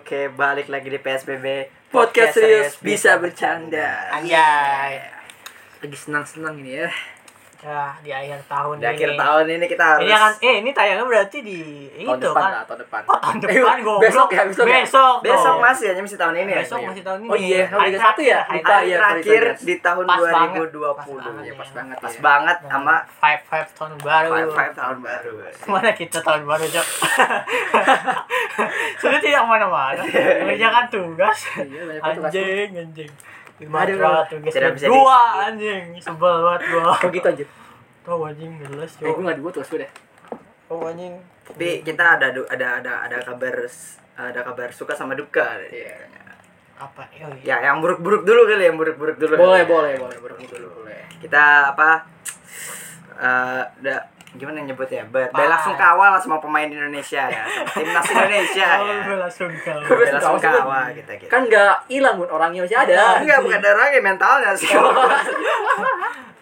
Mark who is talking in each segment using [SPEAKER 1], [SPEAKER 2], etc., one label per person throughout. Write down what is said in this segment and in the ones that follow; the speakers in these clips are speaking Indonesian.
[SPEAKER 1] Oke, balik lagi di PSBB
[SPEAKER 2] Podcast serius bisa bercanda.
[SPEAKER 1] Anjay.
[SPEAKER 2] Lagi senang-senang ini ya.
[SPEAKER 3] Ya, di akhir tahun
[SPEAKER 1] Di akhir
[SPEAKER 3] ini.
[SPEAKER 1] tahun ini kita harus
[SPEAKER 3] Ini akan Iya. eh ini tayangnya berarti di
[SPEAKER 1] tahun
[SPEAKER 3] itu
[SPEAKER 1] depan
[SPEAKER 3] kan.
[SPEAKER 1] lah, tahun depan.
[SPEAKER 3] Kok tahun depan
[SPEAKER 1] Eh,
[SPEAKER 3] goblok?
[SPEAKER 1] Besok ya, besok. ya?
[SPEAKER 3] Besok dong.
[SPEAKER 1] Besok masih ya, ini masih tahun ini ya.
[SPEAKER 3] Besok masih tahun ini.
[SPEAKER 2] Oh iya,
[SPEAKER 3] Hari
[SPEAKER 2] Liga satu ya?
[SPEAKER 3] terakhir,
[SPEAKER 2] Lupa,
[SPEAKER 3] hari
[SPEAKER 2] iya,
[SPEAKER 3] terakhir.
[SPEAKER 1] terakhir di tahun
[SPEAKER 3] Pas banget.
[SPEAKER 1] 2020.
[SPEAKER 3] Pas
[SPEAKER 1] Ya, pas
[SPEAKER 3] banget.
[SPEAKER 1] banget. Pas banget sama
[SPEAKER 3] Five five tahun baru.
[SPEAKER 1] Five Five tahun baru.
[SPEAKER 3] Mana kita tahun baru, Jok? Sudah tidak mana-mana.
[SPEAKER 1] Iya,
[SPEAKER 3] Mengerjakan tugas.
[SPEAKER 2] Iya, banyak banget tugas.
[SPEAKER 3] Anjing, anjing.
[SPEAKER 1] Aduh,
[SPEAKER 3] Aduh, tugas
[SPEAKER 1] tidak bisa
[SPEAKER 3] dua anjing, sebel banget gua.
[SPEAKER 2] Kok gitu aja?
[SPEAKER 3] Tuh anjing jelas,
[SPEAKER 2] Eh, gue
[SPEAKER 3] Jok.
[SPEAKER 2] gak dibuat tugas gue deh.
[SPEAKER 3] Tuh anjing.
[SPEAKER 1] Tapi kita ada du- ada ada ada kabar ada kabar suka sama duka. Iya.
[SPEAKER 3] apa? Oh, iya.
[SPEAKER 1] Ya, yang buruk-buruk dulu kali, yang buruk-buruk dulu. kali ya.
[SPEAKER 2] Boleh, boleh, boleh, boleh, boleh, boleh.
[SPEAKER 1] kita apa eh udah gimana nyebutnya Ber
[SPEAKER 3] Apa?
[SPEAKER 1] bela sungkawa lah sama pemain Indonesia ya sama timnas Indonesia
[SPEAKER 3] Oh,
[SPEAKER 1] ya
[SPEAKER 3] gua langsung kau.
[SPEAKER 1] bela sungkawa kita kita
[SPEAKER 2] Kan gak hilang pun orangnya masih ada. Gitu,
[SPEAKER 1] enggak bukan darahnya mentalnya sih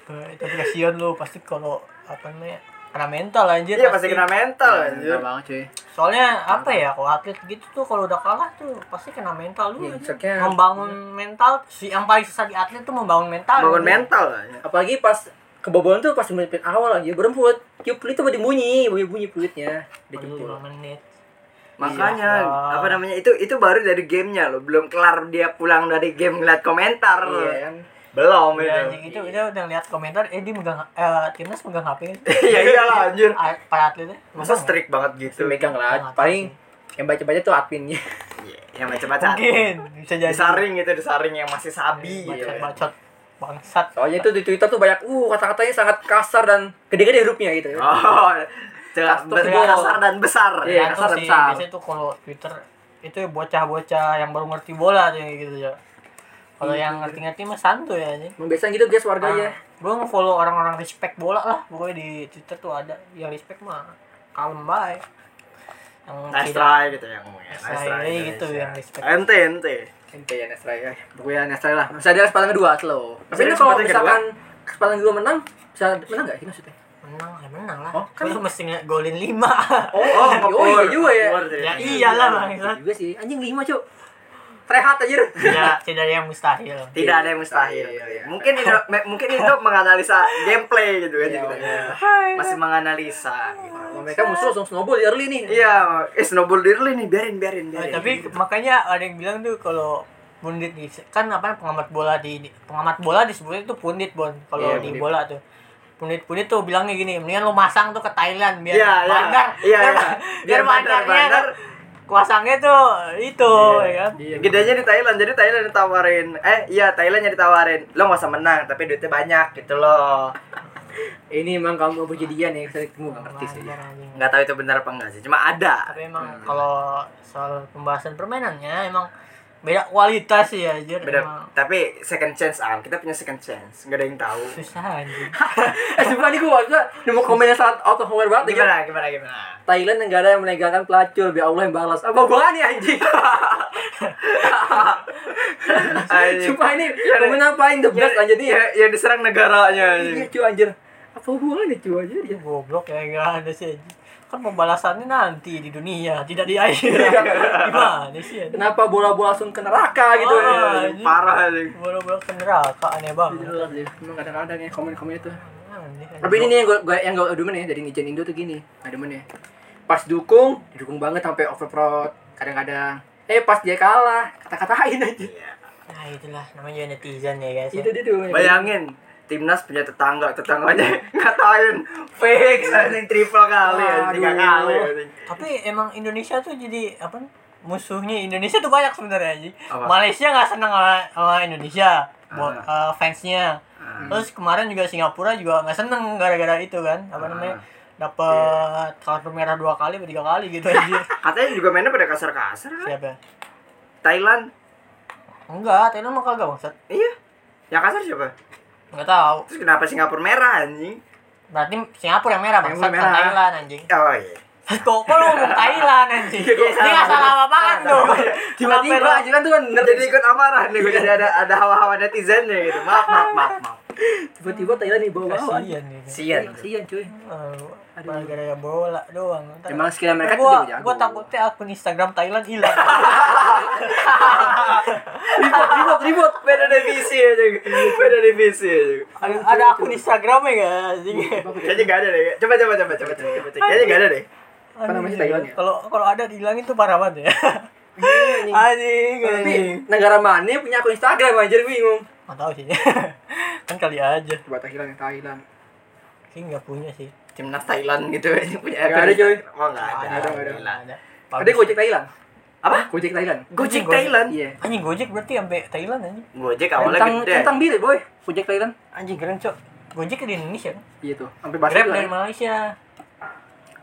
[SPEAKER 3] Eh, tapi kasihan lu pasti kalau apa namanya kena mental anjir
[SPEAKER 1] iya pasti kena mental anjir.
[SPEAKER 2] Enggak banget cuy.
[SPEAKER 3] soalnya apa ya kalau atlet gitu tuh kalau udah kalah tuh pasti kena mental lu
[SPEAKER 2] Iya,
[SPEAKER 3] anjir.
[SPEAKER 2] sakit.
[SPEAKER 3] membangun mental si yang paling susah di atlet tuh membangun mental Iya.
[SPEAKER 1] bangun
[SPEAKER 3] Anjir.
[SPEAKER 1] mental lah ya.
[SPEAKER 2] Apalagi pas kebobolan tuh pas menit awal aja beremput. Tiup pelit tuh bunyi, bunyi bunyi pelitnya. Dia
[SPEAKER 3] Baru
[SPEAKER 2] jemput.
[SPEAKER 3] lima menit
[SPEAKER 1] makanya
[SPEAKER 3] Iya.
[SPEAKER 1] apa namanya itu itu baru dari gamenya loh belum kelar dia pulang dari game ngeliat komentar
[SPEAKER 2] Iya
[SPEAKER 1] loh.
[SPEAKER 2] kan.
[SPEAKER 1] belum itu
[SPEAKER 3] Udah, Iya, anjing, itu itu udah ngeliat komentar eh dia megang eh, timnas megang HP
[SPEAKER 1] ya iyalah anjir
[SPEAKER 3] A- para atletnya
[SPEAKER 1] masa
[SPEAKER 3] Megang ya?
[SPEAKER 1] strict banget
[SPEAKER 2] Itu
[SPEAKER 1] gitu
[SPEAKER 2] megang lah.
[SPEAKER 3] Nggak
[SPEAKER 2] Paling
[SPEAKER 3] tahu
[SPEAKER 2] yang baca-baca tuh adminnya.
[SPEAKER 1] Iya, yang macam-macam
[SPEAKER 3] mungkin Iya, bisa jadi
[SPEAKER 1] disaring gitu disaring yang masih sabi gitu
[SPEAKER 3] bacot bacot bangsat
[SPEAKER 2] Soalnya itu di Twitter tuh banyak uh kata-katanya sangat kasar dan gede-gede hurufnya gitu. ya.
[SPEAKER 1] Oh, jelas
[SPEAKER 2] Custom
[SPEAKER 1] besar
[SPEAKER 3] ball.
[SPEAKER 1] kasar dan besar.
[SPEAKER 2] Iya,
[SPEAKER 3] Iya,
[SPEAKER 1] kasar dan
[SPEAKER 3] sih,
[SPEAKER 1] besar.
[SPEAKER 3] biasanya tuh kalau Twitter itu ya bocah-bocah yang baru ngerti bola tuh yang gitu ya. Kalau
[SPEAKER 2] Iya,
[SPEAKER 3] yang ngerti-ngerti mah santuy ya anjing.
[SPEAKER 2] Emang biasanya gitu guys warganya.
[SPEAKER 3] Gue nge-follow orang-orang respect bola lah, pokoknya di Twitter tuh ada yang respect mah kalem baik. Yang
[SPEAKER 2] Nah,
[SPEAKER 1] Nice
[SPEAKER 3] tidak-
[SPEAKER 1] try gitu yang ngomongnya. Nice
[SPEAKER 3] Nice
[SPEAKER 1] try
[SPEAKER 3] try,
[SPEAKER 1] Indonesia.
[SPEAKER 3] gitu, yang respect.
[SPEAKER 1] Ente ente.
[SPEAKER 2] Ente ya Nesra ya. Pokoknya Nesra lah. Masih ada kesempatan kedua slow.
[SPEAKER 1] Masih ada
[SPEAKER 2] Tapi ini kalau
[SPEAKER 1] kesempatan kedua?
[SPEAKER 2] misalkan kesempatan kedua menang, bisa menang enggak sih maksudnya?
[SPEAKER 3] menang ya menang lah.
[SPEAKER 2] Oh, kan-
[SPEAKER 3] Lu mesti ngegolin 5.
[SPEAKER 2] Oh,
[SPEAKER 1] ngepur.
[SPEAKER 2] iya juga ya.
[SPEAKER 1] Ngepur
[SPEAKER 3] ya
[SPEAKER 1] dia.
[SPEAKER 3] iyalah
[SPEAKER 2] Iya
[SPEAKER 3] bangsat.
[SPEAKER 2] juga sih. Anjing 5, Cuk. Rehat anjir.
[SPEAKER 3] Tidak Ya, tidak ada yang mustahil.
[SPEAKER 1] Tidak ada yang mustahil.
[SPEAKER 2] Iya, iya.
[SPEAKER 1] Mungkin itu me- mungkin itu menganalisa gameplay gitu kan
[SPEAKER 2] Iya,
[SPEAKER 1] gitu.
[SPEAKER 2] iya.
[SPEAKER 1] Masih menganalisa. gitu.
[SPEAKER 2] Wah, Mereka musuh langsung snowball di early nih.
[SPEAKER 1] Iya, eh snowball dirli nih, biarin biarin
[SPEAKER 3] Nah,
[SPEAKER 1] biarin.
[SPEAKER 3] tapi makanya ada yang bilang tuh kalau pundit di kan apa pengamat bola di di- pengamat bola disebutnya itu pundit bon kalau
[SPEAKER 2] Iya,
[SPEAKER 3] di
[SPEAKER 2] pundit.
[SPEAKER 3] bola tuh pundit-pundit tuh bilangnya gini mendingan lu masang tuh ke Thailand biar
[SPEAKER 1] Iya, iya.
[SPEAKER 3] bandar
[SPEAKER 1] Iya,
[SPEAKER 3] biar,
[SPEAKER 1] iya. Biar
[SPEAKER 3] biar
[SPEAKER 1] bandar,
[SPEAKER 3] bandarnya
[SPEAKER 1] bandar.
[SPEAKER 3] kuasangnya tuh itu ya kan
[SPEAKER 2] Iya.
[SPEAKER 1] Gedenya di Thailand, jadi Thailand ditawarin. Eh, iya Thailand yang ditawarin. Lo nggak usah menang, tapi duitnya banyak gitu loh.
[SPEAKER 2] Ini emang kamu puji dia nih, saya ketemu nggak ngerti sih.
[SPEAKER 1] iya.
[SPEAKER 3] Bandar, anjing.
[SPEAKER 1] Nggak tahu itu benar apa enggak sih, cuma ada.
[SPEAKER 3] tapi emang
[SPEAKER 1] iya.
[SPEAKER 3] kalau soal pembahasan permainannya emang beda kualitas sih ya anjir
[SPEAKER 1] beda
[SPEAKER 3] Emang
[SPEAKER 1] tapi second chance am kita punya second chance nggak ada yang tahu
[SPEAKER 3] susah anjing
[SPEAKER 2] Eh, sumpah nih gua waktu itu nemu komen yang sangat out of nowhere banget. ya.
[SPEAKER 1] gimana gimana gimana
[SPEAKER 2] Thailand negara yang menegakkan pelacur, biar Allah yang balas. Apa gua nih anjing? Sumpah ini komen apain the best anjir nih.
[SPEAKER 1] ya, ya diserang negaranya
[SPEAKER 2] Iya,
[SPEAKER 1] anjing.
[SPEAKER 2] cuy anjir. Apa hubungannya cuy anjir?
[SPEAKER 3] Ini goblok ya nggak ada sih anjing. kan pembalasannya nanti di dunia tidak di akhir
[SPEAKER 2] Iya.
[SPEAKER 3] gimana sih anjing?
[SPEAKER 2] Kenapa bola-bola langsung ke neraka gitu?
[SPEAKER 3] Oh,
[SPEAKER 2] ya?
[SPEAKER 3] anjing.
[SPEAKER 1] parah anjing.
[SPEAKER 3] bola-bola ke neraka aneh banget
[SPEAKER 2] Jelas deh, emang kadang-kadang ya komen-komen itu.
[SPEAKER 3] Aneh, aneh.
[SPEAKER 2] Iya. Tapi ini nih yang gue yang gue demen ya dari ngejen Indo tuh gini, gak demen ya. Pas dukung, didukung banget sampai overprod kadang-kadang. Eh pas dia kalah, kata-katain aja.
[SPEAKER 1] ya.
[SPEAKER 3] nah itulah namanya juga netizen ya guys
[SPEAKER 2] Itu dia tuh.
[SPEAKER 1] bayangin timnas punya tetangga tetangganya ngatain fix anjing triple kali anjing tiga
[SPEAKER 2] Aduh.
[SPEAKER 1] kali ya, anjing.
[SPEAKER 3] tapi emang Indonesia tuh jadi apa musuhnya Indonesia tuh banyak sebenarnya anjing
[SPEAKER 1] Apa?
[SPEAKER 3] Malaysia nggak senang sama, sama Indonesia buat eh, fansnya
[SPEAKER 2] Hmm.
[SPEAKER 1] Ah.
[SPEAKER 3] terus kemarin juga Singapura juga nggak seneng gara-gara itu kan apa
[SPEAKER 1] Ah.
[SPEAKER 3] namanya
[SPEAKER 2] Iya.
[SPEAKER 3] dapat kartu merah dua kali atau tiga kali gitu anjir
[SPEAKER 1] katanya juga mainnya pada kasar-kasar kan?
[SPEAKER 3] siapa
[SPEAKER 1] Thailand
[SPEAKER 3] enggak Thailand mah kagak bangsat
[SPEAKER 1] iya yang kasar siapa
[SPEAKER 3] nggak tahu
[SPEAKER 1] terus kenapa Singapura merah anjing
[SPEAKER 3] berarti Singapura yang merah
[SPEAKER 2] Singapura
[SPEAKER 3] bangsat bukan
[SPEAKER 2] merah.
[SPEAKER 3] Thailand anjing
[SPEAKER 1] oh iya
[SPEAKER 3] Kok kok lu ngomong Thailand anjing?
[SPEAKER 1] Iya,
[SPEAKER 3] Ini
[SPEAKER 1] gua salah.
[SPEAKER 3] nggak salah apa-apaan
[SPEAKER 1] Salah,
[SPEAKER 3] dong.
[SPEAKER 1] salah. ya?
[SPEAKER 2] Tiba-tiba
[SPEAKER 3] Kenapa
[SPEAKER 2] aja kan tuh kan
[SPEAKER 1] Ntar jadi ikut amarah nih, gue jadi ada ada hawa-hawa netizennya gitu. Maaf, maaf, maaf, maaf.
[SPEAKER 3] lu-
[SPEAKER 2] tiba-tiba Thailand di
[SPEAKER 3] Oh,
[SPEAKER 2] bawah bawah
[SPEAKER 3] Kasian ini.
[SPEAKER 1] Sian.
[SPEAKER 2] kasian cuy
[SPEAKER 3] Aduh, iya. Oh, gara-gara bola doang. Ntar-
[SPEAKER 2] emang skill mereka tuh
[SPEAKER 3] gua,
[SPEAKER 2] jago
[SPEAKER 3] gua takutnya akun Instagram Thailand hilang.
[SPEAKER 2] ribut ribut ribut
[SPEAKER 1] Beda divisi aja. Beda divisi aja.
[SPEAKER 3] ada, ada akun Instagramnya nggak anjing?
[SPEAKER 1] Kayaknya nggak ada deh. Coba coba coba coba coba. coba. Kayaknya nggak ada deh.
[SPEAKER 3] Apa
[SPEAKER 2] namanya sih Thailand ya?
[SPEAKER 3] iya.
[SPEAKER 2] Iya,
[SPEAKER 3] Kalau kalau ada dihilangin tuh parah banget ya. anjing,
[SPEAKER 2] tapi
[SPEAKER 3] anjing.
[SPEAKER 2] negara mana punya akun Instagram anjir bingung
[SPEAKER 3] Nggak tahu sih. kan kali aja.
[SPEAKER 2] coba Thailand yang Thailand
[SPEAKER 3] Sih nggak punya sih.
[SPEAKER 1] Timnas Thailand gitu ini punya
[SPEAKER 2] Nggak ada, coy.
[SPEAKER 1] Oh nggak ada.
[SPEAKER 2] Nggak ada, nggak ada.
[SPEAKER 1] Alhamdulillah.
[SPEAKER 3] ada.
[SPEAKER 2] ada Gojek Thailand
[SPEAKER 1] Apa?
[SPEAKER 2] Gojek Thailand
[SPEAKER 1] Gojek Thailand.
[SPEAKER 2] iya
[SPEAKER 3] Anjing Gojek berarti sampai Thailand anjing.
[SPEAKER 1] Gojek
[SPEAKER 2] tentang
[SPEAKER 1] awalnya gede.
[SPEAKER 2] tentang diri boy Gojek Thailand
[SPEAKER 3] Anjing keren, Cok. Gojek di Indonesia kan?
[SPEAKER 2] iya tuh sampai bahasa
[SPEAKER 3] Grab
[SPEAKER 2] juga
[SPEAKER 3] dari
[SPEAKER 2] kan?
[SPEAKER 3] Malaysia.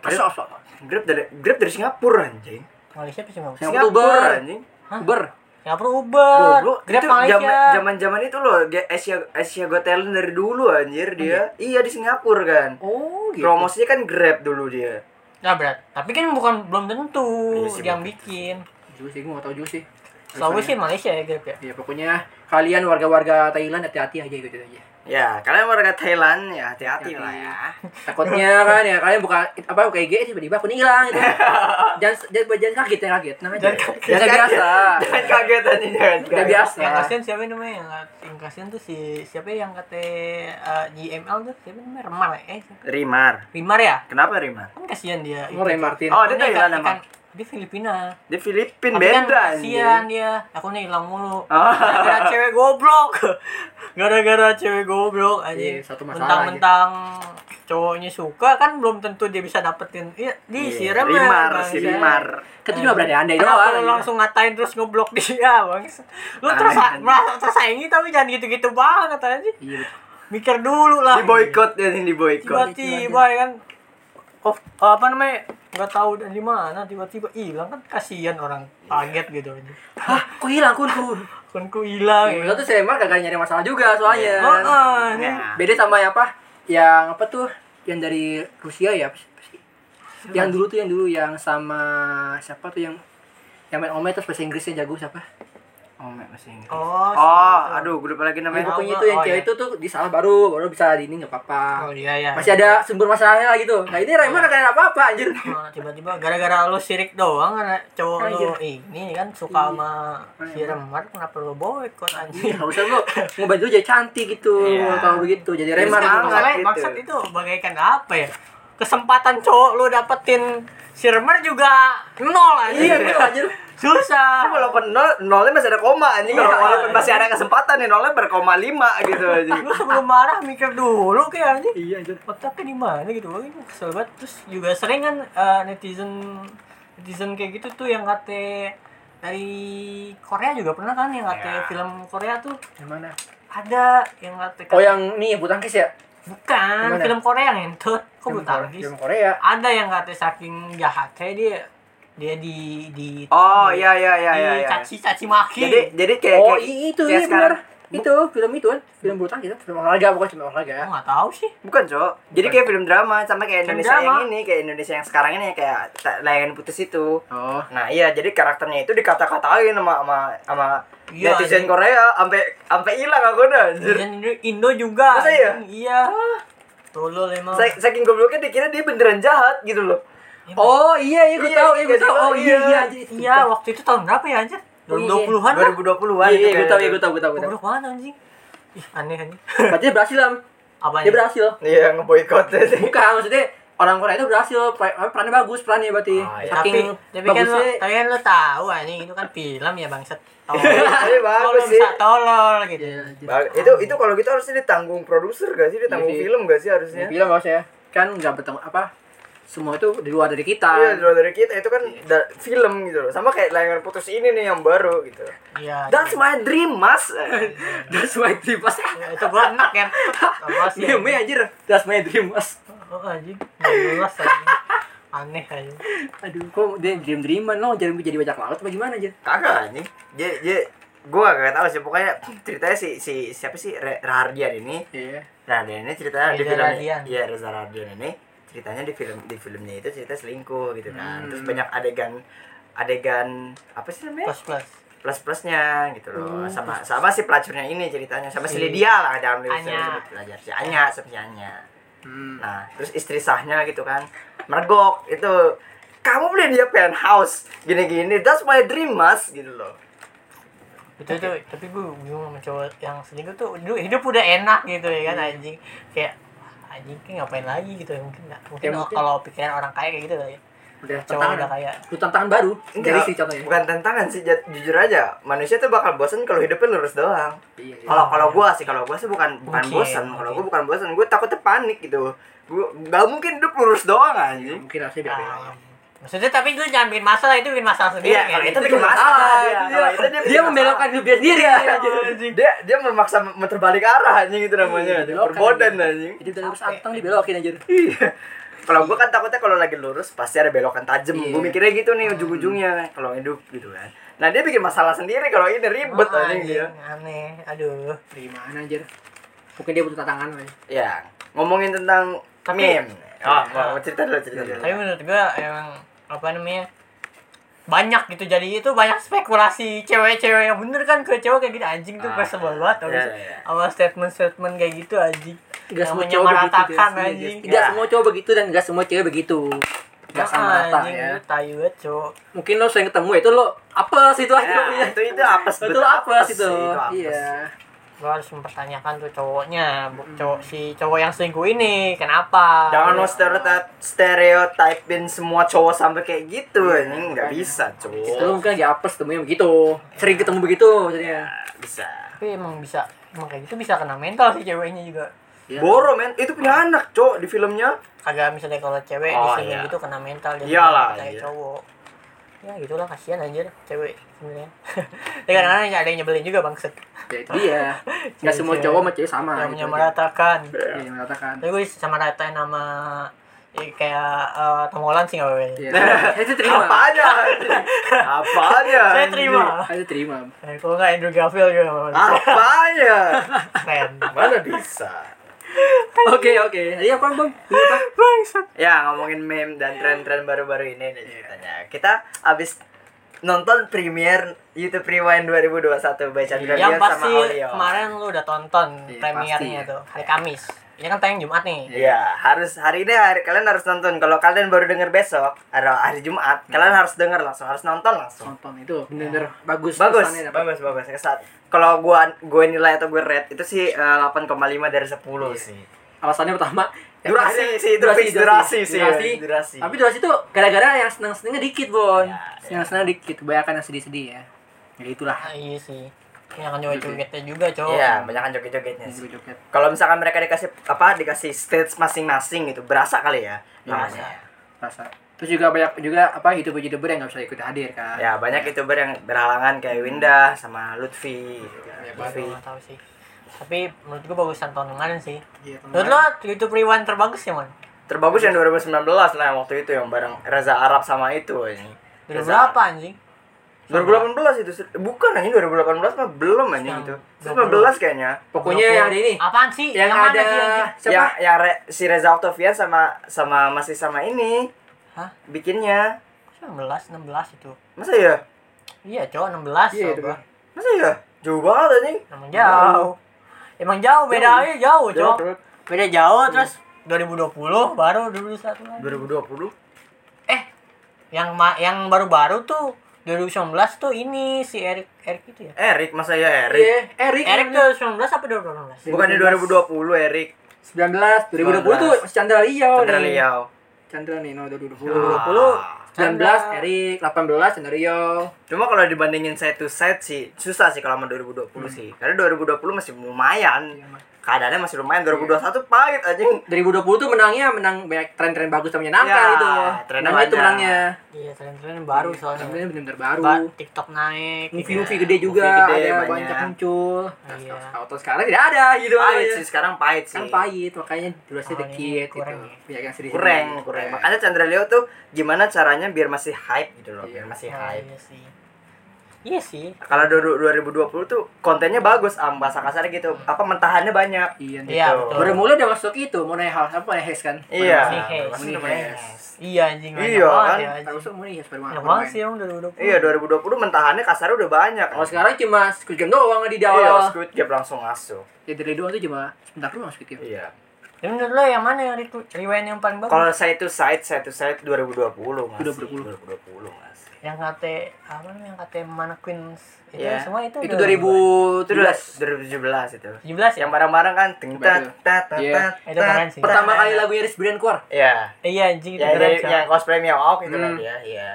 [SPEAKER 2] Grab
[SPEAKER 1] Grab- Grab dari Grab dari Singapura anjing.
[SPEAKER 3] Malaysia apa sih Malaysia?
[SPEAKER 2] Singapura, Uber.
[SPEAKER 1] anjing.
[SPEAKER 2] Uber
[SPEAKER 3] Singapura Uber.
[SPEAKER 1] Goblok,
[SPEAKER 3] Eh, Grab
[SPEAKER 1] Oh, itu
[SPEAKER 3] Malaysia.
[SPEAKER 1] zaman zaman itu loh dia Asia Asia Got Talent dari dulu anjir dia. Iya di Singapura kan.
[SPEAKER 2] oh gitu
[SPEAKER 1] Promosinya kan Grab dulu dia.
[SPEAKER 3] Nah, berat. Tapi kan bukan belum tentu
[SPEAKER 1] Iya sih, Iya,
[SPEAKER 3] yang bikin.
[SPEAKER 2] juga sih gua nggak tahu juga sih
[SPEAKER 3] Selalu sih Malaysia ya Grab ya.
[SPEAKER 2] ya pokoknya kalian warga-warga Thailand hati-hati aja gitu aja
[SPEAKER 1] Ya, kalian warga Thailand ya hati-hati lah ya.
[SPEAKER 2] takutnya kan ya kalian buka apa buka IG tiba-tiba aku hilang gitu jangan jangan jangan kaget jangan kaget nah aja jangan
[SPEAKER 1] kaget.
[SPEAKER 2] biasa
[SPEAKER 1] Jangan kaget anjing jangan.
[SPEAKER 2] udah
[SPEAKER 1] kaget.
[SPEAKER 2] biasa
[SPEAKER 3] Yang kasihan siapa namanya yang yang kasihan tuh si siapa yang kata eh, JML tuh siapa namanya Remar ya? eh siapa?
[SPEAKER 1] Rimar.
[SPEAKER 3] Rimar ya
[SPEAKER 1] Kenapa Rimar?
[SPEAKER 3] kan kasihan dia
[SPEAKER 2] Oh, Ray Martin.
[SPEAKER 1] Oh, dia
[SPEAKER 3] Akunnya
[SPEAKER 1] Thailand
[SPEAKER 3] ikan-
[SPEAKER 1] emang.
[SPEAKER 3] ikan- dia Filipina
[SPEAKER 1] Di Filipin
[SPEAKER 3] Tapi kan
[SPEAKER 1] beda
[SPEAKER 3] kasihan
[SPEAKER 1] anjing.
[SPEAKER 3] dia akunnya hilang mulu
[SPEAKER 1] Ah.
[SPEAKER 3] gara-gara cewek goblok gara-gara cewek goblok aja
[SPEAKER 2] Iya, satu masalah
[SPEAKER 3] mentang-mentang cowoknya suka kan belum tentu dia bisa dapetin iya
[SPEAKER 1] Iya,
[SPEAKER 3] di si ya. Remar
[SPEAKER 1] Rimar,
[SPEAKER 3] bangsa.
[SPEAKER 1] si Rimar.
[SPEAKER 2] kan itu cuma berandai-andai
[SPEAKER 3] Kenapa
[SPEAKER 2] doang
[SPEAKER 3] lu langsung ngatain terus ngeblok dia bang lu terus
[SPEAKER 1] Anjing.
[SPEAKER 3] merasa tersaingi tapi jangan gitu-gitu banget aja
[SPEAKER 2] iya betul.
[SPEAKER 3] mikir dulu
[SPEAKER 1] Di
[SPEAKER 3] lah
[SPEAKER 1] boykot anjing di boykot.
[SPEAKER 3] tiba-tiba ya kan of, apa namanya nggak tahu dari mana tiba-tiba hilang kan kasihan orang kaget gitu aja
[SPEAKER 2] hah kok hilang Iya, kunku
[SPEAKER 3] kunku
[SPEAKER 1] Iya.
[SPEAKER 3] hilang ya.
[SPEAKER 2] Milo tuh Seremar kagak nyari masalah juga soalnya
[SPEAKER 3] Oh, oh, ini
[SPEAKER 1] Nah.
[SPEAKER 2] beda sama yang apa yang apa tuh yang dari Rusia ya apa sih- apa sih? yang dulu tuh yang dulu yang sama siapa tuh yang yang main Ome terus bahasa Inggrisnya jago siapa
[SPEAKER 1] Oh, masih ingat. Oh,
[SPEAKER 3] oh, si-
[SPEAKER 1] aduh, gue lupa lagi
[SPEAKER 2] Ya,
[SPEAKER 1] namanya.
[SPEAKER 3] Iya.
[SPEAKER 2] pokoknya
[SPEAKER 3] Allah,
[SPEAKER 2] itu yang
[SPEAKER 3] oh,
[SPEAKER 2] cewek
[SPEAKER 3] iya.
[SPEAKER 2] itu tuh disalah baru baru bisa di ini nggak apa-apa
[SPEAKER 3] oh iya ya
[SPEAKER 2] masih ada sumber masalahnya lagi tuh nah ini Raymond kagak ada apa-apa anjir
[SPEAKER 3] Oh, tiba-tiba gara-gara lu sirik doang karena cowok
[SPEAKER 2] Anjir.
[SPEAKER 3] lu ini kan suka sama si Remar kenapa lu boykot anjing
[SPEAKER 2] harusnya lu ngubah dulu jadi cantik gitu
[SPEAKER 1] Iya.
[SPEAKER 2] kalau begitu jadi
[SPEAKER 1] Jadi
[SPEAKER 2] Raymond
[SPEAKER 1] semangat.
[SPEAKER 2] gitu.
[SPEAKER 3] Maksudnya
[SPEAKER 1] gitu.
[SPEAKER 3] maksud itu bagaikan apa ya? Kesempatan cowok lu dapetin si Remar juga nol aja.
[SPEAKER 2] iya gitu anjir
[SPEAKER 3] Susah.
[SPEAKER 1] Tapi walaupun nol, nolnya masih ada koma anjing.
[SPEAKER 2] Iya,
[SPEAKER 1] Kalau walaupun masih ada kesempatan nih nolnya berkoma lima gitu anjing.
[SPEAKER 3] Lu sebelum marah mikir dulu kayak anjing.
[SPEAKER 2] iya anjir
[SPEAKER 3] Otaknya di mana gitu. Wah, ini kesel banget. Terus juga sering kan eh, netizen netizen kayak gitu tuh yang kate dari Korea juga pernah kan yang kate
[SPEAKER 1] Ya.
[SPEAKER 3] film Korea tuh
[SPEAKER 2] yang mana
[SPEAKER 3] ada yang kate
[SPEAKER 2] oh yang ini bulu tangkis ya
[SPEAKER 3] bukan
[SPEAKER 2] Yang mana?
[SPEAKER 3] film Korea yang itu kok
[SPEAKER 2] Yang
[SPEAKER 3] belum
[SPEAKER 2] Korea- yang Korea
[SPEAKER 3] ada yang katanya saking jahatnya dia dia di di
[SPEAKER 1] Oh,
[SPEAKER 3] di-
[SPEAKER 1] iya iya iya iya.
[SPEAKER 3] di
[SPEAKER 1] iya.
[SPEAKER 3] caci caci maki
[SPEAKER 1] Jadi jadi kayak
[SPEAKER 2] oh
[SPEAKER 1] kayak-
[SPEAKER 2] i- itu
[SPEAKER 1] kayak
[SPEAKER 2] iya
[SPEAKER 1] sekarang-
[SPEAKER 2] benar itu film itu kan film bulu tangkis kan? film olahraga pokoknya film olahraga
[SPEAKER 1] ya.
[SPEAKER 3] Gua nggak tahu sih
[SPEAKER 1] Bukan, Cok. Jadi kayak film drama sama kayak
[SPEAKER 3] Film
[SPEAKER 1] Indonesia yang
[SPEAKER 3] drama.
[SPEAKER 1] ini, kayak Indonesia yang sekarang ini kayak ta- layangan putus itu.
[SPEAKER 2] oh
[SPEAKER 1] Nah, iya, jadi karakternya itu dikata-katain sama sama sama
[SPEAKER 3] Iya,
[SPEAKER 1] netizen
[SPEAKER 3] anjing.
[SPEAKER 1] Korea sampai sampai hilang aku dah. anjir.
[SPEAKER 2] Iya.
[SPEAKER 3] dan Indo, Indo juga
[SPEAKER 1] Masa iya?
[SPEAKER 3] anjing, iya tolol emang
[SPEAKER 1] Sa- Saking gobloknya dikira dia beneran jahat gitu loh.
[SPEAKER 2] oh iya iya gue
[SPEAKER 1] Iya,
[SPEAKER 2] tahu iya gue
[SPEAKER 1] jadi
[SPEAKER 2] tahu oh
[SPEAKER 1] iya.
[SPEAKER 2] iya iya anjir itu
[SPEAKER 3] iya waktu itu tahun berapa ya anjir
[SPEAKER 1] Oh,
[SPEAKER 2] iya.
[SPEAKER 3] 2020-an
[SPEAKER 1] 2020-an.
[SPEAKER 3] lah
[SPEAKER 2] Iya, iya,
[SPEAKER 1] gitu
[SPEAKER 2] gue
[SPEAKER 1] kayaknya
[SPEAKER 2] tahu, iya,
[SPEAKER 1] tuh.
[SPEAKER 2] gue tahu, gue tahu, gue tahu.
[SPEAKER 3] goblok banget anjing ih aneh anjing
[SPEAKER 2] Berarti dia berhasil, Am.
[SPEAKER 3] apa
[SPEAKER 2] Dia berhasil.
[SPEAKER 1] Iya, ngeboikotnya sih.
[SPEAKER 2] Bukan, maksudnya orang Korea itu berhasil. Per- Perannya bagus, perannya berarti.
[SPEAKER 1] Ah, iya.
[SPEAKER 2] Saking
[SPEAKER 3] tapi tapi kan lo,
[SPEAKER 2] bagusnya-
[SPEAKER 3] tapi kan lo tahu anjing itu kan film ya bangsat
[SPEAKER 2] Oh.
[SPEAKER 3] tolol
[SPEAKER 1] Tapi
[SPEAKER 3] Tolol,
[SPEAKER 1] bagus sih.
[SPEAKER 3] bisa tolol gitu
[SPEAKER 2] Iya, iya.
[SPEAKER 1] Ba- itu itu kalau gitu harusnya ditanggung produser gak sih ditanggung
[SPEAKER 2] Iya sih.
[SPEAKER 1] film gak sih harusnya
[SPEAKER 2] Ini Film maksudnya. Kan nggak bertemu apa? Semua itu di luar dari kita.
[SPEAKER 1] iya di luar dari kita itu kan da- film gitu loh sama kayak layar putus ini nih yang baru gitu
[SPEAKER 3] iya
[SPEAKER 1] that's my dream mas
[SPEAKER 2] That's my dream, mas.
[SPEAKER 3] Ya, itu gua enak ya apa sih
[SPEAKER 2] Meme anjir. That's my dream, mas.
[SPEAKER 3] Oh, anjing, nggak jelas anjing. Aneh anjing.
[SPEAKER 2] Aduh, kok dia dream-dreaman lo jadi jadi bajak laut apa gimana anjir?
[SPEAKER 1] kagak anjing dia dia gua gak tahu sih pokoknya ceritanya si si siapa sih Re- Rahardian ini
[SPEAKER 2] Iya.
[SPEAKER 1] Rahardian ini ceritanya di
[SPEAKER 3] Reza
[SPEAKER 1] film
[SPEAKER 3] Rahardian.
[SPEAKER 1] iya Reza Rahardian ini ceritanya di film di filmnya itu cerita selingkuh gitu kan terus banyak adegan adegan apa sih namanya
[SPEAKER 3] Plus plus.
[SPEAKER 1] plus plusnya gitu loh
[SPEAKER 2] Hmm. Iya.
[SPEAKER 1] sama sama si pelacurnya ini ceritanya sama si Lydia lah dalam lirik
[SPEAKER 3] Anya.
[SPEAKER 1] sebut pelajar si Anya sama si Anya
[SPEAKER 2] Hmm.
[SPEAKER 1] nah terus istri sahnya gitu kan mergok itu kamu beli dia penthouse gini-gini that's my dream mas gitu loh
[SPEAKER 3] itu tuh tapi gue bingung sama cowok yang selingkuh tuh dulu hidup udah enak gitu ya
[SPEAKER 2] Iya.
[SPEAKER 3] kan anjing kayak "Wah, anjing kayak ngapain lagi gitu ya mungkin nggak mungkin,
[SPEAKER 2] Ya, mungkin.
[SPEAKER 3] kalau pikiran orang kaya kayak gitu kali ya
[SPEAKER 2] Udah
[SPEAKER 3] cowok
[SPEAKER 2] tantangan.
[SPEAKER 3] udah kaya
[SPEAKER 2] Lu tantangan baru dari
[SPEAKER 1] Enggak,
[SPEAKER 2] sih contohnya.
[SPEAKER 1] bukan tantangan sih jat- jujur aja manusia tuh bakal bosen kalau hidupnya lurus doang
[SPEAKER 2] Iya, iya.
[SPEAKER 1] kalau kalau gua sih kalau gua sih bukan bukan
[SPEAKER 3] Mungkin,
[SPEAKER 1] bosan kalau
[SPEAKER 3] mungkin.
[SPEAKER 1] gua bukan bosan gua takutnya panik gitu gua nggak mungkin hidup lurus doang anjing
[SPEAKER 2] mungkin rasanya
[SPEAKER 3] Ah,
[SPEAKER 2] beda-beda.
[SPEAKER 3] iya. maksudnya tapi lu jangan bikin masalah itu bikin masalah sendiri
[SPEAKER 1] Iya,
[SPEAKER 3] kan?
[SPEAKER 1] kalau itu
[SPEAKER 2] Itu
[SPEAKER 1] bikin masalah dia. Kalau itu dia
[SPEAKER 2] dia,
[SPEAKER 1] bikin
[SPEAKER 2] membelokkan hidup dia sendiri.
[SPEAKER 1] Iya, dia dia memaksa muter balik arah anjing itu namanya
[SPEAKER 2] Iya,
[SPEAKER 1] perbodan
[SPEAKER 2] belokan.
[SPEAKER 1] anjing
[SPEAKER 2] Hidup dalam
[SPEAKER 3] Capek.
[SPEAKER 2] santang dibelokin aja.
[SPEAKER 1] Iya. kalau gua kan takutnya kalau lagi lurus pasti ada belokan tajam
[SPEAKER 2] Iya.
[SPEAKER 1] gua mikirnya gitu nih ujung-ujungnya kalau hidup gitu kan nah dia bikin masalah sendiri kalau ini ribet
[SPEAKER 2] Oh,
[SPEAKER 3] Ah,
[SPEAKER 2] iya.
[SPEAKER 1] anjing dia
[SPEAKER 3] aneh aduh
[SPEAKER 2] Gimana anjir? Mungkin dia butuh tantangan kali.
[SPEAKER 1] ya ngomongin tentang
[SPEAKER 3] Tapi-
[SPEAKER 1] meme oh,
[SPEAKER 2] Ah,
[SPEAKER 3] Iya.
[SPEAKER 1] mau cerita dulu cerita dulu
[SPEAKER 3] tapi menurut gua emang apa namanya banyak gitu jadi itu banyak spekulasi cewek-cewek yang bener kan ke cewek kayak gitu anjing tuh
[SPEAKER 1] Ah,
[SPEAKER 3] gue sebel banget tau
[SPEAKER 1] iya,
[SPEAKER 3] gak sih?
[SPEAKER 1] iya.
[SPEAKER 3] sama statement-statement kayak gitu anjing
[SPEAKER 2] Gak
[SPEAKER 3] yang
[SPEAKER 2] semua cowok begitu. guys.
[SPEAKER 3] menyamaratakan
[SPEAKER 2] Iya, guys.
[SPEAKER 3] anjing
[SPEAKER 2] Tidak
[SPEAKER 1] Ya.
[SPEAKER 2] semua cowok begitu dan gak semua cewek begitu. Gak sama
[SPEAKER 3] Ah,
[SPEAKER 2] rata
[SPEAKER 3] anjing,
[SPEAKER 2] ya.
[SPEAKER 3] lu tai banget cowok
[SPEAKER 2] Mungkin lo sering ketemu itu lo apa sih itu
[SPEAKER 1] Ya,
[SPEAKER 2] akhirnya?
[SPEAKER 1] itu itu apes
[SPEAKER 2] Itu
[SPEAKER 1] betul,
[SPEAKER 2] apa sih
[SPEAKER 1] sih,
[SPEAKER 2] itu?
[SPEAKER 1] apes.
[SPEAKER 2] Iya.
[SPEAKER 3] lo harus mempertanyakan tuh cowoknya bu- cowok si cowok yang selingkuh ini kenapa
[SPEAKER 1] Jangan mau
[SPEAKER 3] Iya.
[SPEAKER 1] stereotip stereotipin semua cowok sampai kayak gitu, ini nggak
[SPEAKER 2] makanya.
[SPEAKER 1] bisa cowok.
[SPEAKER 2] Iya. Itu Iya. lo mungkin lagi apes temunya begitu. Sering ketemu begitu
[SPEAKER 1] Ya,
[SPEAKER 2] jadinya.
[SPEAKER 1] bisa.
[SPEAKER 3] tapi emang bisa emang kayak gitu bisa kena mental sih ceweknya juga
[SPEAKER 2] Iya.
[SPEAKER 1] Boro men, itu punya anak cowok di filmnya.
[SPEAKER 3] kagak misalnya kalau cewek
[SPEAKER 1] Oh,
[SPEAKER 3] diselingkuh
[SPEAKER 1] iya.
[SPEAKER 3] gitu kena mental dia
[SPEAKER 1] Iyalah, iya.
[SPEAKER 3] kayak cowok ya gitulah kasihan anjir cewek sebenarnya tapi kadang-kadang ada yang nyebelin juga bangset
[SPEAKER 2] Ya itu dia.
[SPEAKER 1] Iya,
[SPEAKER 2] Gak semua
[SPEAKER 3] Cewek-cewek.
[SPEAKER 2] cowok sama cewek sama.
[SPEAKER 3] yang
[SPEAKER 2] gitu aja.
[SPEAKER 3] menyamaratakan
[SPEAKER 2] Iya, yang mengatakan.
[SPEAKER 3] tapi gue sama ratain sama ya, kayak eh, Tom Holland sih nggak apa-apa
[SPEAKER 2] Iya. Saya sih terima.
[SPEAKER 1] Apa aja? anjing? Apa aja?
[SPEAKER 3] saya
[SPEAKER 1] anjing?
[SPEAKER 3] terima
[SPEAKER 2] Saya sih terima.
[SPEAKER 3] Eh, kalau nggak Andrew Garfield juga nggak apa-apa
[SPEAKER 1] Apa aja?
[SPEAKER 3] keren
[SPEAKER 1] Mana bisa?
[SPEAKER 2] Oke oke. Tadi apa bang? Tunggu, Bang.
[SPEAKER 3] Bangsat.
[SPEAKER 1] Ya ngomongin meme dan tren-tren baru-baru ini
[SPEAKER 3] Iya.
[SPEAKER 1] nih ceritanya. Kita abis nonton premier YouTube Rewind 2021 baca
[SPEAKER 3] yang
[SPEAKER 1] sama
[SPEAKER 3] pasti
[SPEAKER 1] Audio.
[SPEAKER 3] kemarin lu udah tonton
[SPEAKER 2] Iya,
[SPEAKER 3] premiernya
[SPEAKER 2] pasti.
[SPEAKER 3] tuh hari Kamis ini kan tayang Jumat nih
[SPEAKER 1] Iya, harus hari ini hari kalian harus nonton. Kalau kalian baru denger besok atau hari Jumat, kalian harus denger langsung, harus nonton langsung.
[SPEAKER 2] Tonton itu bener-bener bagus.
[SPEAKER 1] Iya. Bagus,
[SPEAKER 2] kesannya dapat.
[SPEAKER 1] bagus, bagus. Kesat. Kalau gua gua nilai atau gua rate itu sih eh, 8,5 dari 10 sih.
[SPEAKER 2] Alasannya pertama ya,
[SPEAKER 1] Durasi
[SPEAKER 2] akhirnya-
[SPEAKER 1] sih, itu fix durasi sih,
[SPEAKER 2] durasi,
[SPEAKER 1] ya, durasi.
[SPEAKER 2] Tapi durasi itu gara-gara yang seneng-senengnya dikit bon.
[SPEAKER 1] Ya,
[SPEAKER 2] Seneng-seneng dikit, kebanyakan yang sedih-sedih ya. Ya itulah.
[SPEAKER 3] Ah, iya sih ini akan nyoba jogetnya juga cowok
[SPEAKER 1] Iya, banyak kan joget-jogetnya
[SPEAKER 2] Yang
[SPEAKER 1] sih.
[SPEAKER 2] gue joget.
[SPEAKER 1] Kalau misalkan mereka dikasih apa dikasih stage masing-masing gitu, berasa kali ya. namanya.
[SPEAKER 2] Rasa. Terus juga banyak juga apa youtuber-youtuber yang nggak bisa ikut hadir kan.
[SPEAKER 1] Ya, banyak youtuber yang berhalangan kayak Winda sama Lutfi.
[SPEAKER 2] Ya,
[SPEAKER 3] Aduh,
[SPEAKER 1] Lutfi.
[SPEAKER 3] nggak tahu sih tapi menurut gue bagusan tahun kemarin sih
[SPEAKER 2] Iya,
[SPEAKER 3] menurut lo YouTube Rewind terbagus ya man
[SPEAKER 1] Terbagus yang 2019 lah yang waktu itu yang bareng Reza Arab sama itu ini.
[SPEAKER 2] Iya,
[SPEAKER 3] dari
[SPEAKER 1] Reza Arab.
[SPEAKER 3] berapa anjing
[SPEAKER 1] 2018 itu ser- bukan anjing 2018 mah belum anjing
[SPEAKER 3] Yang
[SPEAKER 1] itu.
[SPEAKER 3] 2019
[SPEAKER 1] 2019 kayaknya.
[SPEAKER 2] Pokoknya
[SPEAKER 1] Iya,
[SPEAKER 2] yang ada ini.
[SPEAKER 3] apaan sih
[SPEAKER 2] Yang,
[SPEAKER 3] mana
[SPEAKER 2] ada
[SPEAKER 3] sih, anjing?
[SPEAKER 2] siapa?
[SPEAKER 1] Ya, ya Re- si Reza Octavian sama sama masih sama ini
[SPEAKER 3] Hah?
[SPEAKER 1] bikinnya.
[SPEAKER 3] 19 16 itu
[SPEAKER 1] Masa ya?
[SPEAKER 3] iya cowok 16
[SPEAKER 2] Iya,
[SPEAKER 3] yeah,
[SPEAKER 2] itu
[SPEAKER 3] gua
[SPEAKER 2] kan.
[SPEAKER 1] Masa ya? Jauh banget anjing.
[SPEAKER 3] emang jauh emang jauh bedanya jauh cowok
[SPEAKER 1] Jauh.
[SPEAKER 3] beda jauh
[SPEAKER 2] Iya.
[SPEAKER 3] terus 2020 baru 2021 lagi.
[SPEAKER 1] 2020.
[SPEAKER 3] eh yang ma yang baru-baru tuh 2019 tuh ini si Erik Erik itu ya
[SPEAKER 1] Erik masa ya Erik?
[SPEAKER 2] Iya, Erik.
[SPEAKER 3] Erik tuh 2019 apa 2018
[SPEAKER 1] Bukannya 2020 Erik.
[SPEAKER 2] 19, 2020 tuh
[SPEAKER 1] 19.
[SPEAKER 2] Chandra Liao
[SPEAKER 1] Chandra
[SPEAKER 2] nih.
[SPEAKER 1] Liao.
[SPEAKER 2] Chandra nih, no 2020.
[SPEAKER 3] 2020
[SPEAKER 1] Ah.
[SPEAKER 2] 19 Erik, 18 Chandra Liao.
[SPEAKER 1] Cuma kalau dibandingin side to side sih susah sih kalau sama 2020 sih. Karena 2020 masih lumayan.
[SPEAKER 2] Iya.
[SPEAKER 1] Keadaannya masih lumayan. 2021 pahit anjing.
[SPEAKER 2] 2020 tuh menangnya menang banyak tren-tren bagus dan menyenangkan
[SPEAKER 1] Ya,
[SPEAKER 2] itu.
[SPEAKER 1] tren
[SPEAKER 2] Menangnya itu
[SPEAKER 1] banyak.
[SPEAKER 2] menangnya.
[SPEAKER 3] iya tren-tren baru soalnya
[SPEAKER 2] Tren benar-benar
[SPEAKER 3] Ba-
[SPEAKER 2] baru.
[SPEAKER 3] TikTok naik gitu ya.
[SPEAKER 2] Movie-movie gitu. gede juga
[SPEAKER 1] iya. Movie gede,
[SPEAKER 2] ada
[SPEAKER 1] banyak.
[SPEAKER 2] banyak, muncul.
[SPEAKER 3] Iya.
[SPEAKER 2] Auto sekarang tidak ada gitu
[SPEAKER 1] Pahit
[SPEAKER 2] aja.
[SPEAKER 1] Ah, iya, sih sekarang pahit sih.
[SPEAKER 2] Kan pahit makanya durasi
[SPEAKER 3] Oh, ini
[SPEAKER 2] dikit gitu.
[SPEAKER 3] kurang ya.
[SPEAKER 2] Banyak yang sedih.
[SPEAKER 1] kurang kurang
[SPEAKER 2] Iya.
[SPEAKER 1] makanya Chandra Leo tuh gimana caranya biar masih hype gitu loh biar masih
[SPEAKER 3] Nah,
[SPEAKER 1] hype
[SPEAKER 3] iya sih Iya sih.
[SPEAKER 1] Kalau du- du- 2020 tuh kontennya bagus, ah, bahasa kasar gitu. Apa mentahannya banyak.
[SPEAKER 2] Iya. nih.
[SPEAKER 1] Gitu.
[SPEAKER 3] Iya, betul.
[SPEAKER 2] Baru mulai udah masuk itu, mau naik hal apa naik hes kan?
[SPEAKER 1] Iya.
[SPEAKER 3] Si Hayes.
[SPEAKER 1] Masih
[SPEAKER 2] Munihes.
[SPEAKER 1] namanya Hayes.
[SPEAKER 3] Iya anjing. banyak
[SPEAKER 1] Iya,
[SPEAKER 3] banget
[SPEAKER 1] kan?
[SPEAKER 3] ya, anjing.
[SPEAKER 2] Baru masuk mau hes baru
[SPEAKER 3] Banyak
[SPEAKER 2] baru
[SPEAKER 3] banget
[SPEAKER 2] main.
[SPEAKER 3] sih emang 2020.
[SPEAKER 1] Iya, 2020 mentahannya kasarnya udah banyak.
[SPEAKER 2] Kalau Oh, sekarang cuma Squid Game doang di
[SPEAKER 1] Iya,
[SPEAKER 2] awal.
[SPEAKER 1] Squid Game langsung masuk.
[SPEAKER 2] Ya dari doang tuh cuma sebentar doang Squid Game.
[SPEAKER 1] Iya.
[SPEAKER 3] Ya, menurut lo yang mana yang re- rewind yang paling bagus?
[SPEAKER 1] Kalau saya itu side, saya itu side 2020 masih.
[SPEAKER 2] 2020.
[SPEAKER 1] 2020 masih.
[SPEAKER 3] Yang kata apa namanya yang kata mannequins itu
[SPEAKER 1] Iya.
[SPEAKER 3] semua itu
[SPEAKER 2] Itu
[SPEAKER 3] udah-
[SPEAKER 2] 2017.
[SPEAKER 3] Iya.
[SPEAKER 1] 2017 itu.
[SPEAKER 3] 17 ya?
[SPEAKER 1] Yang bareng-bareng kan ting tat tat tat
[SPEAKER 2] Iya.
[SPEAKER 1] tat.
[SPEAKER 3] Itu keren sih.
[SPEAKER 2] Pertama kali lagunya Rizky Brian keluar.
[SPEAKER 1] Iya.
[SPEAKER 3] Iya anjing itu
[SPEAKER 1] Yang
[SPEAKER 3] keren.
[SPEAKER 1] dari-
[SPEAKER 3] Cak.
[SPEAKER 1] yang cosplay Miyawak itu
[SPEAKER 2] Hmm.
[SPEAKER 1] kan ya. Iya.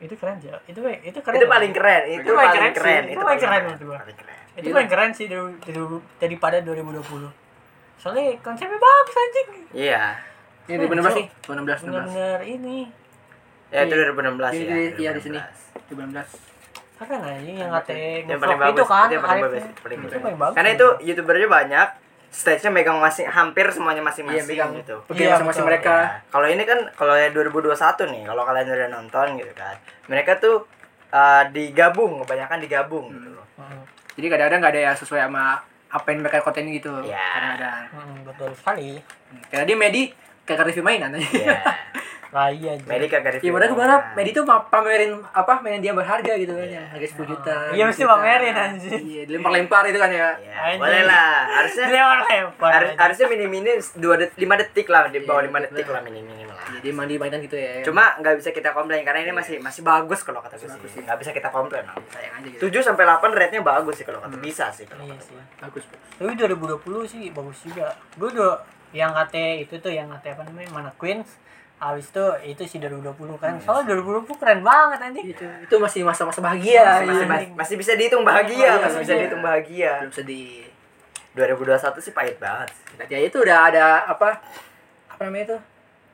[SPEAKER 3] Itu keren, Cak. Itu itu keren.
[SPEAKER 1] Itu
[SPEAKER 3] Cak.
[SPEAKER 1] paling keren, itu
[SPEAKER 3] Itu paling
[SPEAKER 1] paling
[SPEAKER 3] keren sih.
[SPEAKER 1] keren,
[SPEAKER 3] Itu paling keren menurut gua.
[SPEAKER 1] Paling keren.
[SPEAKER 3] Itu
[SPEAKER 2] Gila.
[SPEAKER 3] paling keren sih dari- dari- daripada 2020. Soalnya konsepnya bagus anjing.
[SPEAKER 1] Iya.
[SPEAKER 2] Ini 2016 sih. 2016, 2016.
[SPEAKER 3] Bener-bener ini.
[SPEAKER 1] Ya itu 2016
[SPEAKER 2] Iya,
[SPEAKER 1] ya.
[SPEAKER 2] iya, iya, di sini.
[SPEAKER 1] 2016.
[SPEAKER 2] 2016.
[SPEAKER 3] Keren anjing yang kata
[SPEAKER 1] yang paling
[SPEAKER 3] ngevlog
[SPEAKER 1] bagus
[SPEAKER 3] itu kan.
[SPEAKER 1] itu yang paling
[SPEAKER 3] Arif.
[SPEAKER 1] bagus paling
[SPEAKER 3] Itu
[SPEAKER 1] bagus.
[SPEAKER 3] paling bagus.
[SPEAKER 1] karena itu youtubernya banyak stage-nya megang masing hampir semuanya
[SPEAKER 2] Iya,
[SPEAKER 1] masing-masing
[SPEAKER 2] megang
[SPEAKER 1] gitu
[SPEAKER 2] Oke,
[SPEAKER 3] Iya,
[SPEAKER 2] masing-masing
[SPEAKER 3] betul.
[SPEAKER 2] mereka.
[SPEAKER 1] Nah, kalau ini kan kalau yang 2021 nih kalau kalian udah nonton gitu kan mereka tuh eh, digabung kebanyakan digabung gitu loh
[SPEAKER 3] Hmm.
[SPEAKER 2] Jadi kadang-kadang nggak ada ya sesuai sama apa yang mereka kontenin gitu.
[SPEAKER 1] Iya.
[SPEAKER 2] Kadang-kadang.
[SPEAKER 3] Hmm, betul sekali.
[SPEAKER 2] Hmm. Kayak tadi Medi kagak review mainan aja.
[SPEAKER 1] Iya.
[SPEAKER 3] Lah iya anjing.
[SPEAKER 1] Medi kagak review
[SPEAKER 2] Ya Hmm. padahal gue berharap
[SPEAKER 1] Nah,
[SPEAKER 2] Medi tuh ma- pamerin apa mainan dia berharga gitu kan ya. Harga 10 juta.
[SPEAKER 3] Iya. Iya,
[SPEAKER 2] 20
[SPEAKER 3] mesti
[SPEAKER 2] juta.
[SPEAKER 3] pamerin, anjing.
[SPEAKER 2] Iya, dilempar-lempar itu kan ya.
[SPEAKER 1] iya,
[SPEAKER 3] Anjing.
[SPEAKER 1] boleh lah harusnya
[SPEAKER 3] Lempar-lempar.
[SPEAKER 1] harus- harusnya minim-minim 2 detik 5 detik lah di bawah
[SPEAKER 2] Iya,
[SPEAKER 1] 5
[SPEAKER 2] betul.
[SPEAKER 1] detik lah minim-minim lah
[SPEAKER 2] Jadi mandi mainan gitu ya.
[SPEAKER 1] cuma nggak bisa kita komplain karena ini
[SPEAKER 2] Iya.
[SPEAKER 1] masih masih bagus kalau kata gue sih nggak bisa kita komplain lah.
[SPEAKER 2] sayang aja gitu.
[SPEAKER 1] 7 sampai 8 rate-nya bagus sih kalau kata
[SPEAKER 2] Hmm.
[SPEAKER 1] bisa sih kalau
[SPEAKER 3] Iya
[SPEAKER 1] kata
[SPEAKER 3] sih.
[SPEAKER 1] gue.
[SPEAKER 2] Bagus. Bro.
[SPEAKER 3] Tapi 2020 sih bagus juga. Gue udah yang kata itu tuh yang kata apa namanya mana Queens. Habis itu itu sih 2020
[SPEAKER 1] Iya
[SPEAKER 3] kan. Soalnya 2020 keren banget anjing.
[SPEAKER 2] Itu, itu masih Oh, iya, masa-masa bahagia.
[SPEAKER 1] Iya, masih,
[SPEAKER 2] ya.
[SPEAKER 1] masih, masih bisa dihitung bahagia,
[SPEAKER 2] Bahagia,
[SPEAKER 1] masih bisa
[SPEAKER 2] bahagia.
[SPEAKER 1] dihitung bahagia.
[SPEAKER 2] Belum sedih.
[SPEAKER 1] 2021 sih pahit banget.
[SPEAKER 2] Ya itu udah ada apa apa namanya itu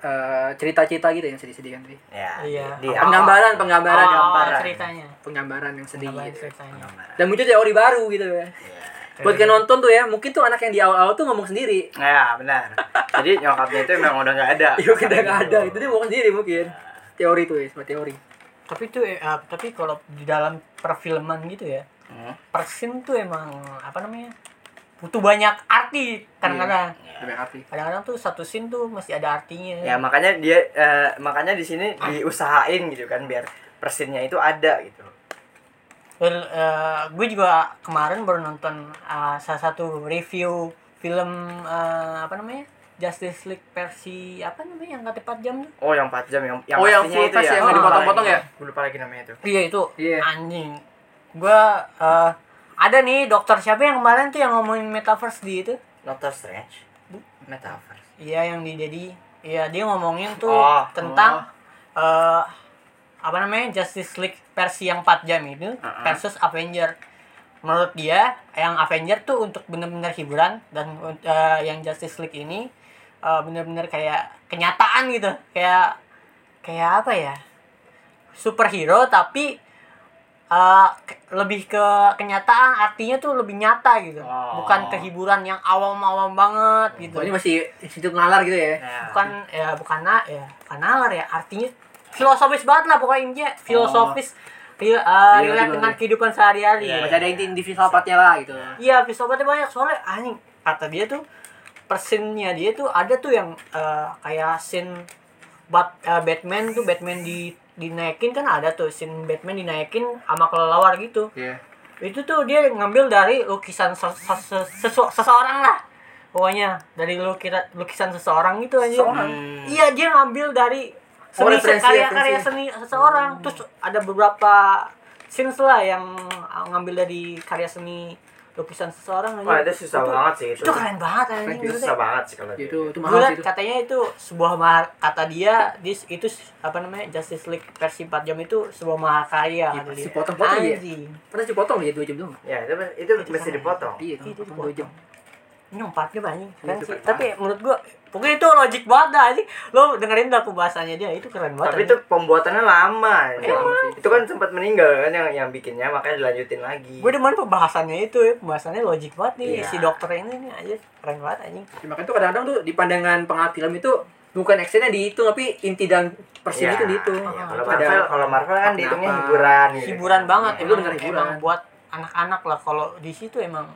[SPEAKER 2] eh, cerita-cerita gitu yang sedih-sedih kan tadi.
[SPEAKER 1] Ya.
[SPEAKER 3] Iya.
[SPEAKER 1] Di, di-
[SPEAKER 2] Penggambaran, penggambaran,
[SPEAKER 3] Oh,
[SPEAKER 1] gambaran.
[SPEAKER 3] ceritanya.
[SPEAKER 2] penggambaran yang sedih.
[SPEAKER 3] Gambaran
[SPEAKER 2] gitu.
[SPEAKER 3] ceritanya.
[SPEAKER 1] Penggambaran.
[SPEAKER 2] Dan muncul teori baru gitu ya.
[SPEAKER 1] Iya.
[SPEAKER 2] Buat yang nonton tuh ya, mungkin tuh anak yang di awal-awal tuh ngomong sendiri.
[SPEAKER 1] Nah, ya, benar. Jadi nyokapnya itu memang udah nggak ada.
[SPEAKER 2] Iya, kita nggak ada. Itu dia ngomong sendiri mungkin. Teori tuh ya, semua teori.
[SPEAKER 3] Tapi tuh eh, ah, tapi kalau di dalam perfilman gitu ya,
[SPEAKER 1] Hmm.
[SPEAKER 3] persin tuh emang apa namanya? Butuh banyak arti kadang-kadang.
[SPEAKER 2] Sampai hati.
[SPEAKER 3] Kadang-kadang tuh satu scene tuh masih ada artinya.
[SPEAKER 1] Ya makanya dia eh, makanya di sini diusahain gitu kan biar persinnya itu ada gitu.
[SPEAKER 3] Well, eh, gue juga kemarin baru nonton eh, salah satu review film eh, apa namanya Justice League versi apa namanya yang nggak tepat jam tuh.
[SPEAKER 1] Oh yang 4 jam yang
[SPEAKER 2] Oh, yang
[SPEAKER 1] pastinya
[SPEAKER 2] full face yang nggak
[SPEAKER 1] Lupa
[SPEAKER 2] dipotong-potong
[SPEAKER 1] lagi.
[SPEAKER 2] ya?
[SPEAKER 1] Gue lupa lagi namanya itu.
[SPEAKER 3] Iya itu
[SPEAKER 2] Iya.
[SPEAKER 3] anjing. Gue eh, ada nih dokter siapa yang kemarin tuh yang ngomongin metaverse di itu?
[SPEAKER 1] Doctor Strange.
[SPEAKER 3] Bu-
[SPEAKER 1] Metaverse.
[SPEAKER 3] Iya yang di jadi iya dia ngomongin tuh
[SPEAKER 1] Oh,
[SPEAKER 3] tentang eh, apa namanya Justice League versi yang 4 jam itu
[SPEAKER 1] Uh-uh.
[SPEAKER 3] versus Avenger. Menurut dia yang Avenger tuh untuk bener-bener hiburan dan eh, yang Justice League ini eh, bener-bener kayak kenyataan gitu. Kayak kayak apa ya? Superhero tapi eh, ke- lebih ke kenyataan artinya tuh lebih nyata gitu.
[SPEAKER 1] Oh.
[SPEAKER 3] Bukan kehiburan yang awam-awam banget gitu
[SPEAKER 2] Oh, ini masih situ ngalar gitu ya.
[SPEAKER 1] Nah,
[SPEAKER 3] bukan ya bukan na ya bukan nalar ya artinya filosofis banget lah pokoknya intinya filosofis real, uh,
[SPEAKER 2] Iya,
[SPEAKER 3] relate
[SPEAKER 2] gimana?
[SPEAKER 3] dengan kehidupan sehari-hari
[SPEAKER 1] Iya,
[SPEAKER 2] Masih ada inti inti filsafatnya lah gitu.
[SPEAKER 3] iya filsafatnya banyak soalnya anjing kata dia tuh persennya dia tuh ada tuh yang uh, kayak scene Bat, uh, Batman tuh Batman di dinaikin kan ada tuh scene Batman dinaikin sama kelelawar gitu
[SPEAKER 2] Iya.
[SPEAKER 3] itu tuh dia ngambil dari lukisan se- se- se- sesu- seseorang lah pokoknya dari lukira- lukisan seseorang gitu aja
[SPEAKER 2] Seseorang?
[SPEAKER 1] Hmm.
[SPEAKER 3] iya dia ngambil dari
[SPEAKER 2] Oh,
[SPEAKER 3] seni
[SPEAKER 2] referensi,
[SPEAKER 3] karya-karya
[SPEAKER 2] referensi. Hmm.
[SPEAKER 3] seni seseorang terus ada beberapa scenes lah yang ah, ngambil dari karya seni lukisan seseorang
[SPEAKER 1] Wah,
[SPEAKER 3] aja.
[SPEAKER 1] itu susah banget sih itu.
[SPEAKER 3] itu keren banget anjing
[SPEAKER 1] Itu susah banget sih kalau
[SPEAKER 2] Iya, Itu itu
[SPEAKER 3] Gue
[SPEAKER 2] mahal sih
[SPEAKER 3] liat
[SPEAKER 2] itu.
[SPEAKER 3] katanya itu sebuah mahar, kata dia dis, itu s- apa namanya Justice League versi 4 jam itu sebuah mahakarya kata
[SPEAKER 2] pasti
[SPEAKER 3] dia.
[SPEAKER 2] potong-potong ya.
[SPEAKER 3] Anjing.
[SPEAKER 2] Pernah sih potong ya 2 jam doang.
[SPEAKER 1] Ya, itu itu mesti dipotong.
[SPEAKER 3] Iya,
[SPEAKER 2] Iya, potong
[SPEAKER 3] dipotong.
[SPEAKER 2] 2 jam.
[SPEAKER 3] ini empatnya banyak keren
[SPEAKER 2] Iya, Itu
[SPEAKER 3] sih
[SPEAKER 2] keren
[SPEAKER 3] tapi menurut gua pokoknya itu logik banget dah anjing. lo dengerin dah pembahasannya dia itu keren banget
[SPEAKER 1] Tapi itu
[SPEAKER 3] anjing.
[SPEAKER 1] pembuatannya lama. ya.
[SPEAKER 3] Iya,
[SPEAKER 2] Emang.
[SPEAKER 1] Itu kan sempat meninggal kan yang yang bikinnya makanya dilanjutin lagi.
[SPEAKER 3] gua demen pembahasannya itu ya pembahasannya logik banget nih
[SPEAKER 1] Iya.
[SPEAKER 3] si dokter ini nih aja keren banget anjing
[SPEAKER 2] Ya, makanya tuh kadang-kadang tuh di pandangan penghati film itu bukan actionnya dihitung tapi inti dan
[SPEAKER 1] Iya,
[SPEAKER 2] persinya itu
[SPEAKER 3] gitu.
[SPEAKER 2] dihitung
[SPEAKER 1] iya. Kalau
[SPEAKER 2] Ada-
[SPEAKER 1] Marvel, kalau Marvel kan dihitungnya
[SPEAKER 2] Kenapa?
[SPEAKER 1] hiburan gitu.
[SPEAKER 3] hiburan banget
[SPEAKER 2] Itu
[SPEAKER 3] emang,
[SPEAKER 2] bener hiburan.
[SPEAKER 3] emang buat anak-anak lah kalau di situ emang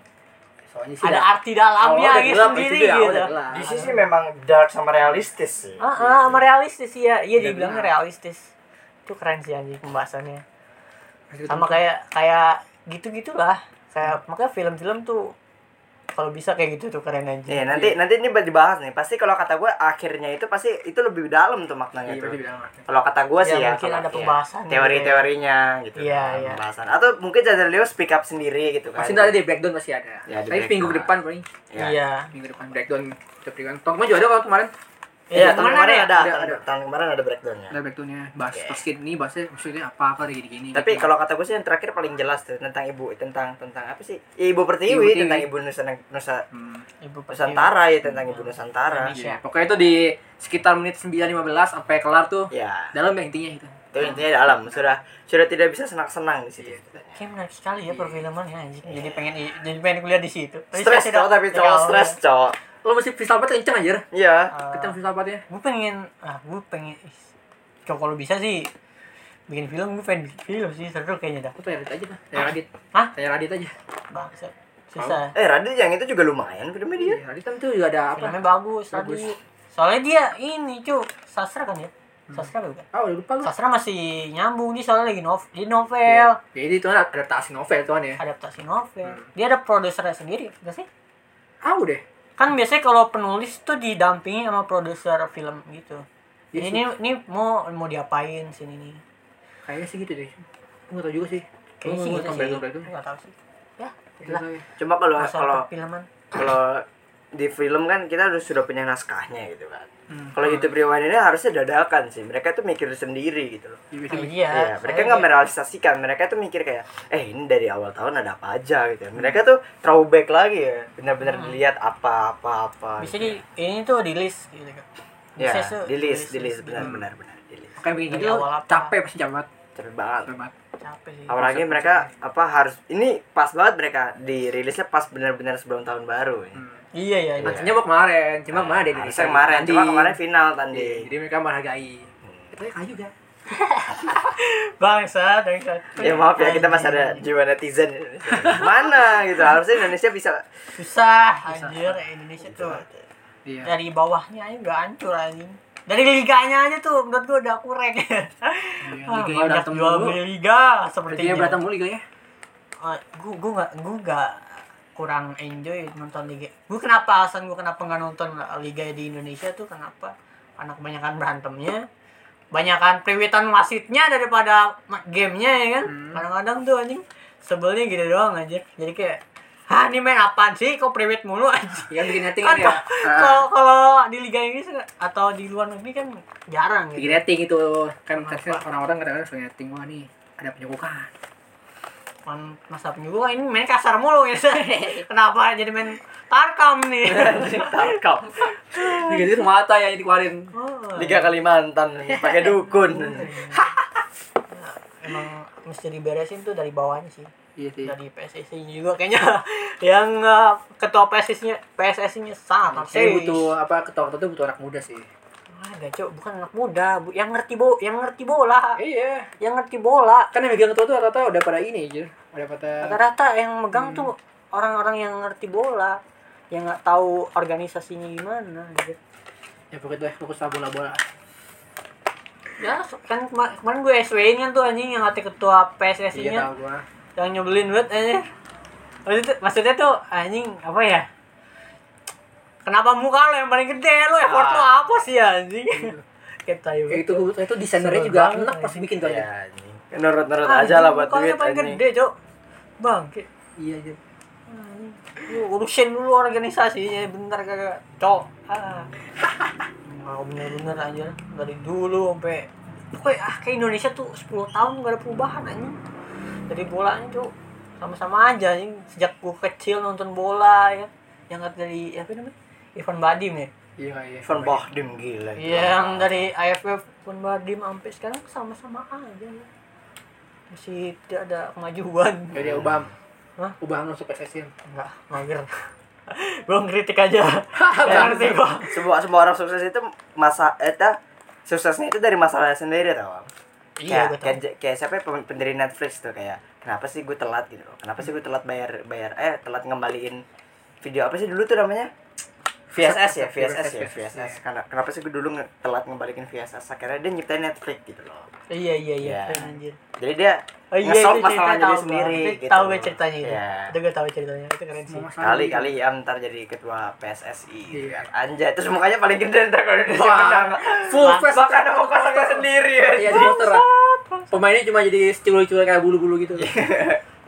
[SPEAKER 2] soalnya sih
[SPEAKER 3] ada
[SPEAKER 2] dah-
[SPEAKER 3] arti dalamnya
[SPEAKER 2] awalnya udah
[SPEAKER 3] gitu
[SPEAKER 2] gelap
[SPEAKER 3] sendiri
[SPEAKER 2] itu ya, awalnya
[SPEAKER 3] gitu.
[SPEAKER 2] udah gelap.
[SPEAKER 1] Di sini memang dark sama realistis sih.
[SPEAKER 3] Ah, ah, sama realistis ya. Iya
[SPEAKER 2] Udah
[SPEAKER 3] dibilangnya
[SPEAKER 2] gelap.
[SPEAKER 3] realistis. Itu keren sih anjing pembahasannya. Sama kayak kayak gitu-gitulah. Kayak makanya film-film tuh kalau bisa kayak gitu tuh keren aja.
[SPEAKER 1] Iya, nanti nanti ini dibahas nih. Pasti kalau kata gue akhirnya itu pasti itu lebih dalam tuh maknanya
[SPEAKER 2] Iya,
[SPEAKER 1] tuh.
[SPEAKER 2] berarti bilang market.
[SPEAKER 1] Kalau kata gue
[SPEAKER 3] Iya,
[SPEAKER 1] sih ya,
[SPEAKER 3] mungkin
[SPEAKER 1] kalau-
[SPEAKER 3] ada
[SPEAKER 1] iya,
[SPEAKER 3] pembahasan gitu
[SPEAKER 1] teori-teorinya gitu.
[SPEAKER 3] Iya,
[SPEAKER 1] kan,
[SPEAKER 3] iya.
[SPEAKER 1] Pembahasan. Atau mungkin Jader Leo speak up sendiri gitu kan.
[SPEAKER 2] masih ada di breakdown masih ada
[SPEAKER 1] Ya, di
[SPEAKER 2] tapi
[SPEAKER 1] breakdown.
[SPEAKER 2] minggu depan paling
[SPEAKER 1] Iya.
[SPEAKER 3] Iya.
[SPEAKER 2] minggu depan breakdown kita breakdown Tokma juga ada kalau kemarin
[SPEAKER 1] Iya,
[SPEAKER 3] Iya,
[SPEAKER 1] tahun
[SPEAKER 3] kemarin
[SPEAKER 1] kemarin ada,
[SPEAKER 2] ada,
[SPEAKER 1] tahun-
[SPEAKER 2] ada. Iya,
[SPEAKER 1] tahun kemarin ada breakdownnya.
[SPEAKER 2] ada breakdownnya bahas
[SPEAKER 1] Oke.
[SPEAKER 2] basket ini bahasnya maksudnya apa gitu apa gini gini
[SPEAKER 1] Tapi kalau kata gue sih yang terakhir paling jelas tuh tentang ibu tentang tentang apa sih? Ibu Pertiwi,
[SPEAKER 2] Ibu Pertiwi.
[SPEAKER 1] tentang ibu Nusa, Nusa
[SPEAKER 2] Hmm.
[SPEAKER 3] Ibu
[SPEAKER 1] Nusantara ya tentang ibu Nusantara.
[SPEAKER 2] Iya.
[SPEAKER 3] Indonesia.
[SPEAKER 2] Pokoknya itu di sekitar menit 9.15 sampai kelar tuh
[SPEAKER 1] Ya,
[SPEAKER 2] dalam ya intinya itu.
[SPEAKER 1] itu intinya dalam sudah sudah tidak bisa senang-senang di situ.
[SPEAKER 3] Kayak menarik sekali ya perfilman ya anjing. Jadi pengen i- jadi pengen kuliah di situ. Tapi
[SPEAKER 1] Stres
[SPEAKER 3] saya tidak-
[SPEAKER 1] cowok tapi
[SPEAKER 3] tidak
[SPEAKER 1] cowok
[SPEAKER 3] mau.
[SPEAKER 1] stres cowok.
[SPEAKER 2] Lo masih filsafatnya kenceng anjir.
[SPEAKER 1] Iya.
[SPEAKER 3] Eh,
[SPEAKER 2] Kenceng filsafatnya.
[SPEAKER 3] gue pengen ah gue pengen ih, kalau kalau bisa sih bikin film gue pengen bikin film sih seru kayaknya dah
[SPEAKER 2] Lo tanya Radit aja lah. Tanya Radit.
[SPEAKER 3] Hah?
[SPEAKER 2] Tanya Radit aja.
[SPEAKER 3] bangsa susah
[SPEAKER 1] Eh Radit yang itu juga lumayan filmnya dia.
[SPEAKER 2] Iya, Radit kan tuh juga ada apa?
[SPEAKER 3] filmnya bagus tadi
[SPEAKER 2] Bagus.
[SPEAKER 3] soalnya dia ini cu sastra kan ya sastra apa bukan
[SPEAKER 2] Ah, udah lupa gue.
[SPEAKER 3] sastra masih nyambung dia soalnya lagi nov di novel
[SPEAKER 2] Jadi itu kan adaptasi novel tuan ya.
[SPEAKER 3] adaptasi novel dia ada produsernya sendiri gak sih
[SPEAKER 2] Ah, udah.
[SPEAKER 3] kan biasanya kalau penulis tuh didampingi sama produser film gitu
[SPEAKER 2] Iya
[SPEAKER 3] ini ini mau mau diapain sini nih
[SPEAKER 2] Kayaknya sih gitu deh. Gue nggak tau juga sih.
[SPEAKER 3] kayaknya sih gitu sih
[SPEAKER 2] Gue itu.
[SPEAKER 3] nggak tahu sih ya
[SPEAKER 2] Itu
[SPEAKER 3] itulah
[SPEAKER 2] tau ya.
[SPEAKER 1] Cuma kalau kalau
[SPEAKER 3] masalah perfilman
[SPEAKER 1] kalau di film kan kita harus sudah punya naskahnya gitu kan.
[SPEAKER 2] Hmm.
[SPEAKER 1] Kalau YouTube Rewind ini harusnya dadakan sih. Mereka itu mikir sendiri gitu loh.
[SPEAKER 2] Iya, biasa
[SPEAKER 3] Iya,
[SPEAKER 2] biasa.
[SPEAKER 1] Iya, mereka
[SPEAKER 3] saya-
[SPEAKER 1] nggak merealisasikan. Mereka tuh mikir kayak, eh ini dari awal tahun ada apa aja gitu. ya. Mereka tuh throwback lagi ya. Benar-benar dilihat apa-apa-apa.
[SPEAKER 3] bisa di ini tuh di list gitu kan.
[SPEAKER 1] Ya,
[SPEAKER 3] Bisa Hmm. tuh
[SPEAKER 1] di list, di list
[SPEAKER 3] list,
[SPEAKER 1] benar-benar benar di list.
[SPEAKER 2] Makanya bikin
[SPEAKER 3] Dari
[SPEAKER 2] gitu
[SPEAKER 3] awal apa? Iya.
[SPEAKER 2] capek pasti jamat.
[SPEAKER 1] Capek banget.
[SPEAKER 2] Capek banget.
[SPEAKER 3] Capek sih.
[SPEAKER 1] Apalagi mereka apa harus ini pas banget mereka dirilisnya pas benar-benar sebelum tahun baru. Ya.
[SPEAKER 2] Hmm.
[SPEAKER 3] Iya iya iya.
[SPEAKER 2] Harusnya mau kemarin, cuma kemarin ada
[SPEAKER 1] Ah, Harusnya kemarin, cuma kemarin final tadi.
[SPEAKER 2] Jadi mereka menghargai. Itu kayak juga.
[SPEAKER 3] Bangsa dan
[SPEAKER 1] Ya maaf ya kita masih ada jiwa netizen Indonesia. Mana gitu harusnya Indonesia bisa
[SPEAKER 3] susah anjir Indonesia tuh.
[SPEAKER 2] Iya.
[SPEAKER 3] Dari bawahnya aja udah hancur anjing. Dari liganya aja tuh menurut gua udah kurang.
[SPEAKER 1] Iya,
[SPEAKER 3] Ah,
[SPEAKER 2] liganya
[SPEAKER 3] Banyak
[SPEAKER 2] berantem
[SPEAKER 3] jual
[SPEAKER 2] mulu.
[SPEAKER 3] beli liga seperti
[SPEAKER 2] Dia berantem mulu ya.
[SPEAKER 3] Ah, gua gua nggak gua nggak kurang enjoy nonton liga. Gua kenapa alasan gua kenapa nggak nonton liga di Indonesia tuh kenapa? Karena kebanyakan berantemnya, kebanyakan priwitan wasitnya daripada ma- gamenya ya kan.
[SPEAKER 2] Hmm.
[SPEAKER 3] Kadang-kadang tuh anjing sebelnya gitu doang aja. Jadi kayak Hah, ini main apaan sih? Kok priwit mulu aja?
[SPEAKER 2] Iya bikin rating
[SPEAKER 3] Kan
[SPEAKER 2] kan ya.
[SPEAKER 3] kalau- kalau kalau di Liga Inggris atau di luar negeri kan jarang
[SPEAKER 2] Bikin
[SPEAKER 3] gitu.
[SPEAKER 2] rating itu kan terus orang-orang kadang-kadang suka rating wah nih ada penyukukan.
[SPEAKER 3] Kan masa juga ini main kasar mulu ya. Kenapa jadi main tarkam nih?
[SPEAKER 1] tarkam.
[SPEAKER 2] Liga itu mata yang dikeluarin.
[SPEAKER 3] Oh,
[SPEAKER 1] Liga Kalimantan pakai dukun.
[SPEAKER 3] emang mesti diberesin tuh dari bawahnya sih
[SPEAKER 2] Iya sih.
[SPEAKER 3] dari PSSI juga kayaknya yang eh, ketua PSSI nya PSSI nya sangat
[SPEAKER 2] Saya
[SPEAKER 3] narsis.
[SPEAKER 2] butuh apa ketua ketua tuh butuh anak muda sih.
[SPEAKER 3] ada cok bukan anak muda bu yang ngerti bo yang ngerti bola
[SPEAKER 2] Iya.
[SPEAKER 3] yang ngerti bola
[SPEAKER 2] Kan yang megang ketua tuh rata-rata udah pada ini aja. Udah pada
[SPEAKER 3] rata-rata yang
[SPEAKER 2] Hmm.
[SPEAKER 3] megang tuh orang-orang yang ngerti bola yang nggak tahu organisasinya gimana gitu.
[SPEAKER 2] ya pokoknya fokus sama bola-bola.
[SPEAKER 3] ya kan kema- kemarin gue SW kan tuh anjing yang ngerti ketua PSSI nya
[SPEAKER 2] Iya tahu gua.
[SPEAKER 3] yang nyebelin banget anjing maksudnya, maksudnya tuh anjing apa ya kenapa muka lo yang paling gede lo
[SPEAKER 1] Ah.
[SPEAKER 3] effort lo apa sih anjing kayak tayo
[SPEAKER 2] Ya, Itu itu desainernya
[SPEAKER 3] Seru
[SPEAKER 2] juga
[SPEAKER 3] banget,
[SPEAKER 2] enak pas
[SPEAKER 3] anjing.
[SPEAKER 2] bikin tuh aja.
[SPEAKER 1] Ya, anjing. Nurut-nurut aja lah buat duit
[SPEAKER 3] paling
[SPEAKER 1] anjing.
[SPEAKER 3] gede cok bang kayak,
[SPEAKER 2] Iya aja.
[SPEAKER 3] anjing, lu urusin dulu organisasinya bentar kagak cok ah mau bener-bener anjir dari dulu sampai pokoknya ah kayak Indonesia tuh 10 tahun gak ada perubahan anjing dari bolanya cok sama-sama aja anjing sejak gua kecil nonton bola ya yang nggak dari apa namanya Ivan Badim ya
[SPEAKER 2] Iya iya.
[SPEAKER 1] Van Bahdim gila.
[SPEAKER 3] yang dari AFF pun Badim sampai sekarang sama-sama aja ya. masih tidak ada kemajuan
[SPEAKER 2] Jadi Iya, Obam.
[SPEAKER 3] Hah?
[SPEAKER 2] Obam masuk PSSI.
[SPEAKER 3] enggak mager gue ngeritik aja Nggak ngerti gue
[SPEAKER 1] semua semua orang sukses itu masa eta suksesnya itu dari masalahnya sendiri tau Am. kayak,
[SPEAKER 3] Iya, gua tahu.
[SPEAKER 1] kayak, kayak siapa ya, pem- pendiri Netflix tuh kayak kenapa sih gue telat gitu loh kenapa sih gue telat bayar bayar eh telat ngembaliin video apa sih dulu tuh namanya VSS ya VSS ya VSS
[SPEAKER 2] iya.
[SPEAKER 1] karena kenapa sih gue dulu nge- telat ngembalikin VSS akhirnya dia nyiptain Netflix gitu loh
[SPEAKER 3] iya iya iya
[SPEAKER 1] Iya.
[SPEAKER 3] anjir
[SPEAKER 1] jadi dia
[SPEAKER 3] oh iya itu
[SPEAKER 1] nge-solve
[SPEAKER 3] cerita
[SPEAKER 1] masalahnya
[SPEAKER 3] tahu
[SPEAKER 1] dia sendiri
[SPEAKER 3] gue
[SPEAKER 1] gitu
[SPEAKER 3] tahu gue ceritanya itu
[SPEAKER 1] Iya.
[SPEAKER 3] itu gue tahu ceritanya itu keren sih
[SPEAKER 1] kali kali ya ntar jadi ketua PSSI gitu
[SPEAKER 2] Iya.
[SPEAKER 1] kan. anjay terus mukanya paling gede ntar kalau Indonesia
[SPEAKER 2] Wah.
[SPEAKER 1] menang
[SPEAKER 2] Full face.
[SPEAKER 1] bahkan mau kosongnya sendiri ya
[SPEAKER 2] Iya, di poster lah. Pemainnya cuma jadi cewek-cewek kayak bulu-bulu gitu.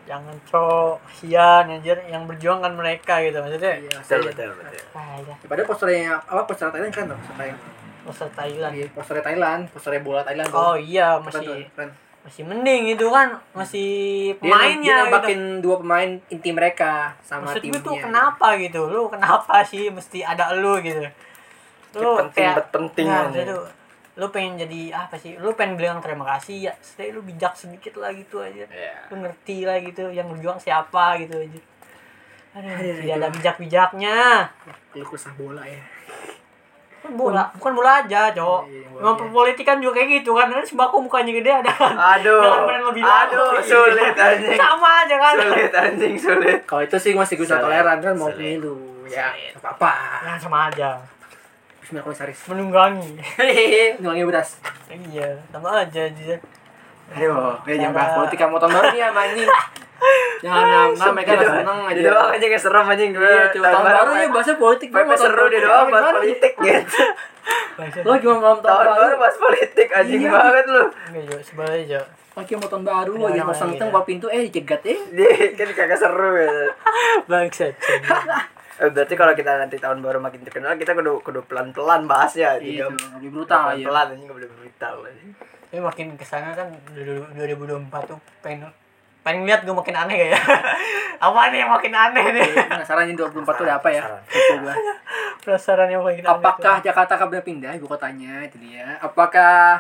[SPEAKER 3] jangan cowok kasihan anjir yang berjuang kan mereka gitu maksudnya
[SPEAKER 2] Iya,
[SPEAKER 1] betul
[SPEAKER 2] asli.
[SPEAKER 1] betul betul
[SPEAKER 3] ah ya
[SPEAKER 2] Padahal posternya apa poster Thailand kan tuh, poster Thailand.
[SPEAKER 3] Masa Thailand
[SPEAKER 2] Iya, poster Thailand, poster bola Thailand. tuh.
[SPEAKER 3] oh iya
[SPEAKER 2] Keren tuh,
[SPEAKER 3] masih
[SPEAKER 2] keren.
[SPEAKER 3] masih mending itu kan masih
[SPEAKER 2] Dia, dia
[SPEAKER 3] pemainnya gitu
[SPEAKER 2] nambahin dua pemain inti mereka sama
[SPEAKER 3] maksud gue
[SPEAKER 2] timnya.
[SPEAKER 3] tuh kenapa gitu lu kenapa sih mesti ada lu gitu lu
[SPEAKER 1] Kayak penting
[SPEAKER 3] kayak
[SPEAKER 1] bet- penting
[SPEAKER 3] nah,
[SPEAKER 1] aja.
[SPEAKER 3] lu, lu pengen jadi apa sih lu pengen bilang terima kasih ya setidaknya lu bijak sedikit lah gitu aja
[SPEAKER 1] Iya.
[SPEAKER 3] lu ngerti lah gitu yang berjuang siapa gitu aja Aduh,
[SPEAKER 2] Aduh,
[SPEAKER 3] tidak
[SPEAKER 2] aduh.
[SPEAKER 3] ada bijak-bijaknya
[SPEAKER 2] Lu kesah bola ya.
[SPEAKER 3] Kan bola bukan bola aja cowok
[SPEAKER 2] Iya, bola,
[SPEAKER 3] memang
[SPEAKER 2] iya.
[SPEAKER 3] politik kan juga kayak gitu kan ada sembako mukanya gede ada kan
[SPEAKER 1] aduh
[SPEAKER 3] Jangan brand lebih mahal.
[SPEAKER 1] aduh sulit anjing
[SPEAKER 3] sama aja kan
[SPEAKER 1] sulit anjing sulit
[SPEAKER 2] Kalau itu sih masih bisa
[SPEAKER 1] Salah.
[SPEAKER 2] toleran kan mau
[SPEAKER 1] Salah.
[SPEAKER 2] pemilu ya. nggak apa-apa.
[SPEAKER 3] Nah, sama aja
[SPEAKER 2] Bismillah komisaris.
[SPEAKER 3] menunggangi
[SPEAKER 2] Iya, Ngulangin beras.
[SPEAKER 3] iya sama aja aja
[SPEAKER 2] Ayo, ya jangan
[SPEAKER 3] Jangan.
[SPEAKER 2] bahas politik kamu tahun baru nih sama anjing. Jangan nama
[SPEAKER 1] Dia
[SPEAKER 2] mereka nggak
[SPEAKER 1] doang-
[SPEAKER 2] seneng aja.
[SPEAKER 1] Gitu. dia doang aja kayak serem anjing gue
[SPEAKER 2] Iya, coba tahun baru ya bahasa politik
[SPEAKER 1] Gue
[SPEAKER 2] mau tahun
[SPEAKER 1] seru dia
[SPEAKER 2] politik,
[SPEAKER 1] doang
[SPEAKER 2] apa
[SPEAKER 1] bahas
[SPEAKER 2] gimana?
[SPEAKER 1] politik gitu
[SPEAKER 2] Lo gimana malam
[SPEAKER 1] Tahun baru bahas politik
[SPEAKER 2] Iya.
[SPEAKER 1] anjing banget lu
[SPEAKER 3] Enggak, Jo. Sebenernya, Jo.
[SPEAKER 2] Lagi mau tahun baru, lagi
[SPEAKER 3] Orang-orang
[SPEAKER 2] pasang hitam
[SPEAKER 3] gitu.
[SPEAKER 2] buat pintu, eh cegat eh.
[SPEAKER 1] Dia kan kagak seru ya
[SPEAKER 3] Bangsat.
[SPEAKER 1] Eh, berarti kalau kita nanti tahun baru makin terkenal kita kudu kudu pelan-pelan bahasnya
[SPEAKER 2] Iya,
[SPEAKER 1] Jadi,
[SPEAKER 2] lebih brutal ya.
[SPEAKER 1] pelan-pelan anjing nggak boleh brutal anjing.
[SPEAKER 3] Tapi makin kesana kan 2024 tuh pengen pengen lihat gue makin aneh kayak apa nih yang makin aneh nih
[SPEAKER 2] Penasaran ini 24 tuh ada apa ya?
[SPEAKER 1] Penasaran.
[SPEAKER 2] Kepo gua.
[SPEAKER 3] penasaran yang makin aneh
[SPEAKER 2] Apakah Jakarta akan pindah ibu kotanya itu dia? Apakah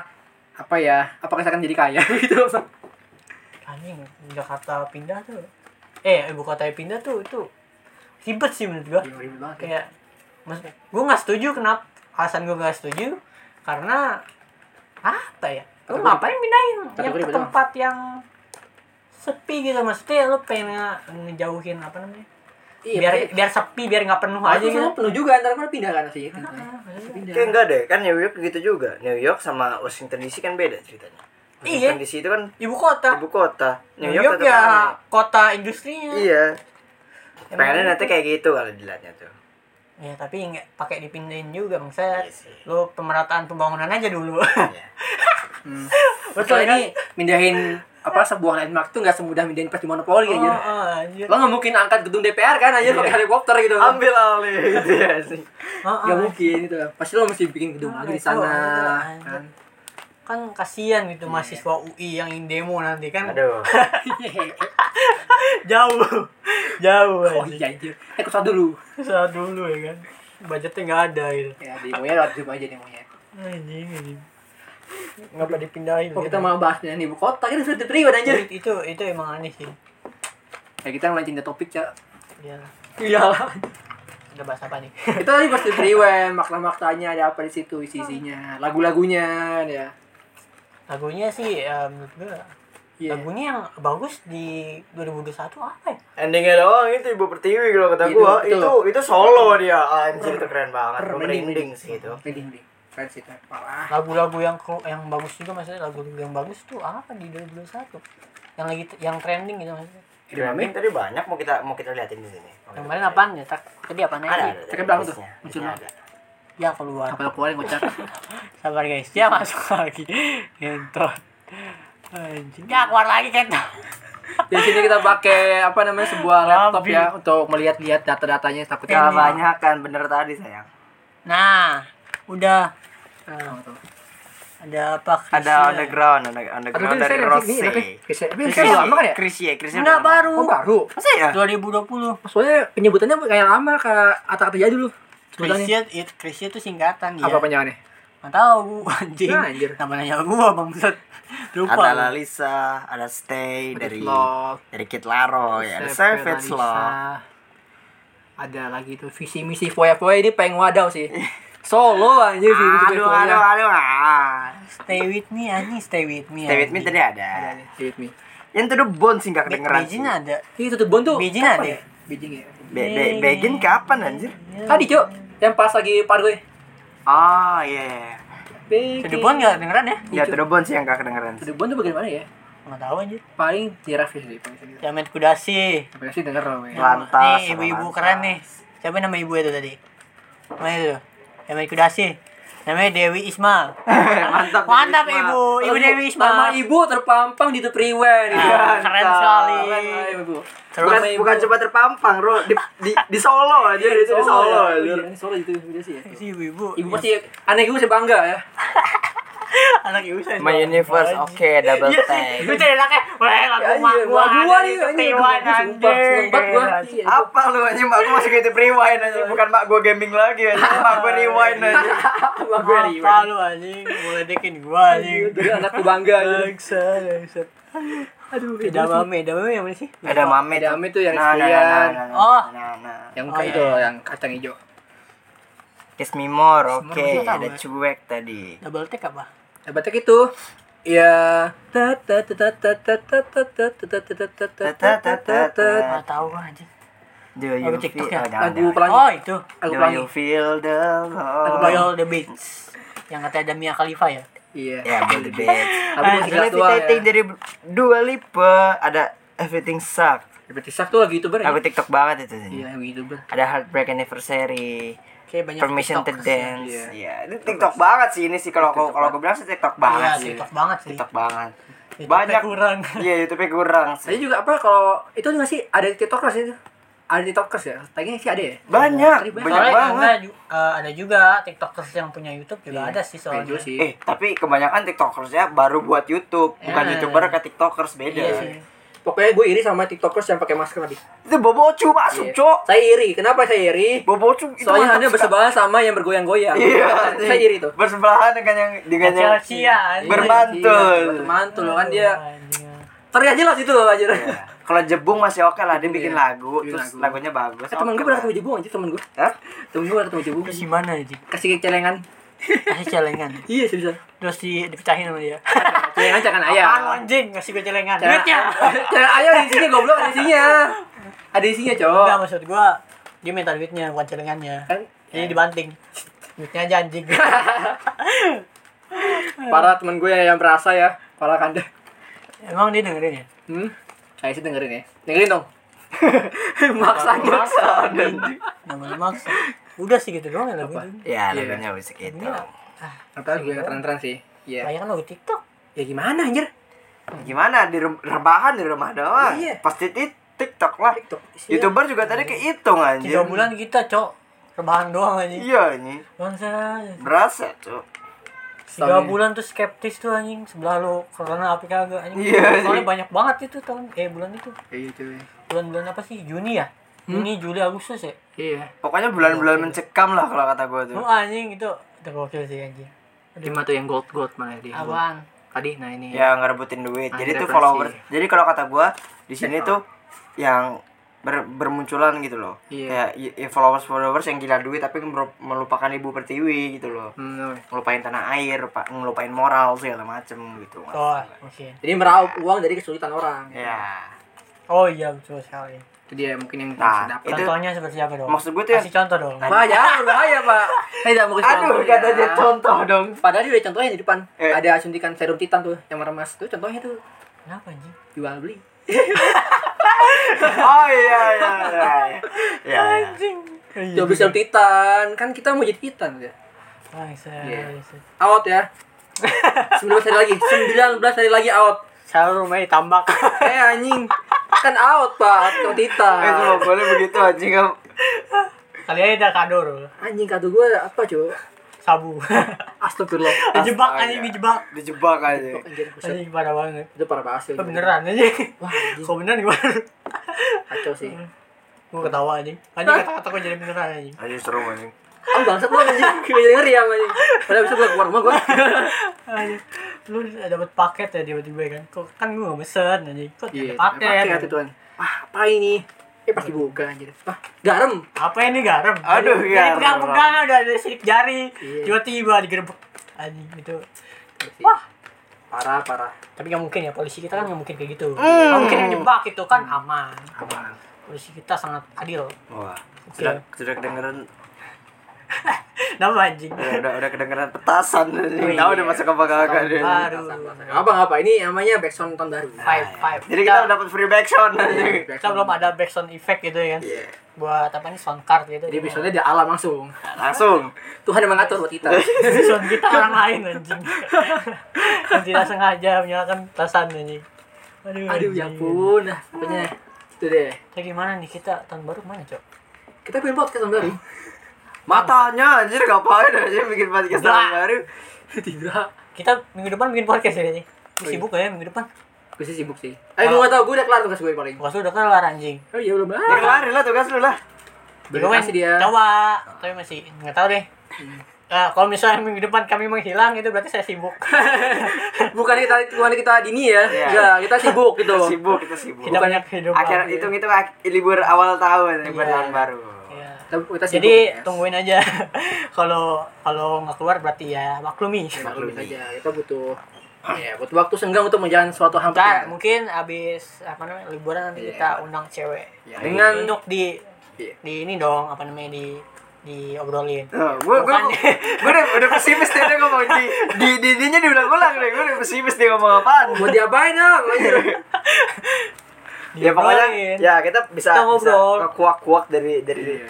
[SPEAKER 2] apa ya? Apakah saya akan jadi kaya gitu?
[SPEAKER 3] tuh. anjing Jakarta pindah tuh eh ibu kota pindah tuh itu ribet sih menurut gue
[SPEAKER 2] Iya, ribet banget ya.
[SPEAKER 3] kayak maksud gue nggak setuju kenapa alasan gue nggak setuju karena apa ya lu
[SPEAKER 2] Kategori-
[SPEAKER 3] ngapain pindahin yang
[SPEAKER 2] kategori
[SPEAKER 3] ke
[SPEAKER 2] beda.
[SPEAKER 3] tempat yang sepi gitu maksudnya lu pengen nge- ngejauhin apa namanya
[SPEAKER 2] Iya,
[SPEAKER 3] biar
[SPEAKER 2] maksudnya-
[SPEAKER 3] biar sepi biar nggak penuh aja
[SPEAKER 2] Aja
[SPEAKER 3] gitu
[SPEAKER 2] penuh juga antara mana pindah kan sih?
[SPEAKER 3] Ah, maksudnya.
[SPEAKER 2] Pindah.
[SPEAKER 1] Kayak enggak deh, kan New York gitu juga. New York sama Washington DC kan beda ceritanya. Washington
[SPEAKER 3] Iya.
[SPEAKER 1] DC itu kan
[SPEAKER 3] ibu kota
[SPEAKER 1] ibu kota.
[SPEAKER 3] New
[SPEAKER 1] tetap
[SPEAKER 3] York
[SPEAKER 1] aneh.
[SPEAKER 3] ya kota industrinya
[SPEAKER 1] Iya.
[SPEAKER 3] Emang
[SPEAKER 1] Pengennya
[SPEAKER 3] gitu.
[SPEAKER 1] nanti kayak gitu kalau dilihatnya tuh.
[SPEAKER 3] ya tapi nggak pakai dipindahin juga maksudnya
[SPEAKER 1] Iya sih.
[SPEAKER 3] lu pemerataan pembangunan aja dulu
[SPEAKER 1] Iya.
[SPEAKER 2] Hmm. Betul ini mindahin apa sebuah landmark tuh nggak semudah mindahin pasti monopoli
[SPEAKER 3] oh, Iya.
[SPEAKER 2] aja.
[SPEAKER 3] oh, anjir.
[SPEAKER 2] Lo nggak mungkin angkat gedung DPR kan aja pakai helikopter gitu.
[SPEAKER 1] Ambil alih gitu ya sih.
[SPEAKER 3] Oh, oh,
[SPEAKER 2] Gak mungkin itu. Pasti lo mesti bikin gedung
[SPEAKER 3] Ah,
[SPEAKER 2] lagi di
[SPEAKER 3] itu,
[SPEAKER 2] sana.
[SPEAKER 3] itu.
[SPEAKER 2] Kan.
[SPEAKER 3] kan kasihan gitu mahasiswa UI yang ingin demo nanti kan
[SPEAKER 1] Aduh.
[SPEAKER 3] jauh jauh
[SPEAKER 2] oh
[SPEAKER 3] aja.
[SPEAKER 2] iya anjir. Eh kesal dulu.
[SPEAKER 3] Usaha dulu ya kan budgetnya nggak ada gitu
[SPEAKER 2] Ya demonya lewat Zoom aja demonya.
[SPEAKER 3] anjing anjing ngapa dipindahin
[SPEAKER 2] Kok kita
[SPEAKER 3] gitu?
[SPEAKER 2] malah bahas dengan ibu kota kita sudah terlibat anjir.
[SPEAKER 3] itu itu emang aneh sih
[SPEAKER 2] Ya kita melenceng dari topik ya.
[SPEAKER 3] iyalah
[SPEAKER 2] Iyalah.
[SPEAKER 3] udah bahas apa nih
[SPEAKER 2] Iya. kita tadi pasti Freeway, makna-maknanya ada apa di situ isi-isinya, lagu-lagunya ya.
[SPEAKER 3] lagunya sih eh, menurut gua
[SPEAKER 2] Iya.
[SPEAKER 3] lagunya yang bagus di 2021 apa ya
[SPEAKER 1] Endingnya doang itu Ibu Pertiwi kalau kata
[SPEAKER 2] Itu,
[SPEAKER 1] gua.
[SPEAKER 2] betul.
[SPEAKER 1] Itu itu solo dia anjir itu keren banget.
[SPEAKER 2] Keren,
[SPEAKER 1] Merinding sih itu.
[SPEAKER 2] Merinding deh. Keren sih keren. Parah.
[SPEAKER 3] lagu-lagu yang kelu- yang bagus juga maksudnya lagu-lagu yang bagus tuh apa di 2021 yang lagi yang trending gitu maksudnya
[SPEAKER 1] Trending tadi banyak mau kita mau kita liatin di sini.
[SPEAKER 3] yang kemarin apaan ya tak tadi apaan
[SPEAKER 1] Ada
[SPEAKER 3] aja
[SPEAKER 1] ada.
[SPEAKER 2] Cakep banget tuh.
[SPEAKER 1] Listnya,
[SPEAKER 2] Muncul
[SPEAKER 1] listnya
[SPEAKER 2] banget.
[SPEAKER 1] ada.
[SPEAKER 3] ya keluar
[SPEAKER 2] Kapal keluarin kocak.
[SPEAKER 3] Sabar guys, dia masuk lagi. Entot. Anjing, dia keluar lagi kan.
[SPEAKER 2] Di sini kita pakai apa namanya sebuah laptop
[SPEAKER 3] Abi.
[SPEAKER 2] ya untuk melihat-lihat data-datanya takutnya
[SPEAKER 1] Jangan
[SPEAKER 2] ini.
[SPEAKER 1] banyakan bener tadi sayang.
[SPEAKER 3] Nah, udah
[SPEAKER 2] Oh, tuh.
[SPEAKER 3] ada apa?
[SPEAKER 1] Ada underground, under- underground
[SPEAKER 2] Aduh, ini
[SPEAKER 1] dari
[SPEAKER 2] saya
[SPEAKER 1] Rossi.
[SPEAKER 2] ini, oke. Krisya- ini
[SPEAKER 1] Chrisye,
[SPEAKER 2] Krisya udah lama kan ya?
[SPEAKER 1] Chrisye, Chrisye
[SPEAKER 3] Enggak
[SPEAKER 1] udah lama.
[SPEAKER 3] baru.
[SPEAKER 2] Oh baru.
[SPEAKER 1] Masa ya?
[SPEAKER 3] 2020.
[SPEAKER 2] Soalnya penyebutannya kayak lama kayak kata-kata aja dulu. Sebutannya.
[SPEAKER 3] Krisya itu Krisya ya, itu singkatan ya.
[SPEAKER 2] Apa penyebutannya?
[SPEAKER 3] Enggak tahu anjing.
[SPEAKER 2] Nah, anjir.
[SPEAKER 3] Namanya gua bangset. Lupa.
[SPEAKER 1] Ada Lalisa, ada Stay dari
[SPEAKER 2] Love. Oh
[SPEAKER 1] ya. dari Kid Laro ya, ada Savage Love.
[SPEAKER 2] ada lagi tuh visi misi foya foya ini pengen wadaw sih solo aja visi misi
[SPEAKER 1] Aduh,
[SPEAKER 2] foya
[SPEAKER 1] aduh, aduh, ah.
[SPEAKER 3] Stay with me Ani, stay with me.
[SPEAKER 1] Stay with me tadi ada. Yang tuh bond sih nggak kedengeran.
[SPEAKER 3] Beijing
[SPEAKER 1] sih.
[SPEAKER 3] ada.
[SPEAKER 2] itu tuh bon tuh
[SPEAKER 3] Beijing
[SPEAKER 2] kapan
[SPEAKER 3] ada
[SPEAKER 2] ya? Beijing ya
[SPEAKER 1] Be, be, Begin kapan anjir?
[SPEAKER 2] tadi cok yang pas lagi par gue
[SPEAKER 1] Oh iya.
[SPEAKER 3] Jadi pun enggak dengeran ya?
[SPEAKER 1] Ya tuh bond sih yang nggak kedengeran.
[SPEAKER 2] tuh bon tuh bagaimana ya
[SPEAKER 3] Enggak tahu anjir.
[SPEAKER 2] paling di ref sih paling sih
[SPEAKER 3] Ya main kudasi.
[SPEAKER 2] Paling sih denger loh ya
[SPEAKER 1] Lantas.
[SPEAKER 3] Nih ibu-ibu
[SPEAKER 1] lantas.
[SPEAKER 3] keren nih. Siapa nama ibu itu tadi? Mana itu? Yang main kudasi. Namanya Dewi Ismail.
[SPEAKER 1] Mantap.
[SPEAKER 3] Mantap
[SPEAKER 1] Risma.
[SPEAKER 3] ibu, ibu Dewi
[SPEAKER 2] Nama
[SPEAKER 3] Ismail.
[SPEAKER 2] ibu terpampang di tuh priwen gitu.
[SPEAKER 3] Ah, Keren sekali.
[SPEAKER 2] Keren lah, ibu.
[SPEAKER 3] Terus
[SPEAKER 1] Bukan,
[SPEAKER 2] Nama ibu.
[SPEAKER 1] Iya. bukan coba terpampang, Bro. Di, di, di Solo aja, di, di Solo.
[SPEAKER 2] ya.
[SPEAKER 1] anjir. Iya.
[SPEAKER 2] Iya, Solo itu beda sih ya.
[SPEAKER 3] si ibu-ibu.
[SPEAKER 2] Ibu pasti aneh gue sih bangga ya.
[SPEAKER 3] anak ibu saya.
[SPEAKER 1] My universe, oke, double
[SPEAKER 3] Iya sih,
[SPEAKER 1] tag.
[SPEAKER 3] itu enaknya, wah lagu
[SPEAKER 2] Ya, iya,
[SPEAKER 3] mak gua,
[SPEAKER 2] mak gua
[SPEAKER 3] ada
[SPEAKER 2] nih,
[SPEAKER 3] itu
[SPEAKER 2] anjing,
[SPEAKER 3] Taiwan,
[SPEAKER 2] aduh, sumpah, seneng banget gua.
[SPEAKER 3] anjing.
[SPEAKER 2] Iya.
[SPEAKER 1] Apa lu anjing mak gua masih gitu rewind anjing bukan mak gua gaming lagi anjing mak
[SPEAKER 2] Iya,
[SPEAKER 1] gua rewind anjing.
[SPEAKER 2] Wah, gue
[SPEAKER 3] Apa
[SPEAKER 2] riwet.
[SPEAKER 3] lu anjing, meledekin gua anjing.
[SPEAKER 2] Jadi anak gue bangga gitu.
[SPEAKER 3] Bangsa, bangsa.
[SPEAKER 2] Aduh,
[SPEAKER 3] Ada mame, ada mame yang mana sih?
[SPEAKER 1] Ada mame.
[SPEAKER 2] iya. Ada Ame tuh yang
[SPEAKER 1] nah, nah, nah,
[SPEAKER 2] sekalian.
[SPEAKER 1] nah, nah,
[SPEAKER 3] Oh.
[SPEAKER 1] Nah, nah.
[SPEAKER 2] Yang
[SPEAKER 3] Oh,
[SPEAKER 2] kayak
[SPEAKER 3] iya,
[SPEAKER 2] itu
[SPEAKER 3] iya.
[SPEAKER 2] yang kacang hijau.
[SPEAKER 1] Kiss me more, oke.
[SPEAKER 3] Semua orang
[SPEAKER 1] Ada
[SPEAKER 3] tahu,
[SPEAKER 1] cuek tadi.
[SPEAKER 3] Double take apa?
[SPEAKER 2] Dapat itu ya gitu. ta ta ta ta ta ta ta ta ta ta ta ta ta ta ta ta ta ta
[SPEAKER 3] Enggak tahu gua anjing.
[SPEAKER 1] Do you
[SPEAKER 3] Lagu TikTok
[SPEAKER 1] feel
[SPEAKER 3] ya?
[SPEAKER 1] oh, jangan,
[SPEAKER 2] Eh. lagu
[SPEAKER 1] jangan.
[SPEAKER 2] pelangi
[SPEAKER 3] Oh, itu.
[SPEAKER 2] lagu
[SPEAKER 1] Do
[SPEAKER 2] pelangi
[SPEAKER 1] you feel the
[SPEAKER 3] Lagu
[SPEAKER 1] love?
[SPEAKER 3] Royal the Beats. Yang katanya ada Mia Khalifa ya?
[SPEAKER 2] iya
[SPEAKER 1] Ya, Bill the Beat.
[SPEAKER 2] tapi masih
[SPEAKER 1] Ada
[SPEAKER 2] jelas doang
[SPEAKER 1] Levitating
[SPEAKER 2] ya
[SPEAKER 1] dari Dua Lipa, ada Everything Suck.
[SPEAKER 2] Dapat isak tuh lagi youtuber ya
[SPEAKER 1] Lagu TikTok banget itu. anjing.
[SPEAKER 2] iya lagu youtuber
[SPEAKER 1] Ada Heartbreak Anniversary.
[SPEAKER 3] Kayak banyak
[SPEAKER 1] Permission to
[SPEAKER 3] TikTokers ya.
[SPEAKER 1] Dance.
[SPEAKER 2] Iya.
[SPEAKER 1] Iya, ini TikTok banget sih ini sih kalau kalau gue bilang sih TikTok
[SPEAKER 3] Iya,
[SPEAKER 1] banget sih.
[SPEAKER 3] TikTok banget sih.
[SPEAKER 1] TikTok banget.
[SPEAKER 3] YouTube-nya
[SPEAKER 1] Banyak
[SPEAKER 3] kurang.
[SPEAKER 1] Iya, YouTube kurang
[SPEAKER 2] Tadi
[SPEAKER 1] sih.
[SPEAKER 2] juga apa kalau itu nggak sih ada tiktokers itu? Ada tiktokers ya? Tagnya sih ada ya?
[SPEAKER 1] Banyak,
[SPEAKER 2] Tadi
[SPEAKER 1] banyak
[SPEAKER 3] Soalnya
[SPEAKER 1] banget.
[SPEAKER 3] ada, ju- eh, ada juga TikTokers yang punya YouTube juga ada sih soalnya.
[SPEAKER 2] Bejo sih.
[SPEAKER 1] Eh, tapi kebanyakan TikTokersnya baru buat YouTube, bukan
[SPEAKER 2] Iya.
[SPEAKER 3] Ya.
[SPEAKER 1] YouTuber ke TikTokers beda.
[SPEAKER 3] Iya sih.
[SPEAKER 2] Pokoknya gue iri sama tiktokers yang pakai masker tadi.
[SPEAKER 1] Itu bobocu masuk,
[SPEAKER 2] Iya.
[SPEAKER 1] Cok.
[SPEAKER 2] Saya iri. Kenapa saya iri?
[SPEAKER 1] Bobocu itu mantap
[SPEAKER 2] Soalnya anda
[SPEAKER 1] sekali.
[SPEAKER 2] bersebelahan sama yang bergoyang-goyang.
[SPEAKER 1] Iya,
[SPEAKER 2] Saya iri tuh.
[SPEAKER 1] Bersebelahan dengan yang dengan yang
[SPEAKER 3] Kecil-kecilan.
[SPEAKER 1] bermantul.
[SPEAKER 2] Iya, Bermantul loh kan dia.
[SPEAKER 3] Iya.
[SPEAKER 2] Terlihat jelas itu loh anjir.
[SPEAKER 1] Iya. Kalau Jebung masih oke lah, dia bikin
[SPEAKER 2] Iya.
[SPEAKER 1] lagu,
[SPEAKER 2] Bikin
[SPEAKER 1] terus
[SPEAKER 2] lagu.
[SPEAKER 1] lagunya bagus.
[SPEAKER 2] Eh, temen
[SPEAKER 1] oke
[SPEAKER 2] gue pernah
[SPEAKER 1] lah.
[SPEAKER 2] ketemu jebung anjir temen gue.
[SPEAKER 1] Hah?
[SPEAKER 2] Temen gue pernah ketemu jebung.
[SPEAKER 3] Terus gimana anjing?
[SPEAKER 2] Kasih celengan.
[SPEAKER 3] Kasih celengan.
[SPEAKER 2] Iya seriusan.
[SPEAKER 3] Terus di, dipecahin sama dia.
[SPEAKER 2] Celengan iya. cakan
[SPEAKER 3] Apaan lu
[SPEAKER 2] ayam.
[SPEAKER 3] anjing ngasih gue celengan.
[SPEAKER 2] Cakan
[SPEAKER 3] Duitnya.
[SPEAKER 2] Cakan ayam ada isinya goblok ada isinya. Ada isinya cowok.
[SPEAKER 3] Enggak maksud gua dia minta duitnya bukan celengannya.
[SPEAKER 2] Kan
[SPEAKER 3] Jadi dibanting. Duitnya aja anjing.
[SPEAKER 2] para temen gue yang berasa ya. Para kanda.
[SPEAKER 3] Emang dia dengerin ya?
[SPEAKER 2] Hmm? Saya sih dengerin ya. Dengerin dong. maksa maksa.
[SPEAKER 3] Lama-lama maksa. Udah sih gitu doang ya lagu
[SPEAKER 2] Apa?
[SPEAKER 3] itu.
[SPEAKER 1] Ya,
[SPEAKER 2] Iya.
[SPEAKER 1] lagunya yeah. segitu.
[SPEAKER 2] Apa gue keren-keren sih. Iya.
[SPEAKER 3] Kayak kan lagu TikTok.
[SPEAKER 2] Ya gimana anjir?
[SPEAKER 1] Gimana di rum- rebahan di rumah doang?
[SPEAKER 2] Hmm. Iya.
[SPEAKER 1] Pasti di TikTok lah.
[SPEAKER 2] TikTok. Iya.
[SPEAKER 1] YouTuber juga tadi kehitung anjir.
[SPEAKER 3] Tiga bulan kita, Cok. Rebahan doang anjing.
[SPEAKER 1] Iya ini
[SPEAKER 3] Bangsa.
[SPEAKER 1] berasa tuh.
[SPEAKER 3] Tiga
[SPEAKER 2] Soalnya-
[SPEAKER 3] bulan tuh skeptis tuh anjing. Sebelah lu corona apa kagak anjing.
[SPEAKER 1] Iya,
[SPEAKER 3] Soalnya
[SPEAKER 1] anjing.
[SPEAKER 3] banyak banget itu tahun eh bulan itu.
[SPEAKER 2] Iya cuy.
[SPEAKER 3] Bulan-bulan apa sih? Juni ya?
[SPEAKER 1] Hmm?
[SPEAKER 3] Juni, Juli, Agustus ya?
[SPEAKER 2] Iya.
[SPEAKER 1] Pokoknya bulan-bulan mencekam lah kalau kata gue tuh.
[SPEAKER 3] Oh anjing itu itu gokil sih anjing.
[SPEAKER 2] Lima tuh yang gold gold mana dia? yang gold.
[SPEAKER 3] Apaan?
[SPEAKER 2] Tadi nah ini.
[SPEAKER 1] Ya ngerebutin duit.
[SPEAKER 2] Ah, Oh.
[SPEAKER 1] Jadi tuh
[SPEAKER 2] referensi.
[SPEAKER 1] followers. Jadi kalau kata gue di sini
[SPEAKER 2] TikTok.
[SPEAKER 1] tuh yang ber- bermunculan gitu loh.
[SPEAKER 2] Iya.
[SPEAKER 1] Kayak ya, followers followers yang gila duit tapi meru- melupakan ibu pertiwi gitu loh.
[SPEAKER 2] Hmm,
[SPEAKER 1] Ngelupain tanah air, lupa- ngelupain moral segala macem gitu.
[SPEAKER 3] Oh, mungkin.
[SPEAKER 2] Jadi meraup uang dari kesulitan orang.
[SPEAKER 1] Ya.
[SPEAKER 3] Oh iya betul sekali.
[SPEAKER 2] Itu dia mungkin yang
[SPEAKER 1] Nah,
[SPEAKER 2] bisa dapat.
[SPEAKER 1] Itu-
[SPEAKER 3] Contohnya seperti apa dong?
[SPEAKER 1] maksud gue tuh ya- yang-
[SPEAKER 3] Kasih contoh dong.
[SPEAKER 2] Pak, jangan bahaya, Pak. Saya tidak mau kasih
[SPEAKER 1] Aduh,
[SPEAKER 2] contoh,
[SPEAKER 1] kata
[SPEAKER 2] ya.
[SPEAKER 1] dia contoh dong.
[SPEAKER 2] Padahal dia udah contohnya di depan.
[SPEAKER 1] Eh.
[SPEAKER 2] Ada suntikan serum titan tuh yang meremas. Tuh contohnya tuh
[SPEAKER 3] Kenapa anjing?
[SPEAKER 2] jual beli.
[SPEAKER 1] Oh iya iya iya. iya. iya.
[SPEAKER 3] Anjing.
[SPEAKER 2] Jual beli serum titan. Kan kita mau jadi titan ya.
[SPEAKER 3] Bangsa.
[SPEAKER 2] Iya. Out ya. 19 hari lagi. 19 hari lagi out.
[SPEAKER 3] Selalu rumahnya tambak.
[SPEAKER 2] Eh anjing. Kan out, Pak. Serum
[SPEAKER 1] Eh, itu nggak
[SPEAKER 2] titan.
[SPEAKER 1] boleh begitu anjing. Kamu-
[SPEAKER 3] Kali aja ada kado
[SPEAKER 2] Anjing kado gue apa, cuy?
[SPEAKER 3] sabu.
[SPEAKER 2] Astagfirullah.
[SPEAKER 3] dijebak
[SPEAKER 1] Astaga.
[SPEAKER 3] anjing dijebak.
[SPEAKER 1] Dijebak aja.
[SPEAKER 2] Anjir, buset.
[SPEAKER 3] Anjing parah banget.
[SPEAKER 2] Itu para bahas ya.
[SPEAKER 3] Itu beneran anjing.
[SPEAKER 2] Wah, anjing.
[SPEAKER 3] Kok beneran gimana?
[SPEAKER 2] Kacau sih.
[SPEAKER 3] Gue ketawa anjing. Anjing kata-kata gue jadi beneran anjing.
[SPEAKER 1] Anjing seru anjing.
[SPEAKER 2] Oh bangsat lu anjing, gue jadi ngeri ya sama anjing Padahal bisa gue keluar rumah gue
[SPEAKER 3] Anjing. Lu dapet paket ya tiba-tiba kan. Kok kan gue gak mesen anjing. Kok
[SPEAKER 2] Iya,
[SPEAKER 3] ada paket.
[SPEAKER 2] tuh Wah, apa ini? eh pas dibuka anjir ah garam
[SPEAKER 3] apa ini garam
[SPEAKER 1] Aduh, garam.
[SPEAKER 3] Dari- dari pegang-pegang udah ada sidik jari
[SPEAKER 2] Iya.
[SPEAKER 3] tiba-tiba digerebek anjing gitu wah
[SPEAKER 2] parah parah
[SPEAKER 3] tapi nggak mungkin ya polisi kita kan nggak mungkin kayak gitu nggak mungkin yang jebak itu kan aman
[SPEAKER 2] aman
[SPEAKER 3] polisi kita sangat adil
[SPEAKER 1] Wah,
[SPEAKER 3] Oke.
[SPEAKER 1] sudah sudah kedengeran ya,
[SPEAKER 3] nama anjing
[SPEAKER 1] udah udah, udah kedengeran petasan.
[SPEAKER 3] Wih.
[SPEAKER 1] Tahu udah masuk ke bakal
[SPEAKER 3] baru
[SPEAKER 2] nggak apa nggak apa ini namanya backsound tahun baru
[SPEAKER 3] five five
[SPEAKER 1] Jadi kita dapat free back sound.
[SPEAKER 3] kita belum ada backsound effect gitu ya kan
[SPEAKER 2] Iya.
[SPEAKER 3] buat apa nih sound card gitu
[SPEAKER 2] jadi backsoundnya di alam langsung
[SPEAKER 1] Langsung.
[SPEAKER 2] Tuhan yang mengatur buat kita
[SPEAKER 3] sound kita orang lain anjing yang tidak sengaja menyalakan petasan anjing aduh,
[SPEAKER 2] aduh
[SPEAKER 3] anjing.
[SPEAKER 2] ya ampun nah pokoknya itu deh
[SPEAKER 3] Jadi gimana nih kita tahun baru mana cok?
[SPEAKER 2] kita bikin podcast tahun baru
[SPEAKER 1] Matanya anjir ngapain anjir bikin podcast
[SPEAKER 3] Udah.
[SPEAKER 1] tahun baru.
[SPEAKER 2] tidak
[SPEAKER 3] Kita minggu depan bikin podcast ya ini. Lu
[SPEAKER 2] Oh,
[SPEAKER 3] sibuk
[SPEAKER 2] iya.
[SPEAKER 3] gak ya minggu depan?
[SPEAKER 2] gue sih sibuk sih eh gue nggak tau gue udah kelar tugas gue paling
[SPEAKER 3] Tugas lu udah kelar anjing.
[SPEAKER 2] oh iya belum
[SPEAKER 1] Ya
[SPEAKER 2] ah
[SPEAKER 1] kelarin lah tugas lu lah.
[SPEAKER 2] Terima
[SPEAKER 3] Dibawain.
[SPEAKER 2] kasih dia Iya.
[SPEAKER 3] Coba, tapi masih nggak tahu deh. Nah, kalau misalnya minggu depan kami menghilang itu berarti saya sibuk.
[SPEAKER 2] bukan kita bukan kita dini ya
[SPEAKER 1] Iya.
[SPEAKER 2] enggak kita sibuk gitu
[SPEAKER 1] Sibuk kita sibuk.
[SPEAKER 3] Kita banyak hidup.
[SPEAKER 1] Akhir
[SPEAKER 3] aku, ya.
[SPEAKER 1] hitung itu libur awal tahun, libur
[SPEAKER 3] Iya.
[SPEAKER 1] tahun baru.
[SPEAKER 3] Iya.
[SPEAKER 2] kita, kita sibuk ya.
[SPEAKER 3] Jadi
[SPEAKER 2] yes.
[SPEAKER 3] tungguin aja. Kalau kalau nggak keluar berarti ya maklumi.
[SPEAKER 2] maklumi saja kita butuh ya butuh waktu senggang untuk menjalani suatu hal
[SPEAKER 3] Ntar
[SPEAKER 2] penting.
[SPEAKER 3] mungkin abis apa namanya liburan nanti
[SPEAKER 2] Iya.
[SPEAKER 3] kita undang cewek
[SPEAKER 2] Ya, dengan
[SPEAKER 3] untuk di
[SPEAKER 2] Iya.
[SPEAKER 3] di ini dong apa namanya di diobrolin.
[SPEAKER 1] Oh, gue gue
[SPEAKER 3] Bukan.
[SPEAKER 1] gue udah, udah pesimis dia udah ngomong di di di dinya diulang-ulang deh gue udah pesimis dia ngomong apaan
[SPEAKER 2] mau diapain ah, dong anjir?
[SPEAKER 1] ya pokoknya
[SPEAKER 3] Diobrolin.
[SPEAKER 1] ya kita bisa
[SPEAKER 3] Kita ngobrol.
[SPEAKER 1] bisa kuak-kuak dari dari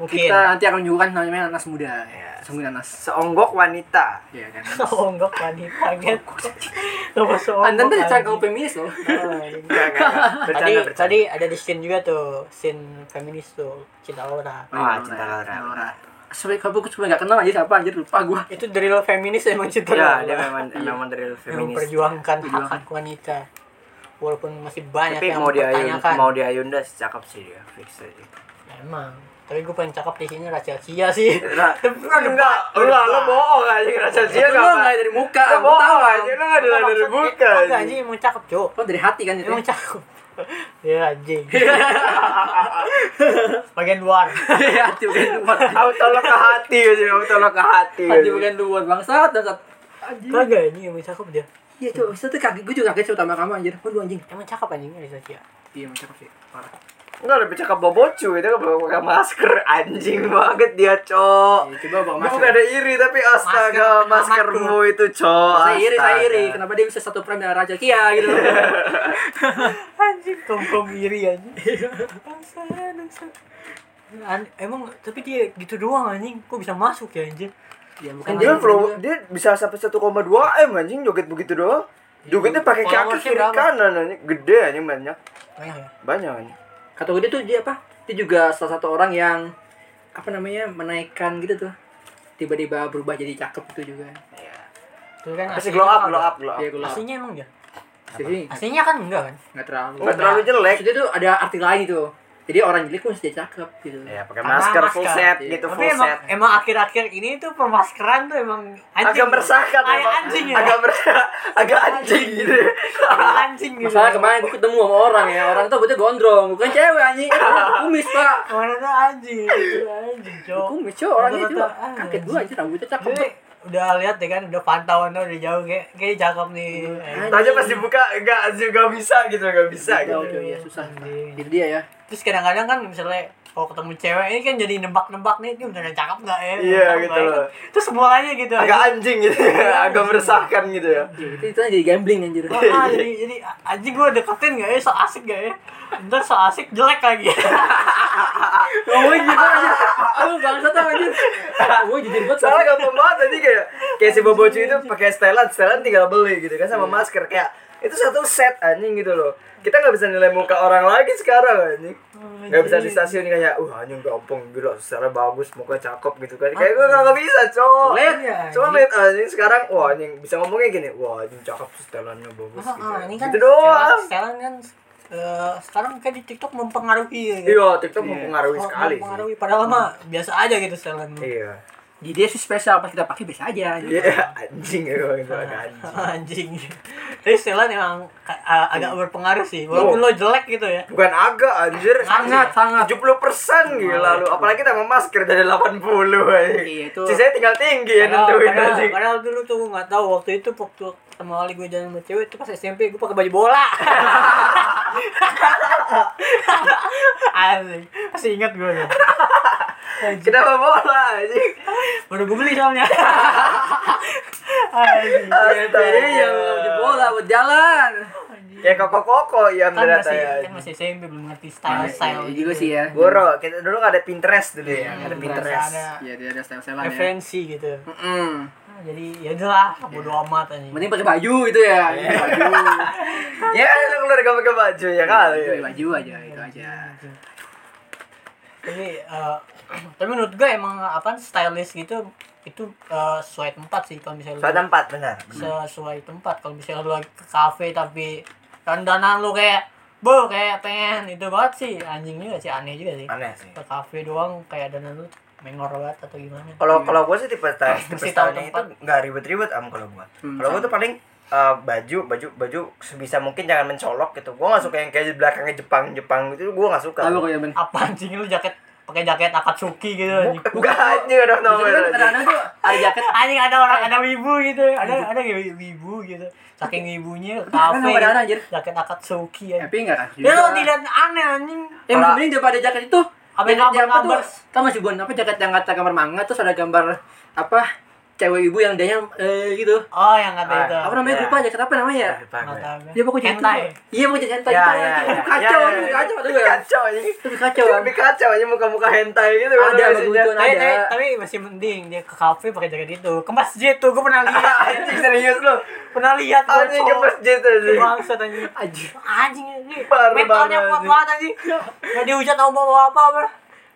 [SPEAKER 3] mungkin
[SPEAKER 2] Iya. kita nanti akan menyuguhkan namanya nanas muda ya sungguh nanas
[SPEAKER 1] seonggok wanita
[SPEAKER 2] ya kan
[SPEAKER 3] Seonggok wanita gitu. Kenapa seonggok?
[SPEAKER 2] anda tuh cara kamu
[SPEAKER 3] anjing?
[SPEAKER 2] feminis loh
[SPEAKER 3] Oh, anjing.
[SPEAKER 1] Enggak, enggak, enggak.
[SPEAKER 3] Tadi
[SPEAKER 1] Iya, bercanda bercanda
[SPEAKER 3] tadi ada di scene juga tuh, scene feminis tuh, cinta Laura.
[SPEAKER 1] Ah,
[SPEAKER 2] ya,
[SPEAKER 1] cinta Laura.
[SPEAKER 2] Sebagai kamu gue cuma gak kenal aja siapa anjir lupa gue.
[SPEAKER 3] Itu dari lo feminis emang cinta
[SPEAKER 1] ya
[SPEAKER 3] Laura.
[SPEAKER 1] dia memang memang dari
[SPEAKER 3] Yang
[SPEAKER 1] feminis
[SPEAKER 3] memperjuangkan hak hak wanita. Walaupun masih banyak
[SPEAKER 1] tapi
[SPEAKER 3] yang
[SPEAKER 1] mau dia Ayun-
[SPEAKER 3] mempertanyakan.
[SPEAKER 1] mau dia Ayunda cakep sih dia fix aja
[SPEAKER 3] Emang. Tapi gue pengen cakep di sini rahasia sih.
[SPEAKER 1] Nah,
[SPEAKER 3] Debat,
[SPEAKER 1] enggak, lu
[SPEAKER 3] debat.
[SPEAKER 1] lu bohong aja ngerasa dia
[SPEAKER 2] Dia
[SPEAKER 1] enggak.
[SPEAKER 2] kenal
[SPEAKER 1] apa-
[SPEAKER 2] nggak dari muka.
[SPEAKER 1] Lu
[SPEAKER 2] gua
[SPEAKER 1] bohong
[SPEAKER 2] tahu.
[SPEAKER 1] aja lu enggak dari dari muka.
[SPEAKER 3] Enggak
[SPEAKER 1] anjing.
[SPEAKER 3] anjing emang cakep, Cok.
[SPEAKER 2] Lo dari hati kan jadi.
[SPEAKER 3] Emang cakep. Ya anjing.
[SPEAKER 1] Iya.
[SPEAKER 3] Bagian luar.
[SPEAKER 2] Iya, hati bukan luar.
[SPEAKER 1] Aku tolong ke hati aja, aku tolong ke hati.
[SPEAKER 2] Hati bukan luar bangsat dasar. Anjir.
[SPEAKER 3] Kagak anjing emang cakep dia.
[SPEAKER 2] Iya tuh, bisa tuh kaget gue juga kaget sama kamu anjir. Waduh anjing.
[SPEAKER 3] Emang cakep anjingnya di Zakia.
[SPEAKER 2] Iya, emang cakep sih. Parah.
[SPEAKER 1] Enggak lebih cakep bobocu itu kan belum pakai masker anjing banget dia, Cok.
[SPEAKER 2] Iya, coba bawa
[SPEAKER 1] Gue
[SPEAKER 2] masker.
[SPEAKER 1] bukan ada iri tapi astaga
[SPEAKER 3] Masker
[SPEAKER 1] maskermu itu, Cok.
[SPEAKER 2] Saya iri, saya
[SPEAKER 1] astaga. Iya,
[SPEAKER 2] iri. Kenapa dia bisa satu frame dengan Raja Kia gitu?
[SPEAKER 3] Anjing kom-kom iri anjing. Bangsa, bangsa. An- emang tapi dia gitu doang anjing. Kok bisa masuk ya anjing?
[SPEAKER 2] Iya, bukan
[SPEAKER 1] Kan dia
[SPEAKER 2] anjing,
[SPEAKER 1] flow,
[SPEAKER 2] anjing.
[SPEAKER 1] dia bisa sampai 1,2 M anjing joget begitu doang.
[SPEAKER 2] Iya,
[SPEAKER 1] Jogetnya pakai kaki
[SPEAKER 3] Followersnya
[SPEAKER 1] kiri
[SPEAKER 3] berapa?
[SPEAKER 1] kanan anjing. Gede anjing banyak.
[SPEAKER 3] Banyak ya.
[SPEAKER 1] Banyak anjing.
[SPEAKER 2] Kata gue dia tuh dia apa? Dia juga salah satu orang yang apa namanya? menaikkan gitu tuh. Tiba-tiba berubah jadi cakep itu juga.
[SPEAKER 3] Tuh
[SPEAKER 2] Nah,
[SPEAKER 3] kan
[SPEAKER 1] Pasti
[SPEAKER 3] aslinya
[SPEAKER 1] glow up,
[SPEAKER 2] iya,
[SPEAKER 3] kan
[SPEAKER 1] glow
[SPEAKER 3] ada.
[SPEAKER 1] up, glow up.
[SPEAKER 2] Dia gue
[SPEAKER 3] Aslinya emang ya?
[SPEAKER 2] Sih,
[SPEAKER 3] Aslinya kan enggak kan?
[SPEAKER 2] nggak terlalu.
[SPEAKER 1] Enggak terlalu jelek.
[SPEAKER 2] Maksudnya tuh ada arti lain gitu. Jadi orang jelek pun dia cakep gitu.
[SPEAKER 1] Ya, pakai
[SPEAKER 3] Karena
[SPEAKER 1] masker full
[SPEAKER 3] masker.
[SPEAKER 1] set
[SPEAKER 2] Iya.
[SPEAKER 1] gitu,
[SPEAKER 3] Tapi
[SPEAKER 1] full
[SPEAKER 3] emang
[SPEAKER 1] set.
[SPEAKER 3] emang akhir-akhir ini tuh pemaskeran tuh emang anjing.
[SPEAKER 2] ya?
[SPEAKER 1] Agak meresahkan
[SPEAKER 3] Kayak
[SPEAKER 1] emang.
[SPEAKER 3] anjing ya.
[SPEAKER 1] Agak meresahkan, agak anjing gitu.
[SPEAKER 3] Kayak anjing gitu.
[SPEAKER 2] Masalah kemarin gue ketemu sama orang ya, orang tuh butuh gondrong, bukan cewek anjing, Orang kumis pak.
[SPEAKER 3] Kemarin tuh anjing, gitu, anjing, Cok.
[SPEAKER 1] ya,
[SPEAKER 2] Kumis cowok orangnya
[SPEAKER 3] Gua
[SPEAKER 2] juga
[SPEAKER 3] kata, ah,
[SPEAKER 2] kaget gue aja rambutnya cakep.
[SPEAKER 3] Jadi udah lihat deh kan udah pantauan tuh dari jauh kayak kayak cakep nih. Eh,
[SPEAKER 2] Anjing.
[SPEAKER 1] Tanya pas dibuka enggak enggak bisa gitu, enggak bisa
[SPEAKER 2] Jauh
[SPEAKER 1] gitu.
[SPEAKER 2] jauh ya susah.
[SPEAKER 3] Anjing.
[SPEAKER 2] Itu dia ya.
[SPEAKER 3] Terus kadang-kadang kan misalnya kalau ketemu cewek ini kan jadi nebak-nebak nih dia beneran cakep nggak ya?
[SPEAKER 1] Iya,
[SPEAKER 3] Cakep
[SPEAKER 1] gitu
[SPEAKER 3] nggak ya?
[SPEAKER 1] loh.
[SPEAKER 3] Terus semuanya gitu.
[SPEAKER 1] Agak
[SPEAKER 3] anjing.
[SPEAKER 1] anjing gitu, agak meresahkan gitu ya.
[SPEAKER 2] Itu itu aja jadi gambling anjir.
[SPEAKER 1] Iya.
[SPEAKER 3] Ah, jadi, jadi anjing gue deketin gak ya, so asik gak ya Ntar so asik jelek lagi
[SPEAKER 2] Ngomongin gitu aja. Aku bangsa tau anjir. Gue jujur banget.
[SPEAKER 1] Soalnya gampang banget tadi kayak kayak si Bobocu itu pakai setelan, setelan tinggal beli gitu kan sama masker kayak itu satu set anjing gitu loh. Kita nggak bisa nilai muka orang lagi sekarang anjing. Nggak bisa di stasiun kayak uh anjing gampang gila secara bagus muka cakep gitu kan. Kayak gue nggak bisa cowok.
[SPEAKER 3] Sulit.
[SPEAKER 1] Cuma lihat anjing sekarang wah anjing bisa ngomongnya gini. Wah anjing cakep setelannya bagus
[SPEAKER 3] Masa,
[SPEAKER 1] gitu.
[SPEAKER 3] ah, ini kan
[SPEAKER 1] Gitu doang.
[SPEAKER 3] sekarang, sekarang kan eh, sekarang kayak di TikTok mempengaruhi ya. Oh,
[SPEAKER 1] Iya, TikTok Iya, mempengaruhi sekali sih.
[SPEAKER 2] Hmm.
[SPEAKER 3] Mempengaruhi padahal mah biasa aja gitu sekarang.
[SPEAKER 1] Iya.
[SPEAKER 2] di dia sih spesial pas kita pakai biasa aja gitu.
[SPEAKER 1] Iya, anjing ya gua bilang, anjing.
[SPEAKER 3] anjing jadi Stellan emang ka- a-
[SPEAKER 2] Hmm.
[SPEAKER 3] agak berpengaruh sih walaupun
[SPEAKER 2] Oh.
[SPEAKER 3] lo jelek gitu ya
[SPEAKER 1] Bukan agak anjir.
[SPEAKER 2] sangat sangat
[SPEAKER 1] 70 persen gila lu apalagi kita mau masker dari 80 aja
[SPEAKER 2] Iya, itu-
[SPEAKER 1] sisanya tinggal tinggi ya
[SPEAKER 2] Iya,
[SPEAKER 3] Padahal-
[SPEAKER 1] nentuin
[SPEAKER 3] padahal,
[SPEAKER 1] anjing
[SPEAKER 3] padahal dulu tuh gue gak tahu waktu itu waktu sama kali gue jalan sama cewek itu pas SMP gue pakai baju bola. Asik. Masih ingat gue ya.
[SPEAKER 1] kenapa bola anjing
[SPEAKER 3] Baru gue beli soalnya. Asik.
[SPEAKER 2] Jadi yang di iya, bola buat jalan
[SPEAKER 1] kayak koko koko ya
[SPEAKER 3] Kan
[SPEAKER 1] ternyata
[SPEAKER 3] masih
[SPEAKER 1] ya
[SPEAKER 3] kan masih SMP belum ngerti style gitu.
[SPEAKER 2] Iya
[SPEAKER 3] style
[SPEAKER 2] juga sih ya
[SPEAKER 1] goro kita dulu nggak ada Pinterest dulu ya nggak ada
[SPEAKER 3] Hmm,
[SPEAKER 1] Pinterest
[SPEAKER 3] ada
[SPEAKER 2] Iya dia ada style style ya
[SPEAKER 3] referensi gitu.
[SPEAKER 2] Mm-mm.
[SPEAKER 3] Nah, Jadi ya udahlah, bodo amat anjing.
[SPEAKER 2] mending pakai baju itu ya Pakai baju
[SPEAKER 1] ya kan lu keluar gak pakai baju ya kali
[SPEAKER 2] Pakai baju aja itu aja
[SPEAKER 3] Tapi, eh, tapi menurut gue emang apa stylish gitu itu eh, sesuai tempat sih kalau misalnya
[SPEAKER 1] soal
[SPEAKER 3] lu-
[SPEAKER 1] tempat benar
[SPEAKER 3] sesuai tempat kalau misalnya lu lagi ke kafe tapi dandanan lu kayak bo kayak pengen itu banget sih anjing juga sih aneh juga sih
[SPEAKER 1] aneh sih
[SPEAKER 3] ke kafe doang kayak dandanan lu mengor banget atau gimana
[SPEAKER 2] Iya.
[SPEAKER 1] kalau kalau gue sih tipe style tipe
[SPEAKER 3] Mesti tahu
[SPEAKER 1] stylenya itu
[SPEAKER 3] tempat.
[SPEAKER 1] nggak ribet-ribet am kalau gue
[SPEAKER 2] Hmm,
[SPEAKER 1] kalau gue tuh paling eh, baju baju baju sebisa mungkin jangan mencolok gitu gue nggak suka yang kayak di belakangnya Jepang Jepang gitu gue nggak suka
[SPEAKER 2] kalau yang ben
[SPEAKER 3] apa anjing lu jaket pakai jaket akatsuki gitu anjing
[SPEAKER 1] Enggak anjing ada
[SPEAKER 2] Biasanya
[SPEAKER 1] nomor
[SPEAKER 2] kan kadang-kadang tuh ada jaket
[SPEAKER 3] anjing ada orang ada wibu gitu ada ada kayak wibu gitu saking wibunya ke
[SPEAKER 2] Kan
[SPEAKER 3] kafe
[SPEAKER 2] kadang-kadang anjir
[SPEAKER 3] jaket akatsuki ya
[SPEAKER 2] tapi enggak kan
[SPEAKER 3] Ya lo tidak aneh anjing.
[SPEAKER 2] yang
[SPEAKER 1] Kalau-
[SPEAKER 2] mending daripada jaket itu
[SPEAKER 3] Apa
[SPEAKER 2] jaket
[SPEAKER 3] gambar-
[SPEAKER 2] yang apa tuh
[SPEAKER 3] gambar?
[SPEAKER 2] tau gak sih Bon? apa jaket yang kata gambar manga terus ada gambar apa cewek ibu yang dia eh, gitu
[SPEAKER 3] Oh, yang kata
[SPEAKER 1] Ah,
[SPEAKER 3] itu.
[SPEAKER 2] apa namanya
[SPEAKER 1] Ya. gitu?
[SPEAKER 2] lupa jaket apa namanya
[SPEAKER 3] Kata apa?
[SPEAKER 2] dia pokoknya itu
[SPEAKER 3] Hentai.
[SPEAKER 2] iya pokoknya hentai
[SPEAKER 1] Ya,
[SPEAKER 2] gitu
[SPEAKER 1] ya,
[SPEAKER 2] Itu
[SPEAKER 1] ya.
[SPEAKER 2] kacau
[SPEAKER 1] Ya, ya,
[SPEAKER 2] itu
[SPEAKER 1] ya.
[SPEAKER 2] kacau itu
[SPEAKER 1] Lebih kacau anjing.
[SPEAKER 2] lebih kacau
[SPEAKER 1] Lebih kacau anjing muka-muka hentai gitu kan
[SPEAKER 2] Ada,
[SPEAKER 1] biasanya.
[SPEAKER 2] begitu.
[SPEAKER 3] Tapi,
[SPEAKER 2] Ada.
[SPEAKER 3] tapi, tapi masih mending dia ke kafe pakai jaket itu. Ke masjid tuh gue pernah lihat.
[SPEAKER 1] Anjing serius lu.
[SPEAKER 3] pernah lihat gua,
[SPEAKER 1] Ah, iya. Anjing ke
[SPEAKER 3] cowok.
[SPEAKER 1] masjid anjing.
[SPEAKER 3] Bangsat anjing.
[SPEAKER 2] Anjir.
[SPEAKER 3] Anjing ini.
[SPEAKER 1] Parah
[SPEAKER 3] Mentalnya
[SPEAKER 1] banget,
[SPEAKER 3] kuat banget anjing. Gak dihujat sama bawa apa apa.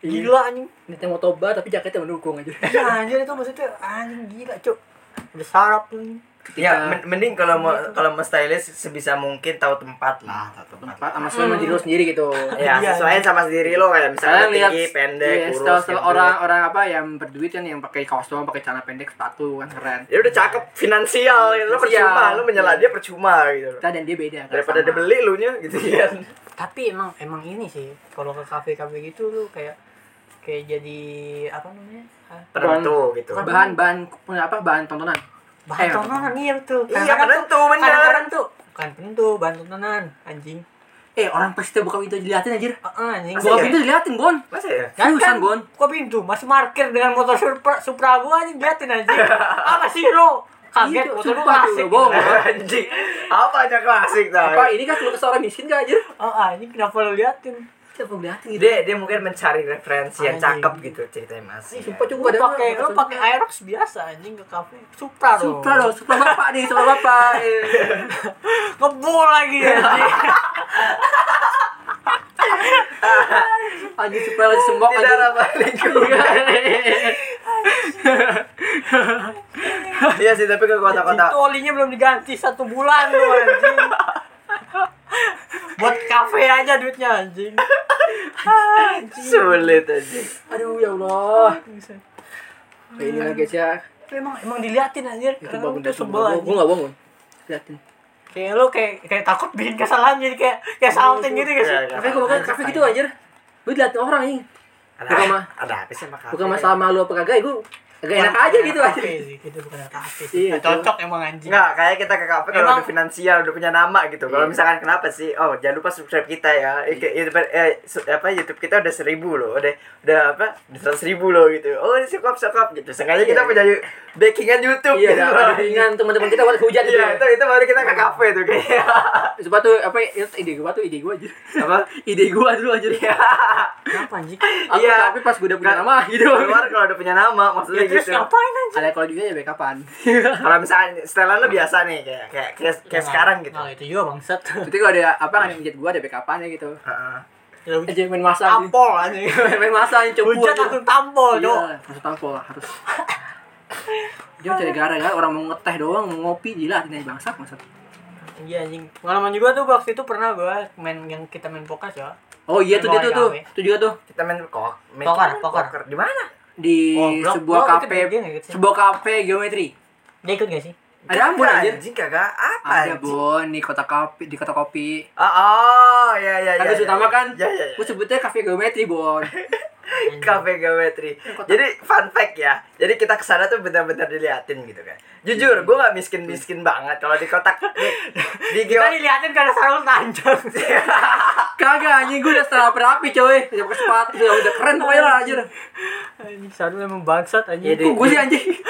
[SPEAKER 3] Gila anjing.
[SPEAKER 2] Niatnya mau tobat tapi jaketnya mendukung aja
[SPEAKER 3] Iya anjir itu maksudnya anjing gila, Cuk. Udah sarap tuh. anjing.
[SPEAKER 1] Ya, men- mending kalau mau kalau mau stylish sebisa mungkin tahu tempat lah, tahu tempat.
[SPEAKER 2] tempat sama sama diri lu sendiri gitu
[SPEAKER 1] Ya,
[SPEAKER 3] Iya.
[SPEAKER 1] sesuaiin sama diri lo kayak misalnya
[SPEAKER 2] Kalian lihat
[SPEAKER 1] tinggi, pendek,
[SPEAKER 2] iya,
[SPEAKER 1] kurus. gitu.
[SPEAKER 2] style-style
[SPEAKER 1] gendut.
[SPEAKER 2] orang-orang apa yang berduit kan yang pakai kaos doang, pakai celana pendek, sepatu kan keren.
[SPEAKER 1] Ya udah cakep finansial gitu. Lo
[SPEAKER 2] Finansial.
[SPEAKER 1] percuma, lo menyela dia percuma gitu.
[SPEAKER 2] Kita dan dia beda. nggak
[SPEAKER 1] Daripada
[SPEAKER 2] sama. Iya.
[SPEAKER 1] dia beli lu nya gitu kan.
[SPEAKER 3] tapi emang emang ini sih kalau ke kafe kafe gitu lu kayak kayak jadi apa namanya Ah,
[SPEAKER 1] Penentu gitu.
[SPEAKER 3] Bukan.
[SPEAKER 2] bahan-bahan apa bahan tontonan.
[SPEAKER 3] bahan
[SPEAKER 2] Eh,
[SPEAKER 3] tontonan iya betul
[SPEAKER 1] Iya,
[SPEAKER 3] Kadang-kadang
[SPEAKER 1] penentu,
[SPEAKER 3] tuh-
[SPEAKER 1] bener.
[SPEAKER 3] kadang-kadang tuh bukan penentu bahan tontonan anjing
[SPEAKER 2] Eh, orang pas kita buka pintu diliatin anjir.
[SPEAKER 3] Ah, ah, anjing
[SPEAKER 1] Masa
[SPEAKER 2] Buka
[SPEAKER 1] iya?
[SPEAKER 2] pintu diliatin, Bon.
[SPEAKER 1] Masa ya?
[SPEAKER 2] Seriusan, Bon.
[SPEAKER 3] buka pintu masih parkir dengan motor supra supra gua anjing liatin anjing apa sih lu kaget
[SPEAKER 2] Iya,
[SPEAKER 3] motor lu
[SPEAKER 2] sumpah tuh,
[SPEAKER 3] asik
[SPEAKER 2] lu bohong.
[SPEAKER 1] Anjing. Apa aja klasik tau.
[SPEAKER 2] Apa ini kan kalau ke orang miskin gak anjir?
[SPEAKER 3] oh anjing kenapa lu liatin
[SPEAKER 2] Kita mau diliatin gitu.
[SPEAKER 1] dia dia mungkin mencari referensi yang
[SPEAKER 3] Anjing.
[SPEAKER 1] cakep gitu ceritanya masih
[SPEAKER 2] Sumpah
[SPEAKER 1] ya.
[SPEAKER 2] cukup
[SPEAKER 3] lu
[SPEAKER 2] ada
[SPEAKER 3] pakai lu pakai Aerox biasa anjing ke kafe supra dong
[SPEAKER 2] Supra dong, supra bapak nih, supra bapak.
[SPEAKER 3] ngebul lagi anjing
[SPEAKER 2] Anjir supra lagi sembok
[SPEAKER 1] tidak
[SPEAKER 2] anjir.
[SPEAKER 1] ramah lingkungan iya sih tapi ke
[SPEAKER 3] Itu
[SPEAKER 1] kota-kota
[SPEAKER 3] olinya belum diganti satu bulan tuh anjing. Buat kafe aja duitnya anjing. anjing.
[SPEAKER 1] sulit aja
[SPEAKER 2] Aduh ya Allah. Kayak ini lagi guys ya.
[SPEAKER 3] Tapi emang emang diliatin anjir.
[SPEAKER 2] Itu
[SPEAKER 3] Kadang
[SPEAKER 2] bangun
[SPEAKER 3] tuh
[SPEAKER 2] dari
[SPEAKER 3] sebel
[SPEAKER 2] sumpah. Gua- Gua
[SPEAKER 3] anjing.
[SPEAKER 2] enggak bangun. Liatin.
[SPEAKER 3] Kayak lu kayak kayak takut bikin kesalahan jadi kayak kayak salting gitu guys.
[SPEAKER 1] Iya, iya.
[SPEAKER 2] Kafe gua bakal kafe gitu anjir. Gua diliatin orang anjing.
[SPEAKER 1] ada
[SPEAKER 2] Bukan mah.
[SPEAKER 1] ada apa sih makan
[SPEAKER 2] Bukan masalah malu apa kagak, ya gua agak enak aja gitu anjir.
[SPEAKER 3] Gitu bukan kafe.
[SPEAKER 2] Iya,
[SPEAKER 3] Nggak cocok emang anjing.
[SPEAKER 1] Enggak, kayak kita ke kafe kalau
[SPEAKER 3] Emang-
[SPEAKER 1] udah finansial, udah punya nama gitu. Kalau misalkan kenapa sih? Oh, jangan lupa subscribe kita ya. Eh, ke- YouTube, eh, su- apa YouTube kita udah seribu loh, udah udah apa? Udah seratus ribu loh gitu. Oh, ini sekop sekop gitu. Sengaja kita punya yu- backingan YouTube
[SPEAKER 2] Iya,
[SPEAKER 1] gitu.
[SPEAKER 2] ada bimbingan teman-teman kita waktu hujan gitu.
[SPEAKER 1] Iya, itu itu baru kita ke kafe tuh kayaknya.
[SPEAKER 2] Coba tuh apa ya, ide gua tuh ide gua aja.
[SPEAKER 1] Apa?
[SPEAKER 2] Ide gua dulu aja.
[SPEAKER 3] Kenapa anjing?
[SPEAKER 2] Aku
[SPEAKER 1] Iya.
[SPEAKER 2] tapi pas gua udah punya
[SPEAKER 1] Nggak-
[SPEAKER 2] nama gitu.
[SPEAKER 1] Keluar kalau udah punya nama, maksudnya
[SPEAKER 3] Ya, Terus
[SPEAKER 1] gitu.
[SPEAKER 3] ngapain anjing?
[SPEAKER 2] Ada kalau juga ya backupan.
[SPEAKER 1] Kalau misalkan setelan lu biasa nih kayak kayak kayak, kayak sekarang gitu.
[SPEAKER 3] Nah, itu juga bangsat.
[SPEAKER 2] Jadi kalau ada apa yang ngejat gua ada backupannya gitu.
[SPEAKER 1] Heeh.
[SPEAKER 2] Aja main masa anjing.
[SPEAKER 3] Tampol anjing.
[SPEAKER 2] Main masa yang coba.
[SPEAKER 3] Hujan langsung
[SPEAKER 1] Oh,
[SPEAKER 3] tampol, Dok.
[SPEAKER 2] Iya, harus tampol harus. Dia cari gara-gara orang mau ngeteh doang, mau ngopi gila ini bangsat bangsat.
[SPEAKER 3] Iya anjing. Pengalaman juga tuh waktu itu pernah gua main yang kita main poker ya.
[SPEAKER 2] Oh iya tuh dia tuh tuh.
[SPEAKER 3] Main
[SPEAKER 2] Itu juga tuh.
[SPEAKER 1] Kita main kok, main
[SPEAKER 3] Poker,
[SPEAKER 1] main
[SPEAKER 3] poker.
[SPEAKER 1] Di mana?
[SPEAKER 2] di
[SPEAKER 3] Oh, blok-
[SPEAKER 2] sebuah
[SPEAKER 3] blok itu
[SPEAKER 2] kafe
[SPEAKER 3] begini gitu sih.
[SPEAKER 2] sebuah kafe geometri
[SPEAKER 3] Dia ikut gak sih?
[SPEAKER 2] ada apa anjir
[SPEAKER 1] anjing kagak apa
[SPEAKER 2] ada
[SPEAKER 1] anjing?
[SPEAKER 2] bon di kota kopi di kota kopi
[SPEAKER 1] Oh, oh ya ya ya.
[SPEAKER 2] Kampus
[SPEAKER 1] ya,
[SPEAKER 2] utama kan?
[SPEAKER 1] Ya ya. Hmm. ya.
[SPEAKER 2] Gue sebutnya kafe geometri, Bon.
[SPEAKER 1] Kafe Geometri. Jadi fun fact ya. Jadi kita kesana tuh benar-benar diliatin gitu kan. Jujur, gue nggak miskin-miskin banget kalau di kotak di, di geo.
[SPEAKER 3] Kita diliatin karena sarung tanjung.
[SPEAKER 2] Kagak anjing gue udah setelah berapi coy. Udah pakai sepatu, udah, udah keren pokoknya lah anjir.
[SPEAKER 3] Anjing sarung emang bangsat
[SPEAKER 1] Iya,
[SPEAKER 3] anjing.
[SPEAKER 1] deh.
[SPEAKER 2] Kok gue sih anjing.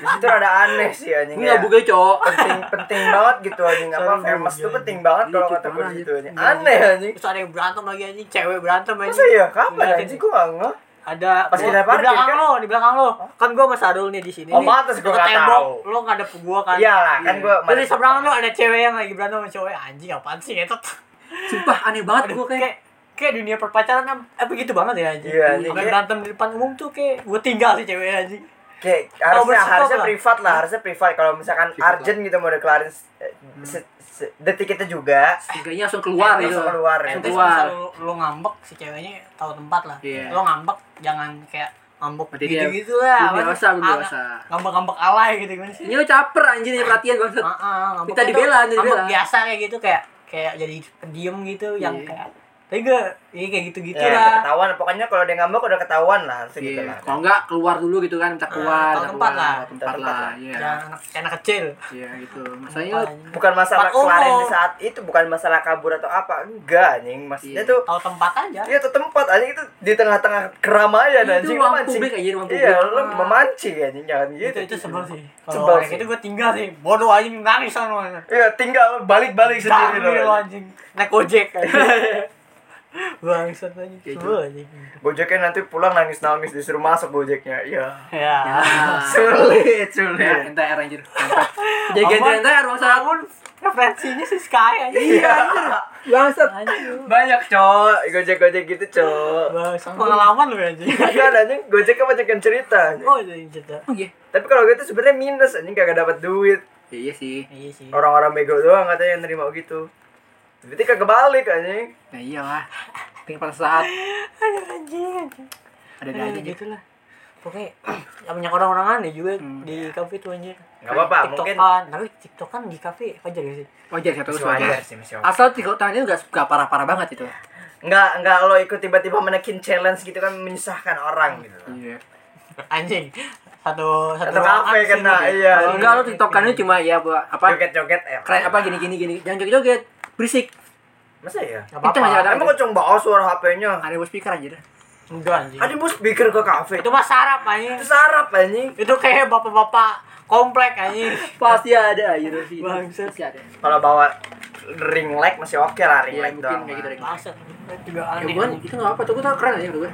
[SPEAKER 1] Di situ ada aneh sih anjing.
[SPEAKER 2] Gue enggak
[SPEAKER 1] ya.
[SPEAKER 2] buka, Cok.
[SPEAKER 1] penting penting banget gitu anjing apa
[SPEAKER 3] Sorry,
[SPEAKER 1] famous
[SPEAKER 3] iya,
[SPEAKER 1] tuh
[SPEAKER 3] iya.
[SPEAKER 1] penting banget
[SPEAKER 2] Iya,
[SPEAKER 1] kalau
[SPEAKER 2] cuy,
[SPEAKER 1] kata gue
[SPEAKER 2] parah,
[SPEAKER 1] gitu
[SPEAKER 2] iya.
[SPEAKER 1] anjing. Aneh anjing.
[SPEAKER 3] Terus ada yang berantem lagi anjing, cewek berantem
[SPEAKER 1] Masa
[SPEAKER 3] anjing.
[SPEAKER 1] iya kapan
[SPEAKER 3] Diliatin.
[SPEAKER 1] anjing gue nggak ngeh.
[SPEAKER 3] Ada
[SPEAKER 1] Pas
[SPEAKER 3] gua-
[SPEAKER 1] kita
[SPEAKER 3] di
[SPEAKER 1] parkir,
[SPEAKER 3] belakang
[SPEAKER 1] kan?
[SPEAKER 3] lo, di belakang lo. Kan gua sama Sarul nih di sini.
[SPEAKER 1] Oh,
[SPEAKER 3] nih.
[SPEAKER 1] pantes gua
[SPEAKER 3] Ke
[SPEAKER 1] nggak
[SPEAKER 3] tembok,
[SPEAKER 1] tahu.
[SPEAKER 3] Lo ngadep ke gua kan.
[SPEAKER 1] Iya lah kan gue.
[SPEAKER 3] Terus di seberang lo ada cewek yang lagi berantem sama cowok. Anjing apaan sih itu?
[SPEAKER 2] Sumpah aneh banget gue kayak.
[SPEAKER 3] Kayak kayak dunia perpacaran em- eh begitu banget ya anjing.
[SPEAKER 1] Iya, anjing.
[SPEAKER 3] Sampai berantem di depan umum tuh kayak gua tinggal sih cewek anjing.
[SPEAKER 1] Kayak harusnya
[SPEAKER 3] bersikap
[SPEAKER 1] harusnya
[SPEAKER 3] lah.
[SPEAKER 1] privat lah, harusnya privat. Kalau misalkan
[SPEAKER 2] Privat lah.
[SPEAKER 1] urgent gitu mau declarin eh, se- se- detik itu juga.
[SPEAKER 2] Kayaknya langsung keluar gitu.
[SPEAKER 1] Langsung keluar,
[SPEAKER 3] Eh,
[SPEAKER 1] gitu.
[SPEAKER 3] terus
[SPEAKER 2] Keluar.
[SPEAKER 3] misal lu, lu ngambek si ceweknya tahu tempat lah.
[SPEAKER 2] Iya.
[SPEAKER 3] Lo ngambek jangan kayak ngambek
[SPEAKER 2] Berarti dia-
[SPEAKER 3] gitu-gitu lah.
[SPEAKER 2] belum
[SPEAKER 3] Apa
[SPEAKER 2] dewasa,
[SPEAKER 3] sih?
[SPEAKER 2] belum
[SPEAKER 3] Anak-
[SPEAKER 2] dewasa.
[SPEAKER 3] Ngambek-ngambek alay gitu gimana sih?
[SPEAKER 2] Ini lo caper anjir ini perhatian
[SPEAKER 1] Ah, gitu
[SPEAKER 2] banget.
[SPEAKER 3] Heeh, ngambek
[SPEAKER 2] Minta
[SPEAKER 3] itu
[SPEAKER 2] dibela, minta
[SPEAKER 3] ngambek
[SPEAKER 2] dibela.
[SPEAKER 3] biasa kayak gitu kayak kayak jadi pendiam gitu yang
[SPEAKER 2] Iya.
[SPEAKER 3] kayak tapi gue ya kayak gitu-gitu
[SPEAKER 1] Ya, udah
[SPEAKER 3] lah.
[SPEAKER 1] ketahuan pokoknya kalau dia ngambek udah ketahuan lah harusnya gitu
[SPEAKER 2] Iya,
[SPEAKER 1] lah.
[SPEAKER 2] kalau enggak keluar dulu gitu kan, minta
[SPEAKER 3] tahu
[SPEAKER 2] keluar, minta
[SPEAKER 3] tempat
[SPEAKER 2] keluar,
[SPEAKER 3] Ah, lah.
[SPEAKER 2] tahu tempat
[SPEAKER 1] Tahu tempat
[SPEAKER 2] lah.
[SPEAKER 1] lah.
[SPEAKER 2] Iya.
[SPEAKER 3] Jangan anak, anak kecil.
[SPEAKER 2] Iya gitu. Masanya lo-
[SPEAKER 1] Bukan masalah
[SPEAKER 3] Tempat umum.
[SPEAKER 1] kelarin di saat itu, bukan masalah kabur atau apa, enggak anjing. Maksudnya
[SPEAKER 2] Iya.
[SPEAKER 1] tuh
[SPEAKER 3] tahu tempat aja.
[SPEAKER 1] Iya tuh tempat anjing itu di tengah-tengah keramaian
[SPEAKER 2] Itu
[SPEAKER 1] anjing
[SPEAKER 2] ruang
[SPEAKER 1] memancing.
[SPEAKER 2] publik, anjing, ruang
[SPEAKER 1] Iya,
[SPEAKER 2] publik.
[SPEAKER 1] lu memancing anjing jangan gitu.
[SPEAKER 3] Itu itu sebel sih.
[SPEAKER 1] Sebel
[SPEAKER 3] Kalau orang
[SPEAKER 1] sih.
[SPEAKER 3] itu gue tinggal sih. Bodoh aja nangis sama
[SPEAKER 1] Iya, tinggal balik-balik sendiri
[SPEAKER 3] Sendiri lo
[SPEAKER 1] lo.
[SPEAKER 3] anjing. Naik ojek anjing. gitu. Ya. Bangsat anjing. Sebel anjing.
[SPEAKER 1] Gojeknya nanti pulang nangis-nangis disuruh masuk Gojeknya. Iya.
[SPEAKER 3] Ya.
[SPEAKER 2] Ah,
[SPEAKER 1] Sulit,
[SPEAKER 2] ya,
[SPEAKER 1] sulit.
[SPEAKER 2] NTR anjir. Jadi ganti
[SPEAKER 3] Aman.
[SPEAKER 2] NTR bangsa.
[SPEAKER 3] Namun referensinya Ya, sih Sky anjing.
[SPEAKER 2] Iya anjir. Bangsat.
[SPEAKER 3] Anjing.
[SPEAKER 1] Banyak, Cok. Gojek-gojek gitu, Cok.
[SPEAKER 3] Bangsat. Pengalaman lu anjing.
[SPEAKER 1] Kan anjing Gojeknya banyakin cerita. anjing.
[SPEAKER 3] Oh, anjing cerita.
[SPEAKER 2] Oh, Iya.
[SPEAKER 1] Tapi kalau gitu sebenarnya minus anjing kagak dapat duit.
[SPEAKER 2] Ya, Iya sih.
[SPEAKER 3] Iya sih.
[SPEAKER 1] Orang-orang bego doang katanya yang nerima gitu. Berarti kagak balik anjing.
[SPEAKER 2] Ya iyalah. Penting pada saat
[SPEAKER 3] Aduh anjing. anjing.
[SPEAKER 2] ada
[SPEAKER 3] Ya,
[SPEAKER 2] aja gitu.
[SPEAKER 3] gitu lah. Pokoknya ya banyak orang-orang aneh juga
[SPEAKER 2] Hmm.
[SPEAKER 3] di kafe tuh anjir.
[SPEAKER 1] Nggak apa-apa,
[SPEAKER 3] TikTokan.
[SPEAKER 1] mungkin-
[SPEAKER 3] Tapi TikTokan di kafe wajar gak sih?
[SPEAKER 2] Wajar satu
[SPEAKER 1] Masih
[SPEAKER 2] wajar.
[SPEAKER 1] wajar sih, masih wajar.
[SPEAKER 2] Asal tiga tahun itu gak, gak parah-parah banget itu.
[SPEAKER 1] Enggak, enggak lo ikut tiba-tiba menekin challenge gitu kan menyusahkan orang gitu.
[SPEAKER 2] Iya.
[SPEAKER 3] Anjing. Satu satu
[SPEAKER 1] Satu
[SPEAKER 3] ruangan
[SPEAKER 1] kafe
[SPEAKER 3] sih
[SPEAKER 1] kena,
[SPEAKER 3] mungkin.
[SPEAKER 1] iya.
[SPEAKER 2] Kalau enggak lo tiktokannya cuma ya buat apa?
[SPEAKER 1] Joget-joget eh.
[SPEAKER 2] Keren apa gini gini gini. Jangan joget-joget. Berisik.
[SPEAKER 1] Masa ya?
[SPEAKER 3] Nggak apa-apa.
[SPEAKER 2] Itu nggak ada-
[SPEAKER 1] Emang kocong bawa suara HP-nya.
[SPEAKER 2] Ada buat speaker aja dah.
[SPEAKER 3] Enggak
[SPEAKER 2] Iya.
[SPEAKER 3] anjing.
[SPEAKER 1] Ada bus speaker ke kafe.
[SPEAKER 3] Itu mah sarap anjing.
[SPEAKER 1] Itu sarap anjing.
[SPEAKER 3] Itu kayak bapak-bapak komplek anjing.
[SPEAKER 2] Pasti ada gitu sih.
[SPEAKER 3] Bangsat.
[SPEAKER 2] Pasti ada.
[SPEAKER 1] Kalau bawa ring light masih oke lah ring
[SPEAKER 2] Iya,
[SPEAKER 1] light
[SPEAKER 2] mungkin
[SPEAKER 1] doang.
[SPEAKER 2] kayak gitu deh.
[SPEAKER 3] Bangsat. Juga
[SPEAKER 2] Ya
[SPEAKER 3] aneh.
[SPEAKER 2] bukan, itu gak apa. Tuh gue tau keren aja menurut gue.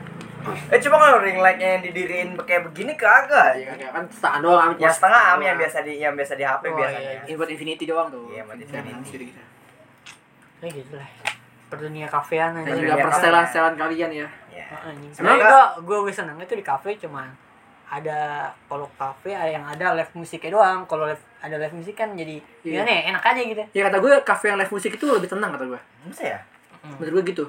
[SPEAKER 1] Eh cuma kalau ring lightnya yang didiriin kayak begini kagak.
[SPEAKER 2] Ya, kan setengah doang.
[SPEAKER 1] Yang Iya,
[SPEAKER 2] amit.
[SPEAKER 1] Ya, setengah am
[SPEAKER 2] Doang.
[SPEAKER 1] yang biasa di yang biasa di HP
[SPEAKER 3] Oh,
[SPEAKER 1] biasanya.
[SPEAKER 3] iya,
[SPEAKER 2] Ini buat infinity doang tuh.
[SPEAKER 1] Iya, buat
[SPEAKER 2] Infinity.
[SPEAKER 1] infinity.
[SPEAKER 2] Gitu.
[SPEAKER 3] Ya gitu lah. Perdunia kafean
[SPEAKER 2] Dan
[SPEAKER 3] anjing.
[SPEAKER 2] juga
[SPEAKER 1] Iya,
[SPEAKER 2] persetelan-setelan kalian ya.
[SPEAKER 1] Iya.
[SPEAKER 3] anjing.
[SPEAKER 1] Sebenarnya
[SPEAKER 3] Sebenarnya gua gua lebih seneng itu di kafe cuman ada kalau kafe ada yang ada live musiknya doang. Kalau live ada live musik kan jadi
[SPEAKER 2] Iya.
[SPEAKER 3] gimana ya, enak aja gitu.
[SPEAKER 2] Ya kata gue kafe yang live musik itu lebih tenang kata gue.
[SPEAKER 1] Masa ya?
[SPEAKER 2] Menurut gue gitu.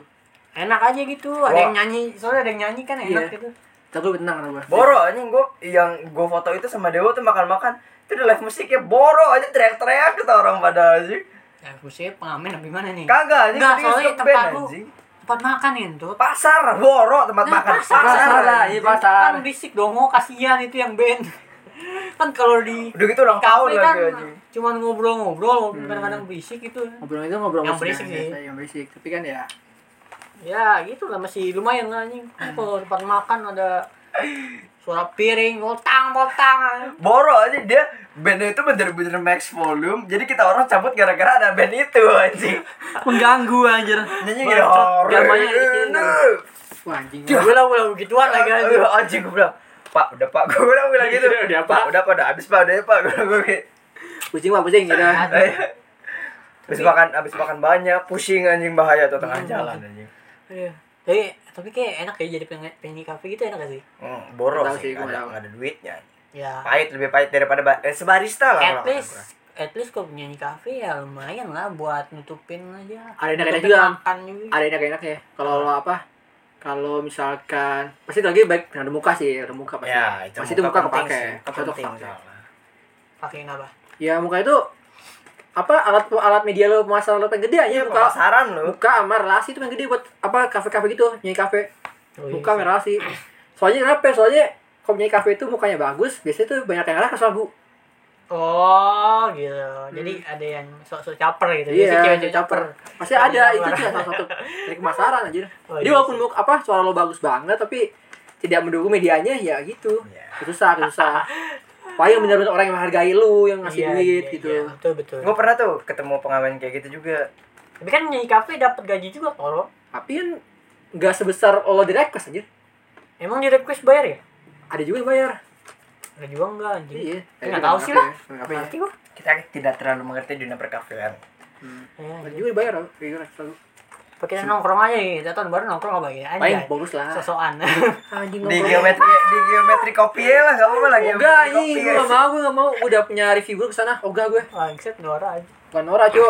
[SPEAKER 3] Enak aja gitu. Ada
[SPEAKER 1] Wah.
[SPEAKER 3] yang nyanyi, soalnya ada yang nyanyi kan enak
[SPEAKER 2] Iya.
[SPEAKER 3] gitu.
[SPEAKER 2] Kata gue lebih tenang kata gue.
[SPEAKER 1] Boro anjing gua yang gua foto itu sama Dewa tuh makan-makan. Itu udah live musiknya boro aja teriak-teriak kata orang pada anjing.
[SPEAKER 3] Live musiknya pengamen apa gimana nih?
[SPEAKER 1] Kagak anjing,
[SPEAKER 3] Enggak,
[SPEAKER 1] serius,
[SPEAKER 3] soalnya
[SPEAKER 1] ngeband,
[SPEAKER 3] tempat lu
[SPEAKER 1] anjing.
[SPEAKER 3] tempat makan ya tuh.
[SPEAKER 1] pasar boro tempat
[SPEAKER 3] Nah,
[SPEAKER 1] makan
[SPEAKER 3] pasar.
[SPEAKER 1] kan? pasar,
[SPEAKER 2] Pasar lah, iya pasar.
[SPEAKER 3] Kan berisik dong, oh, kasihan itu yang band. kan kalau di
[SPEAKER 1] udah gitu orang tahu
[SPEAKER 3] kafe
[SPEAKER 1] lagi Hmm.
[SPEAKER 3] kan
[SPEAKER 1] anjing.
[SPEAKER 3] cuman ngobrol-ngobrol, kadang-kadang berisik gitu.
[SPEAKER 2] Ngobrol itu ngobrol
[SPEAKER 3] Yang
[SPEAKER 2] musik
[SPEAKER 3] berisik
[SPEAKER 2] aja,
[SPEAKER 3] sih.
[SPEAKER 2] kayak Yang berisik. Tapi kan ya
[SPEAKER 3] Ya gitu lah masih lumayan lah anjing. Kan Kalau tempat makan ada suara piring, botang botang.
[SPEAKER 1] boro aja dia bandnya itu bener-bener max volume jadi kita orang cabut gara-gara ada band itu anjing
[SPEAKER 2] mengganggu anjir.
[SPEAKER 1] nyanyi Nah, gini "Hari
[SPEAKER 2] gamanya ada di
[SPEAKER 1] ini."
[SPEAKER 2] Wah anjing.
[SPEAKER 3] Gue Ya, lah gue lah begituan lagi anjing.
[SPEAKER 1] Aduh, anjing gue bilang pak udah pak gue bilang bilang gitu
[SPEAKER 2] Udah, udah, Pak.
[SPEAKER 1] "Pak, udah pak udah habis pak udah ya, pak gue bilang gue gitu.
[SPEAKER 2] Pusing mah pusing gitu.
[SPEAKER 1] Eh, habis makan habis makan banyak pusing anjing bahaya tuh
[SPEAKER 2] Hmm.
[SPEAKER 1] tengah jalan anjing
[SPEAKER 3] Iya. Tapi tapi kayak enak ya jadi pengen pengen di kafe gitu enak gak sih?
[SPEAKER 1] hmm, boro
[SPEAKER 2] Nggak tahu
[SPEAKER 1] sih
[SPEAKER 2] sih, gue
[SPEAKER 1] nggak ada,
[SPEAKER 2] nggak tahu.
[SPEAKER 1] nggak ada duitnya
[SPEAKER 3] Ya.
[SPEAKER 1] pahit lebih pahit daripada ba- eh, sebarista lah
[SPEAKER 3] At
[SPEAKER 1] kalau kata gue.
[SPEAKER 3] least at least kalau penyanyi kafe ya lumayan lah buat nutupin aja.
[SPEAKER 2] Ada enak-enak
[SPEAKER 3] Nutupin
[SPEAKER 2] juga.
[SPEAKER 3] Makan juga.
[SPEAKER 2] Ada enak-enak ya. Kalau lo apa? kalau misalkan pasti lagi baik ada muka sih ada muka pasti
[SPEAKER 1] Ya, itu
[SPEAKER 2] pasti itu muka
[SPEAKER 1] penting
[SPEAKER 2] kepake Iya,
[SPEAKER 1] sih, itu
[SPEAKER 2] Muka tuh
[SPEAKER 1] penting
[SPEAKER 2] kepake.
[SPEAKER 1] soalnya.
[SPEAKER 3] Pakai apa?
[SPEAKER 2] ya muka itu apa alat alat media lo masa lo pengen gede aja
[SPEAKER 1] Iya,
[SPEAKER 2] muka
[SPEAKER 1] pemasaran lu.
[SPEAKER 2] muka sama relasi itu pengen gede buat apa kafe kafe gitu nyai kafe
[SPEAKER 3] Oh, iya
[SPEAKER 2] muka
[SPEAKER 3] sih.
[SPEAKER 2] sama relasi soalnya kenapa soalnya kalau nyai kafe itu mukanya bagus biasanya tuh banyak yang ngalah ke soal bu
[SPEAKER 3] Oh, gitu. Jadi
[SPEAKER 2] Hmm.
[SPEAKER 3] ada yang sok-sok caper gitu.
[SPEAKER 2] Iya,
[SPEAKER 3] Biasanya cewek-cewek
[SPEAKER 2] pasti ada
[SPEAKER 3] Cewek
[SPEAKER 2] itu juga
[SPEAKER 3] caper.
[SPEAKER 2] salah satu dari kemasaran anjir
[SPEAKER 3] Oh,
[SPEAKER 2] jadi
[SPEAKER 3] iya
[SPEAKER 2] walaupun muka apa suara lo bagus banget tapi tidak mendukung medianya ya gitu
[SPEAKER 1] Iya.
[SPEAKER 2] susah susah paling benar-benar orang yang menghargai lu yang ngasih
[SPEAKER 3] Iya,
[SPEAKER 2] duit
[SPEAKER 3] iya,
[SPEAKER 2] gitu
[SPEAKER 3] iya. Betul, betul.
[SPEAKER 1] Gue pernah tuh ketemu pengamen kayak gitu juga.
[SPEAKER 3] Tapi kan nyanyi kafe dapat gaji juga, tolong.
[SPEAKER 2] tapi kan nggak sebesar lo di request anjir
[SPEAKER 3] Emang di request bayar ya?
[SPEAKER 2] ada juga yang bayar
[SPEAKER 3] Ada juga enggak anjing.
[SPEAKER 2] iya
[SPEAKER 3] Nggak tahu sih lah.
[SPEAKER 2] apa ya
[SPEAKER 3] Ngerti gua. Iya,
[SPEAKER 1] Kita tidak terlalu mengerti dunia perkafean.
[SPEAKER 2] Hmm. ada
[SPEAKER 3] Iya,
[SPEAKER 2] juga yang bayar lo kayak gitu selalu
[SPEAKER 3] pakai nongkrong aja gitu. Kita tahun baru nongkrong apa gitu aja.
[SPEAKER 2] paling bonus lah
[SPEAKER 3] Sosokan.
[SPEAKER 2] anjing
[SPEAKER 1] Di geometri di geometri kopi ya lah, enggak apa-apa lah geometri
[SPEAKER 2] enggak
[SPEAKER 1] kopi,
[SPEAKER 2] ini
[SPEAKER 1] guys.
[SPEAKER 2] gue nggak mau gue nggak mau Gua udah punya review gue kesana ogah gue
[SPEAKER 3] Bangsat Nora aja.
[SPEAKER 2] bukan Nora cuy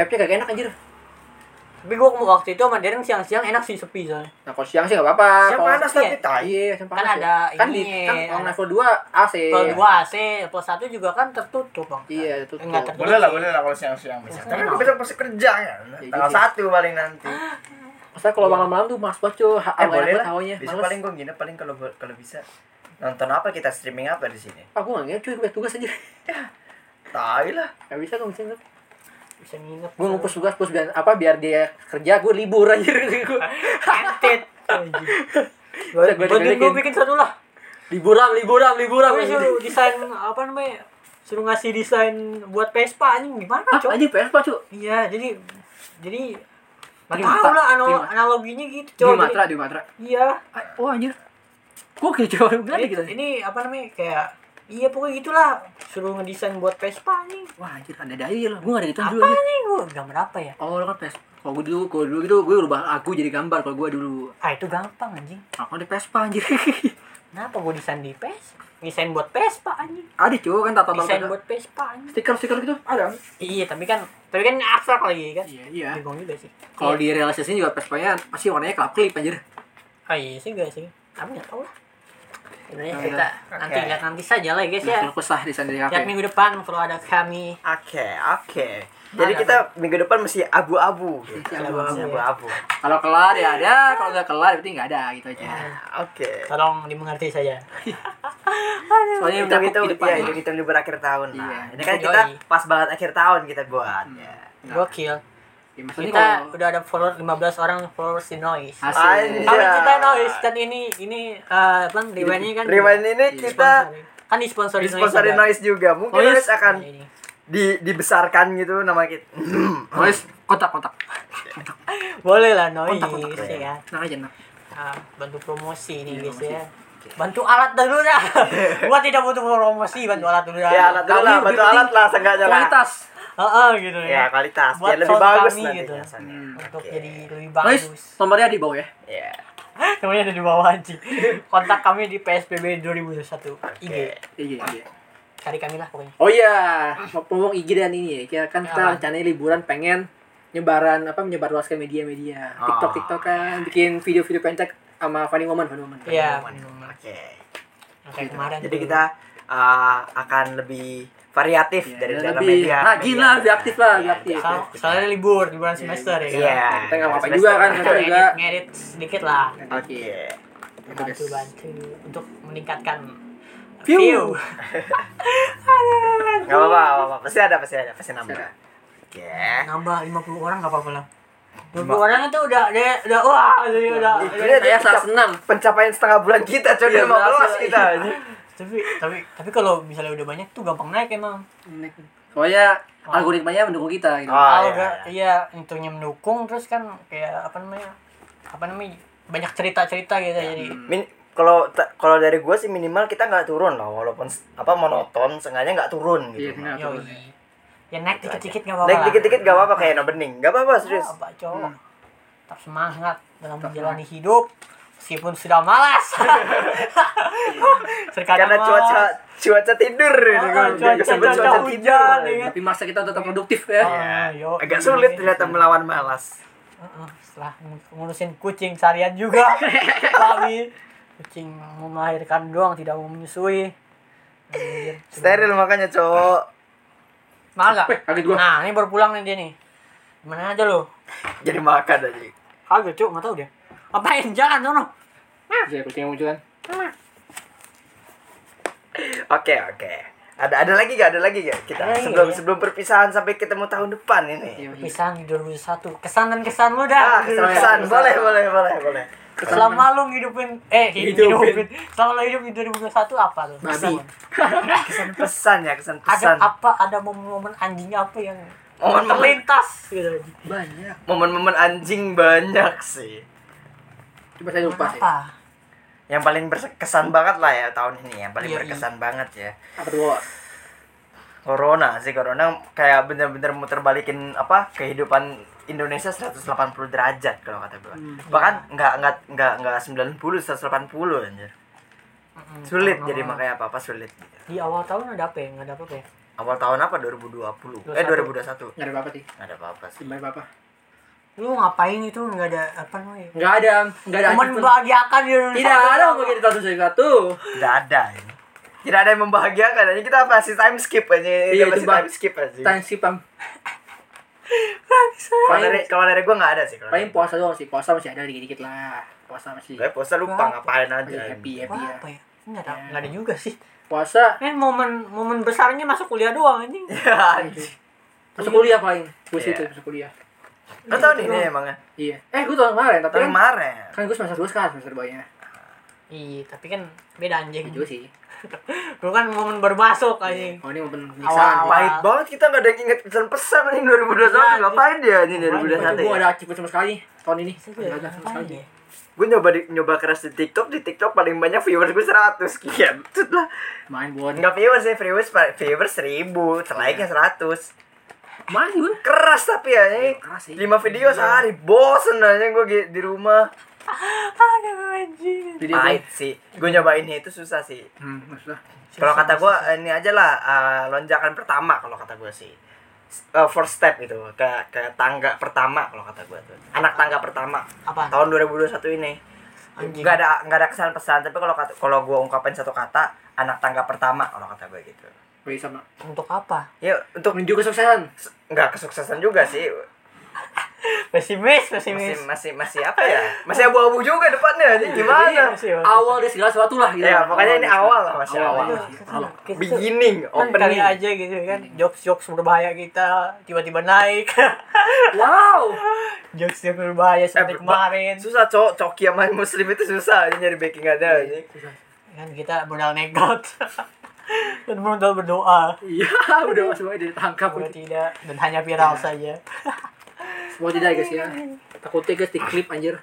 [SPEAKER 2] vape nya kagak enak anjir
[SPEAKER 3] Tapi gua waktu itu sama Darren siang-siang enak sih sepi soalnya.
[SPEAKER 2] Nah kalau siang sih nggak apa-apa.
[SPEAKER 1] Siang
[SPEAKER 2] Kalau-
[SPEAKER 1] panas tapi tai.
[SPEAKER 2] Iya, siang
[SPEAKER 3] Kan
[SPEAKER 2] panas.
[SPEAKER 3] ada
[SPEAKER 2] ya. kan di
[SPEAKER 3] ininya,
[SPEAKER 2] kan kalau
[SPEAKER 3] ada-
[SPEAKER 2] level 2 AC.
[SPEAKER 3] Kalau dua AC, plus satu juga kan tertutup bang.
[SPEAKER 2] Iya, tertutup.
[SPEAKER 3] Enggak tertutup.
[SPEAKER 1] Boleh lah, boleh lah kalau siang-siang bisa. Tapi
[SPEAKER 3] Enak.
[SPEAKER 1] besok pasti kerja kan.
[SPEAKER 2] Iya
[SPEAKER 1] Tanggal
[SPEAKER 2] juga.
[SPEAKER 1] satu paling nanti.
[SPEAKER 2] Maksudnya kalau malam-malam tuh mas banget cuy, ha-
[SPEAKER 1] Iya. Eh
[SPEAKER 2] enak
[SPEAKER 1] boleh
[SPEAKER 2] banget
[SPEAKER 1] lah.
[SPEAKER 2] hawanya.
[SPEAKER 1] Besok
[SPEAKER 2] Ah, Males.
[SPEAKER 1] paling gue nginep paling kalau kalau bisa nonton apa kita streaming apa di sini.
[SPEAKER 2] aku nggak ngerti cuy, gue tugas aja.
[SPEAKER 1] Tai lah.
[SPEAKER 2] Gak bisa gue misalnya.
[SPEAKER 3] Bisa nginep.
[SPEAKER 2] Gue ngumpus tugas, pus biar apa biar dia kerja, gue libur aja gue.
[SPEAKER 3] Kentit.
[SPEAKER 2] Bisa gua
[SPEAKER 3] Bantuin
[SPEAKER 2] dibelikin.
[SPEAKER 3] gue bikin satu lah.
[SPEAKER 2] Liburan, liburan, liburan.
[SPEAKER 3] Gue suruh desain apa namanya? Suruh ngasih desain buat Vespa anjing gimana,
[SPEAKER 2] Ah,
[SPEAKER 3] Cok?
[SPEAKER 2] anjing PS cuy.
[SPEAKER 3] Iya, jadi jadi Gak
[SPEAKER 2] Primata.
[SPEAKER 3] tahu lah anal-
[SPEAKER 2] Primata.
[SPEAKER 3] analoginya gitu,
[SPEAKER 2] Di
[SPEAKER 3] Cok. Jadi-
[SPEAKER 2] Matra, di Matra.
[SPEAKER 3] Iya.
[SPEAKER 2] Ah, Oh anjir. Gue kayak cuy, gue ada
[SPEAKER 3] Ini,
[SPEAKER 2] gitu.
[SPEAKER 3] ini apa namanya? Kayak Iya pokoknya gitulah suruh ngedesain buat Vespa nih.
[SPEAKER 2] Wah anjir, ada daya lah. Gue gak ada gitu dulu
[SPEAKER 3] Apa
[SPEAKER 2] anjir.
[SPEAKER 3] nih gue gambar apa ya?
[SPEAKER 2] Oh, lo kan PS. Kalau gue dulu, kalau dulu gitu, gue rubah aku jadi gambar kalau gue dulu.
[SPEAKER 3] Ah itu gampang anjing.
[SPEAKER 2] Aku kan ada Vespa anjir.
[SPEAKER 3] Kenapa gue desain di PES? Desain buat Vespa anjing.
[SPEAKER 2] ada cuy kan tata
[SPEAKER 3] Desain
[SPEAKER 2] tata
[SPEAKER 3] buat Vespa anjing.
[SPEAKER 2] stiker-stiker gitu ada.
[SPEAKER 3] Iya, tapi kan tapi kan abstrak lagi kan.
[SPEAKER 2] Iya, iya.
[SPEAKER 3] Bingung juga sih. Iya.
[SPEAKER 2] Kalau di realisasi juga Vespa-nya masih warnanya kelap kelip anjir.
[SPEAKER 3] Ah iya sih guys sih. Kami nggak tahu lah. Ini
[SPEAKER 2] Nah,
[SPEAKER 3] kita
[SPEAKER 1] oke.
[SPEAKER 3] nanti lihat nanti saja lah ya guys ya.
[SPEAKER 2] Nah, Fokus lah di sana di
[SPEAKER 3] Lihat
[SPEAKER 2] kafe.
[SPEAKER 3] minggu depan kalau ada kami.
[SPEAKER 1] Oke, oke. Jadi
[SPEAKER 3] Ada,
[SPEAKER 1] kita minggu depan mesti abu-abu. gitu.
[SPEAKER 2] Mesti abu-abu,
[SPEAKER 1] Mesti
[SPEAKER 3] ya.
[SPEAKER 1] abu-abu.
[SPEAKER 2] Kalau kelar ya ada, kalau nggak kelar berarti nggak ada gitu
[SPEAKER 1] Ah.
[SPEAKER 2] aja.
[SPEAKER 1] Oke.
[SPEAKER 3] Tolong dimengerti saja.
[SPEAKER 2] Soalnya
[SPEAKER 1] Itu
[SPEAKER 2] udah
[SPEAKER 1] itu
[SPEAKER 2] itu
[SPEAKER 1] ya, itu kita libur akhir tahun.
[SPEAKER 2] Iya.
[SPEAKER 1] Nah, ini kan kita
[SPEAKER 3] Yoi.
[SPEAKER 1] pas banget akhir tahun kita buat. Ya.
[SPEAKER 3] Gokil.
[SPEAKER 2] ya, maksudnya
[SPEAKER 3] Kita
[SPEAKER 2] Nah. kalau
[SPEAKER 3] udah ada follower 15 orang followers di Noise.
[SPEAKER 2] Asik.
[SPEAKER 1] Anjay.
[SPEAKER 3] Kami kita Noise dan ini ini eh bang Rewind-nya kan
[SPEAKER 1] Rewind ini kita
[SPEAKER 3] disponsori. kan disponsori
[SPEAKER 1] disponsori
[SPEAKER 3] Noise. Iya,
[SPEAKER 1] noise juga. Mungkin
[SPEAKER 2] Noise.
[SPEAKER 1] noise, akan di, dibesarkan gitu nama kita.
[SPEAKER 2] Terus kontak kontak.
[SPEAKER 3] Boleh lah Noise
[SPEAKER 2] Kontak, kontak. Iya,
[SPEAKER 3] ya kan.
[SPEAKER 2] Tenang aja tenang.
[SPEAKER 3] Ah, bantu promosi nih guys ya. Bantu alat dulu dah. Gua tidak butuh promosi, bantu alat dulu dah.
[SPEAKER 1] ya alat dulu
[SPEAKER 2] Kami
[SPEAKER 1] lah,
[SPEAKER 2] lebih
[SPEAKER 1] bantu
[SPEAKER 2] penting
[SPEAKER 1] alat lah seenggaknya lah.
[SPEAKER 2] Kualitas.
[SPEAKER 3] Heeh, gitu
[SPEAKER 1] Ya
[SPEAKER 3] ya.
[SPEAKER 1] kualitas.
[SPEAKER 3] Buat
[SPEAKER 1] Biar lebih
[SPEAKER 3] sound
[SPEAKER 1] bagus
[SPEAKER 3] kami
[SPEAKER 1] nanti
[SPEAKER 3] gitu.
[SPEAKER 1] biasanya.
[SPEAKER 2] Hmm,
[SPEAKER 3] Untuk
[SPEAKER 1] Oke.
[SPEAKER 3] jadi lebih
[SPEAKER 2] Nois,
[SPEAKER 3] bagus.
[SPEAKER 2] nomornya di bawah ya.
[SPEAKER 1] Ya.
[SPEAKER 3] Namanya ada di bawah anjing. Kontak kami di PSBB 2021 IG.
[SPEAKER 1] Oke.
[SPEAKER 2] Iya iya.
[SPEAKER 3] Cari kami lah pokoknya.
[SPEAKER 2] Oh iya, ngomong IG dan ini ya, kita kan
[SPEAKER 3] Apa?
[SPEAKER 2] kita rencananya liburan pengen nyebaran apa menyebarluaskan media-media, TikTok
[SPEAKER 1] Ah.
[SPEAKER 2] TikTok kan, bikin video-video pendek sama Fanny Woman, Fanny Woman.
[SPEAKER 3] Iya.
[SPEAKER 1] Oke.
[SPEAKER 3] Yang Kayak kemarin.
[SPEAKER 1] Iya. Jadi
[SPEAKER 3] tuh.
[SPEAKER 1] kita uh, akan lebih variatif
[SPEAKER 2] Ya,
[SPEAKER 1] dari
[SPEAKER 2] dan
[SPEAKER 1] dalam
[SPEAKER 2] lebih
[SPEAKER 1] media.
[SPEAKER 2] rajin
[SPEAKER 1] media.
[SPEAKER 2] lah, lebih aktif lah, lebih
[SPEAKER 1] Iya,
[SPEAKER 2] aktif.
[SPEAKER 1] iya,
[SPEAKER 3] Soal- soalnya libur liburan semester ya. kan?
[SPEAKER 1] Iya.
[SPEAKER 2] Kita nggak apa-apa juga kan,
[SPEAKER 3] Kita
[SPEAKER 2] kita juga.
[SPEAKER 3] ngedit, ngedit sedikit lah.
[SPEAKER 1] Oke.
[SPEAKER 2] Oke. Itu guys.
[SPEAKER 3] Bantu-bantu untuk meningkatkan
[SPEAKER 2] View.
[SPEAKER 3] view.
[SPEAKER 1] Gak apa-apa, gak apa-apa. Pasti ada, pasti ada, pasti nambah.
[SPEAKER 2] Ada.
[SPEAKER 1] Oke.
[SPEAKER 3] nambah 50 orang nggak apa-apa lah 50 orang itu udah udah, udah wah
[SPEAKER 1] Iya.
[SPEAKER 3] jadi udah
[SPEAKER 1] Ini
[SPEAKER 2] Saya
[SPEAKER 1] dia
[SPEAKER 2] sangat senang.
[SPEAKER 1] pencapaian setengah bulan kita, coy. Udah
[SPEAKER 2] Iya,
[SPEAKER 1] mau
[SPEAKER 2] berhasil.
[SPEAKER 1] kelas kita.
[SPEAKER 3] tapi tapi tapi kalau misalnya udah banyak tuh gampang naik emang
[SPEAKER 2] Soalnya algoritmanya mendukung kita gitu.
[SPEAKER 1] Oh,
[SPEAKER 3] kalau
[SPEAKER 1] iya,
[SPEAKER 3] nggak- iya untungnya mendukung terus kan kayak apa namanya apa namanya banyak cerita cerita gitu
[SPEAKER 1] Iya.
[SPEAKER 3] jadi
[SPEAKER 1] Min- kalau ta- kalau dari gue sih minimal kita nggak turun loh walaupun s- apa monoton sengaja nggak turun
[SPEAKER 2] Iya,
[SPEAKER 1] gitu
[SPEAKER 2] kenapa?
[SPEAKER 3] yoi ya naik dikit dikit nggak apa-apa
[SPEAKER 1] naik Iya. dikit-dikit gak apa-apa kayak no bening gak apa-apa serius Hmm.
[SPEAKER 3] apa cowok tetap semangat dalam menjalani hidup meskipun sudah malas
[SPEAKER 1] karena
[SPEAKER 3] Terkadang
[SPEAKER 1] cuaca
[SPEAKER 3] malas.
[SPEAKER 1] cuaca tidur
[SPEAKER 3] Ah,
[SPEAKER 1] ini gua-
[SPEAKER 3] cuaca-
[SPEAKER 1] gua sebut
[SPEAKER 3] cuaca hujan,
[SPEAKER 1] tidur Iya.
[SPEAKER 3] ya kan?
[SPEAKER 2] Tapi masa kita tetap produktif ya.
[SPEAKER 3] Ah,
[SPEAKER 1] Ya,
[SPEAKER 3] yoi.
[SPEAKER 1] agak sulit ternyata melawan malas
[SPEAKER 3] Heeh, setelah ng- ngurusin kucing seharian juga babi kucing mau melahirkan doang tidak mau menyusui Anjir, coba.
[SPEAKER 1] Steril makanya, cowok.
[SPEAKER 3] mahal nggak?
[SPEAKER 2] Weh, kaget gua.
[SPEAKER 3] nah ini baru pulang nih dia nih mana aja lo
[SPEAKER 1] Jadi makan aja.
[SPEAKER 3] kagak cuk nggak tahu dia apain jangan sono
[SPEAKER 2] Jadi kucing yang muncul kan.
[SPEAKER 1] Oke, oke. Ada ada lagi gak? Ada lagi gak? Kita
[SPEAKER 3] Ada lagi
[SPEAKER 1] sebelum
[SPEAKER 3] ya? Iya.
[SPEAKER 1] sebelum perpisahan sampai ketemu tahun depan ini.
[SPEAKER 3] pisan di 2001 kesan dan kesan lu
[SPEAKER 1] Ah,
[SPEAKER 3] dah
[SPEAKER 1] kesan-kesan.
[SPEAKER 3] Iya.
[SPEAKER 1] Boleh, boleh, boleh, boleh.
[SPEAKER 3] selama lu ngidupin eh
[SPEAKER 2] Hidupin.
[SPEAKER 3] hidupin selama lu hidup di 2021 apa lu
[SPEAKER 2] Babi.
[SPEAKER 1] Kesan pesan ya, kesan
[SPEAKER 3] ada
[SPEAKER 1] pesan.
[SPEAKER 3] apa ada momen-momen anjingnya apa yang
[SPEAKER 1] Momen-momen.
[SPEAKER 3] terlintas gitu
[SPEAKER 2] Banyak.
[SPEAKER 1] Momen-momen anjing banyak sih.
[SPEAKER 2] Coba saya lupa sih.
[SPEAKER 3] apa
[SPEAKER 1] Yang paling berkesan banget lah ya tahun ini, yang paling
[SPEAKER 3] Iya, iya.
[SPEAKER 1] berkesan banget ya.
[SPEAKER 2] Apa tuh? Wak?
[SPEAKER 1] Corona sih, corona kayak bener-bener muter balikin apa kehidupan Indonesia 180 derajat kalau kata gue. Bahkan nggak nggak nggak nggak 90 180 anjir.
[SPEAKER 3] Mm-mm.
[SPEAKER 1] Sulit
[SPEAKER 3] Karena
[SPEAKER 1] jadi makanya apa-apa sulit.
[SPEAKER 3] di awal tahun ada apa ya nggak ada apa-apa ya
[SPEAKER 1] Awal tahun apa 2020? Eh 2021.
[SPEAKER 2] Nggak ada apa-apa sih.
[SPEAKER 1] Nggak ada apa-apa sih.
[SPEAKER 2] Nggak ada apa-apa.
[SPEAKER 3] lu ngapain itu nggak ada apa namanya
[SPEAKER 2] Nggak ada. Nggak ada.
[SPEAKER 3] Cuman
[SPEAKER 2] anjing pun.
[SPEAKER 3] membahagiakan di
[SPEAKER 2] gitu. Tidak ada apa gitu. kita satu satu satu.
[SPEAKER 1] Tidak ada ini. Tidak ada yang membahagiakan. Ini kita masih time skip aja.
[SPEAKER 2] Iya,
[SPEAKER 1] Kita
[SPEAKER 2] itu
[SPEAKER 1] masih
[SPEAKER 2] bang.
[SPEAKER 1] time skip aja.
[SPEAKER 2] Tanya sih pam.
[SPEAKER 1] Kalau dari kalau dari gua nggak ada sih. Kalau
[SPEAKER 2] Paling puasa doang sih. Puasa masih ada dikit dikit lah. Puasa masih.
[SPEAKER 1] Gue puasa lupa ngapain aja.
[SPEAKER 2] Masih happy happy ya.
[SPEAKER 3] apa ya nggak ada nggak ada juga sih
[SPEAKER 2] Puasa.
[SPEAKER 3] kan momen momen besarnya masuk kuliah doang anjing
[SPEAKER 1] Anjing.
[SPEAKER 2] Masuk kuliah paling. Gue sih
[SPEAKER 1] Iya.
[SPEAKER 2] itu masuk kuliah.
[SPEAKER 1] Lo tau nih ini emangnya.
[SPEAKER 2] Iya. Eh gue tahun kemarin tapi kan,
[SPEAKER 1] Kemarin.
[SPEAKER 2] kan gue semester dua sekarang semester duanya.
[SPEAKER 3] iya tapi kan beda anjing
[SPEAKER 2] Iya juga sih.
[SPEAKER 3] lu kan momen baru masuk anjing
[SPEAKER 2] Oh ini momen
[SPEAKER 3] Awal-awal.
[SPEAKER 2] penyiksaan.
[SPEAKER 1] Pahit banget kita nggak ada yang inget pesan-pesan nih 2021
[SPEAKER 3] Iya, anjing.
[SPEAKER 1] ngapain dia anjing
[SPEAKER 2] Tapi gue
[SPEAKER 1] 2021 ya?
[SPEAKER 2] ada achievement sama sekali tahun ini.
[SPEAKER 3] Saya
[SPEAKER 2] Nggak
[SPEAKER 3] kuliah
[SPEAKER 2] ada sama
[SPEAKER 3] ngapain
[SPEAKER 2] sekali.
[SPEAKER 3] ya?
[SPEAKER 1] Gue nyoba di, nyoba keras di TikTok, di TikTok paling banyak viewers gue 100 sekian. Tut lah.
[SPEAKER 2] Main buat.
[SPEAKER 1] Enggak viewers sih, viewers pa- viewers 1000, like-nya
[SPEAKER 2] Iya.
[SPEAKER 1] 100.
[SPEAKER 2] Main gue.
[SPEAKER 1] Keras tapi ya ini.
[SPEAKER 2] Iya, keras sih.
[SPEAKER 1] 5 video sehari bosen aja gue di rumah.
[SPEAKER 3] aduh anjing
[SPEAKER 2] Video
[SPEAKER 1] Pahit sih. Gue nyobain itu susah sih.
[SPEAKER 2] Hmm, maksudnya.
[SPEAKER 1] Kalau kata gue ini aja lah eh, lonjakan pertama kalau kata gue sih S- eh, first step gitu ke ke tangga pertama kalau kata gue tuh anak tangga pertama
[SPEAKER 3] apa
[SPEAKER 1] tahun 2021 ini
[SPEAKER 3] Anjing.
[SPEAKER 1] nggak ada nggak ada kesan pesan tapi kalau kata- kalau gue ungkapin satu kata anak tangga pertama kalau kata gue gitu
[SPEAKER 2] Gue sama.
[SPEAKER 3] untuk apa
[SPEAKER 1] ya untuk
[SPEAKER 2] Menuju kesuksesan.
[SPEAKER 1] s- nggak kesuksesan juga sih
[SPEAKER 3] pesimis
[SPEAKER 1] masih
[SPEAKER 3] pesimis
[SPEAKER 1] masih masih apa ya masih abu-abu juga depannya
[SPEAKER 3] Iya,
[SPEAKER 1] jadi gimana
[SPEAKER 2] Awal dari segala sesuatu lah gitu.
[SPEAKER 1] Ya, pokoknya ini awal lah, masih awal.
[SPEAKER 2] Awal. Awal.
[SPEAKER 1] beginning
[SPEAKER 3] Open kali
[SPEAKER 1] opening Eh,
[SPEAKER 3] aja gitu kan jokes jokes berbahaya kita tiba-tiba naik
[SPEAKER 2] Wow.
[SPEAKER 3] jokes jokes berbahaya
[SPEAKER 1] Eh,
[SPEAKER 3] seperti
[SPEAKER 1] ber-
[SPEAKER 3] kemarin
[SPEAKER 1] susah cowok coki sama muslim itu susah nyari backing ada anjing.
[SPEAKER 3] kan kita modal negot dan modal berdoa
[SPEAKER 2] Iya, udah semuanya ditangkap.
[SPEAKER 3] kalau tidak dan hanya viral saja
[SPEAKER 2] Semua tidak guys ya. Takutnya guys di klip anjir.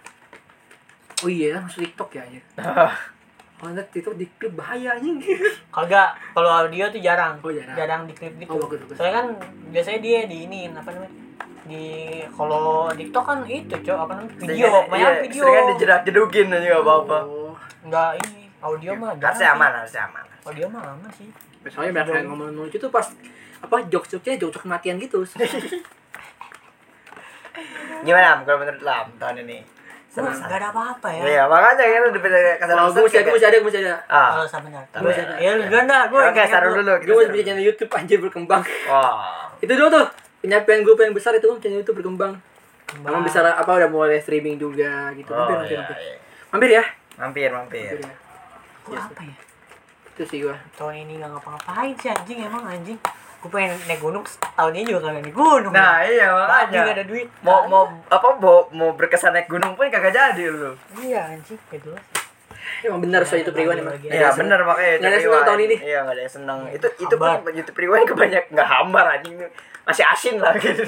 [SPEAKER 2] Oh iya, masuk TikTok ya anjir. Oh, nanti TikTok di klip bahaya anjing.
[SPEAKER 3] kalau enggak kalau audio tuh jarang
[SPEAKER 2] Oh, jarang.
[SPEAKER 3] di klip gitu
[SPEAKER 2] Oh, bagus, bagus.
[SPEAKER 3] soalnya kan biasanya dia di ini apa namanya di kalau TikTok kan itu cok apa namanya video banyak
[SPEAKER 1] iya,
[SPEAKER 3] video
[SPEAKER 1] seringan dijerak jedukin aja nggak apa-apa
[SPEAKER 2] Oh.
[SPEAKER 3] enggak ini audio mah
[SPEAKER 1] Iya, harusnya
[SPEAKER 3] jarang
[SPEAKER 1] aman
[SPEAKER 3] sih.
[SPEAKER 1] harusnya aman
[SPEAKER 3] audio mah lama sih
[SPEAKER 2] Soalnya banyak yang ngomong lucu tuh pas apa jokes-jokesnya jokes kematian gitu.
[SPEAKER 1] gimana Am? kalau menurut lam tahun ini
[SPEAKER 3] Wah,
[SPEAKER 1] Senang-senang.
[SPEAKER 3] nggak ada apa-apa ya
[SPEAKER 1] iya makanya kan udah beda kesan
[SPEAKER 2] Kalau gue masih ada, gue masih ada, gue masih ada.
[SPEAKER 1] ah
[SPEAKER 3] kalau sama benar
[SPEAKER 1] Tapi-
[SPEAKER 3] ya lu duluan dah gue
[SPEAKER 1] oke taruh dulu
[SPEAKER 2] Gue masih punya channel YouTube anjir berkembang.
[SPEAKER 1] wah
[SPEAKER 2] Itu dulu tuh penyampaian gue paling besar itu channel YouTube berkembang. Emang bisa lah, apa udah mulai streaming juga gitu.
[SPEAKER 1] oh
[SPEAKER 2] Mampir, mampir,
[SPEAKER 1] iya
[SPEAKER 2] mampir.
[SPEAKER 1] iya.
[SPEAKER 2] Mampir
[SPEAKER 1] mampir
[SPEAKER 2] ya.
[SPEAKER 1] mampir
[SPEAKER 2] Mampir ya.
[SPEAKER 3] Gua apa ya
[SPEAKER 2] Itu sih gue.
[SPEAKER 3] tahun ini nggak ngapa-ngapain sih anjing emang anjing gue pengen naik gunung tahun ini juga kagak naik gunung
[SPEAKER 1] nah iya
[SPEAKER 3] Anjing nggak
[SPEAKER 1] makanya
[SPEAKER 3] ada duit Nah,
[SPEAKER 1] mau mau apa mau mau berkesan naik gunung pun kagak jadi lu
[SPEAKER 3] iya anjing gitu
[SPEAKER 2] Emang benar soal YouTube Rewind emang.
[SPEAKER 3] Iya,
[SPEAKER 1] Iya bener makanya
[SPEAKER 2] Nggak ada
[SPEAKER 1] YouTube
[SPEAKER 2] senang
[SPEAKER 1] Rewind.
[SPEAKER 2] tahun ini.
[SPEAKER 1] Iya nggak ada yang senang Itu itu
[SPEAKER 3] Hambar.
[SPEAKER 1] pun YouTube Rewind kebanyak nggak hambar anjing Masih asin lah gitu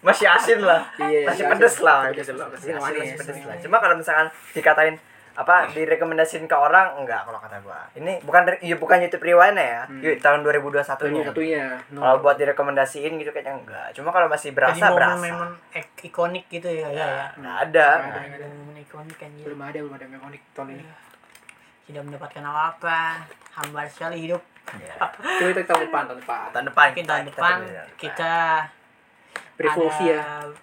[SPEAKER 1] Masih asin lah
[SPEAKER 2] Iya,
[SPEAKER 1] Masih
[SPEAKER 2] iya,
[SPEAKER 1] pedes
[SPEAKER 2] asin.
[SPEAKER 1] lah
[SPEAKER 2] Pedes,
[SPEAKER 1] gitu loh
[SPEAKER 2] pedes.
[SPEAKER 1] Masih asin
[SPEAKER 2] Manis,
[SPEAKER 1] masih pedes
[SPEAKER 2] manis.
[SPEAKER 1] lah Cuma kalau misalkan dikatain apa direkomendasiin ke orang enggak kalau kata gua ini bukan dari- ya, bukan YouTube Rewind ya
[SPEAKER 2] Hmm.
[SPEAKER 1] Yuk, tahun 2021
[SPEAKER 2] Satunya
[SPEAKER 1] nya
[SPEAKER 2] satunya. No.
[SPEAKER 1] kalau buat direkomendasiin gitu kayaknya enggak cuma kalau masih
[SPEAKER 3] jadi
[SPEAKER 1] berasa berasa
[SPEAKER 3] momen-momen ek- ikonik gitu ya ya, ya.
[SPEAKER 1] nggak ada
[SPEAKER 2] Nggak ada.
[SPEAKER 3] Ada momen ikonik anjing
[SPEAKER 2] Belum ada, belum ada Mekonik tahun ini.
[SPEAKER 3] tidak mendapatkan apa-apa hambar sekali hidup
[SPEAKER 1] Iya.
[SPEAKER 2] Coba kita tahun depan, tahun depan.
[SPEAKER 1] tahun depan ya.
[SPEAKER 3] mungkin tahun depan
[SPEAKER 1] ketemu di tahun depan.
[SPEAKER 3] kita
[SPEAKER 2] Revolusi ya.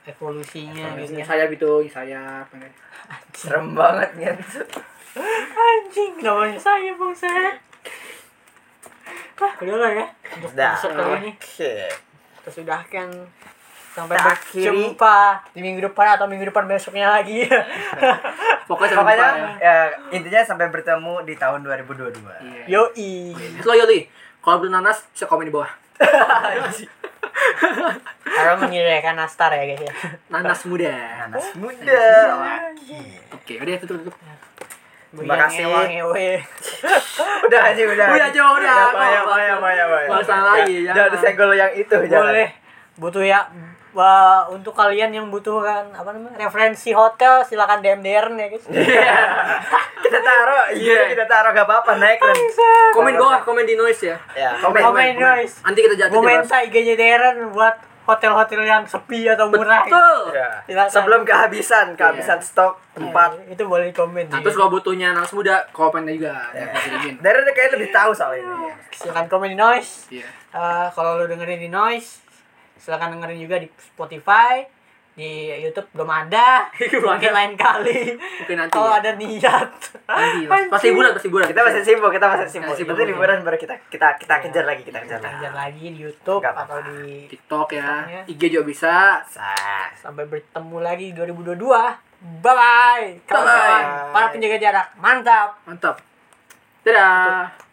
[SPEAKER 3] evolusinya
[SPEAKER 2] Iya,
[SPEAKER 3] gitu ya.
[SPEAKER 2] sayap itu sayap
[SPEAKER 1] Serem banget ya.
[SPEAKER 3] anjing namanya saya bang saya Hah, udah lah ya untuk
[SPEAKER 1] Dah.
[SPEAKER 3] episode kali ini
[SPEAKER 1] Oke.
[SPEAKER 3] kita sudahkan sampai
[SPEAKER 1] Kita akhiri.
[SPEAKER 3] berjumpa di minggu depan atau minggu depan besoknya lagi
[SPEAKER 2] Pokoknya
[SPEAKER 1] Pokoknya
[SPEAKER 2] sampai jumpa ya.
[SPEAKER 1] ya, intinya sampai bertemu di tahun 2022.
[SPEAKER 2] Iya.
[SPEAKER 3] yoi
[SPEAKER 2] Lo Yoli, kalau belum nanas bisa komen di bawah.
[SPEAKER 3] kalau menyediakan nastar ya guys ya
[SPEAKER 2] Nanas muda.
[SPEAKER 1] Nanas muda.
[SPEAKER 2] Oke, udah tutup tutup.
[SPEAKER 1] Terima
[SPEAKER 3] Yang
[SPEAKER 1] kasih.
[SPEAKER 3] ngewe-ngewe.
[SPEAKER 1] Udah aja udah.
[SPEAKER 2] Udah, Jo, udah.
[SPEAKER 1] Maya maya maya maya.
[SPEAKER 2] Nggak usah lagi,
[SPEAKER 1] Ya,
[SPEAKER 2] jangan.
[SPEAKER 1] Jangan disenggol yang itu jangan.
[SPEAKER 3] boleh butuh ya Wah, untuk kalian yang butuhkan apa namanya referensi hotel silakan DM DRN ya guys
[SPEAKER 1] Iya. Kita taruh, iya
[SPEAKER 2] Iya.
[SPEAKER 1] kita taruh gak apa-apa naik dan
[SPEAKER 2] Komen di bawah, komen di noise ya.
[SPEAKER 1] ya komen
[SPEAKER 3] komen guys
[SPEAKER 2] Nanti kita jatuh di
[SPEAKER 3] Momenta IG-nya Darren buat hotel-hotel yang sepi atau murah.
[SPEAKER 2] Betul.
[SPEAKER 1] Ya.
[SPEAKER 3] Silakan.
[SPEAKER 1] Sebelum kehabisan, kehabisan stok
[SPEAKER 3] Iya.
[SPEAKER 1] tempat.
[SPEAKER 3] Eh, Itu boleh komen.
[SPEAKER 2] Nah, terus kalau butuhnya nanas muda, komen juga.
[SPEAKER 1] Iya.
[SPEAKER 2] Ya, kita kirimin.
[SPEAKER 1] Dari kayaknya lebih tahu soal ini.
[SPEAKER 3] silakan komen di Noise.
[SPEAKER 2] Iya.
[SPEAKER 3] Eh, kalau lu dengerin di Noise, silakan dengerin juga di Spotify, di YouTube belum ada. Mungkin lain kali.
[SPEAKER 2] Mungkin nanti
[SPEAKER 3] Kalau
[SPEAKER 2] ya.
[SPEAKER 3] ada niat.
[SPEAKER 2] Nanti pas- pas liburan, pas liburan.
[SPEAKER 1] Kita masih sibuk, kita masih sibuk.
[SPEAKER 2] Masih
[SPEAKER 1] Nanti
[SPEAKER 2] sibuk.
[SPEAKER 1] liburan baru kita kita kita kejar lagi, kita kejar lagi.
[SPEAKER 3] Lanjut lagi di YouTube
[SPEAKER 1] Nggak
[SPEAKER 3] atau
[SPEAKER 1] apa-apa.
[SPEAKER 3] di
[SPEAKER 2] TikTok
[SPEAKER 3] Tiktok ya.
[SPEAKER 2] ya. IG juga bisa.
[SPEAKER 1] Sah.
[SPEAKER 3] sampai bertemu lagi 2022. Bye bye. Kawan-kawan, para penjaga jarak. Mantap.
[SPEAKER 2] Mantap. Dadah.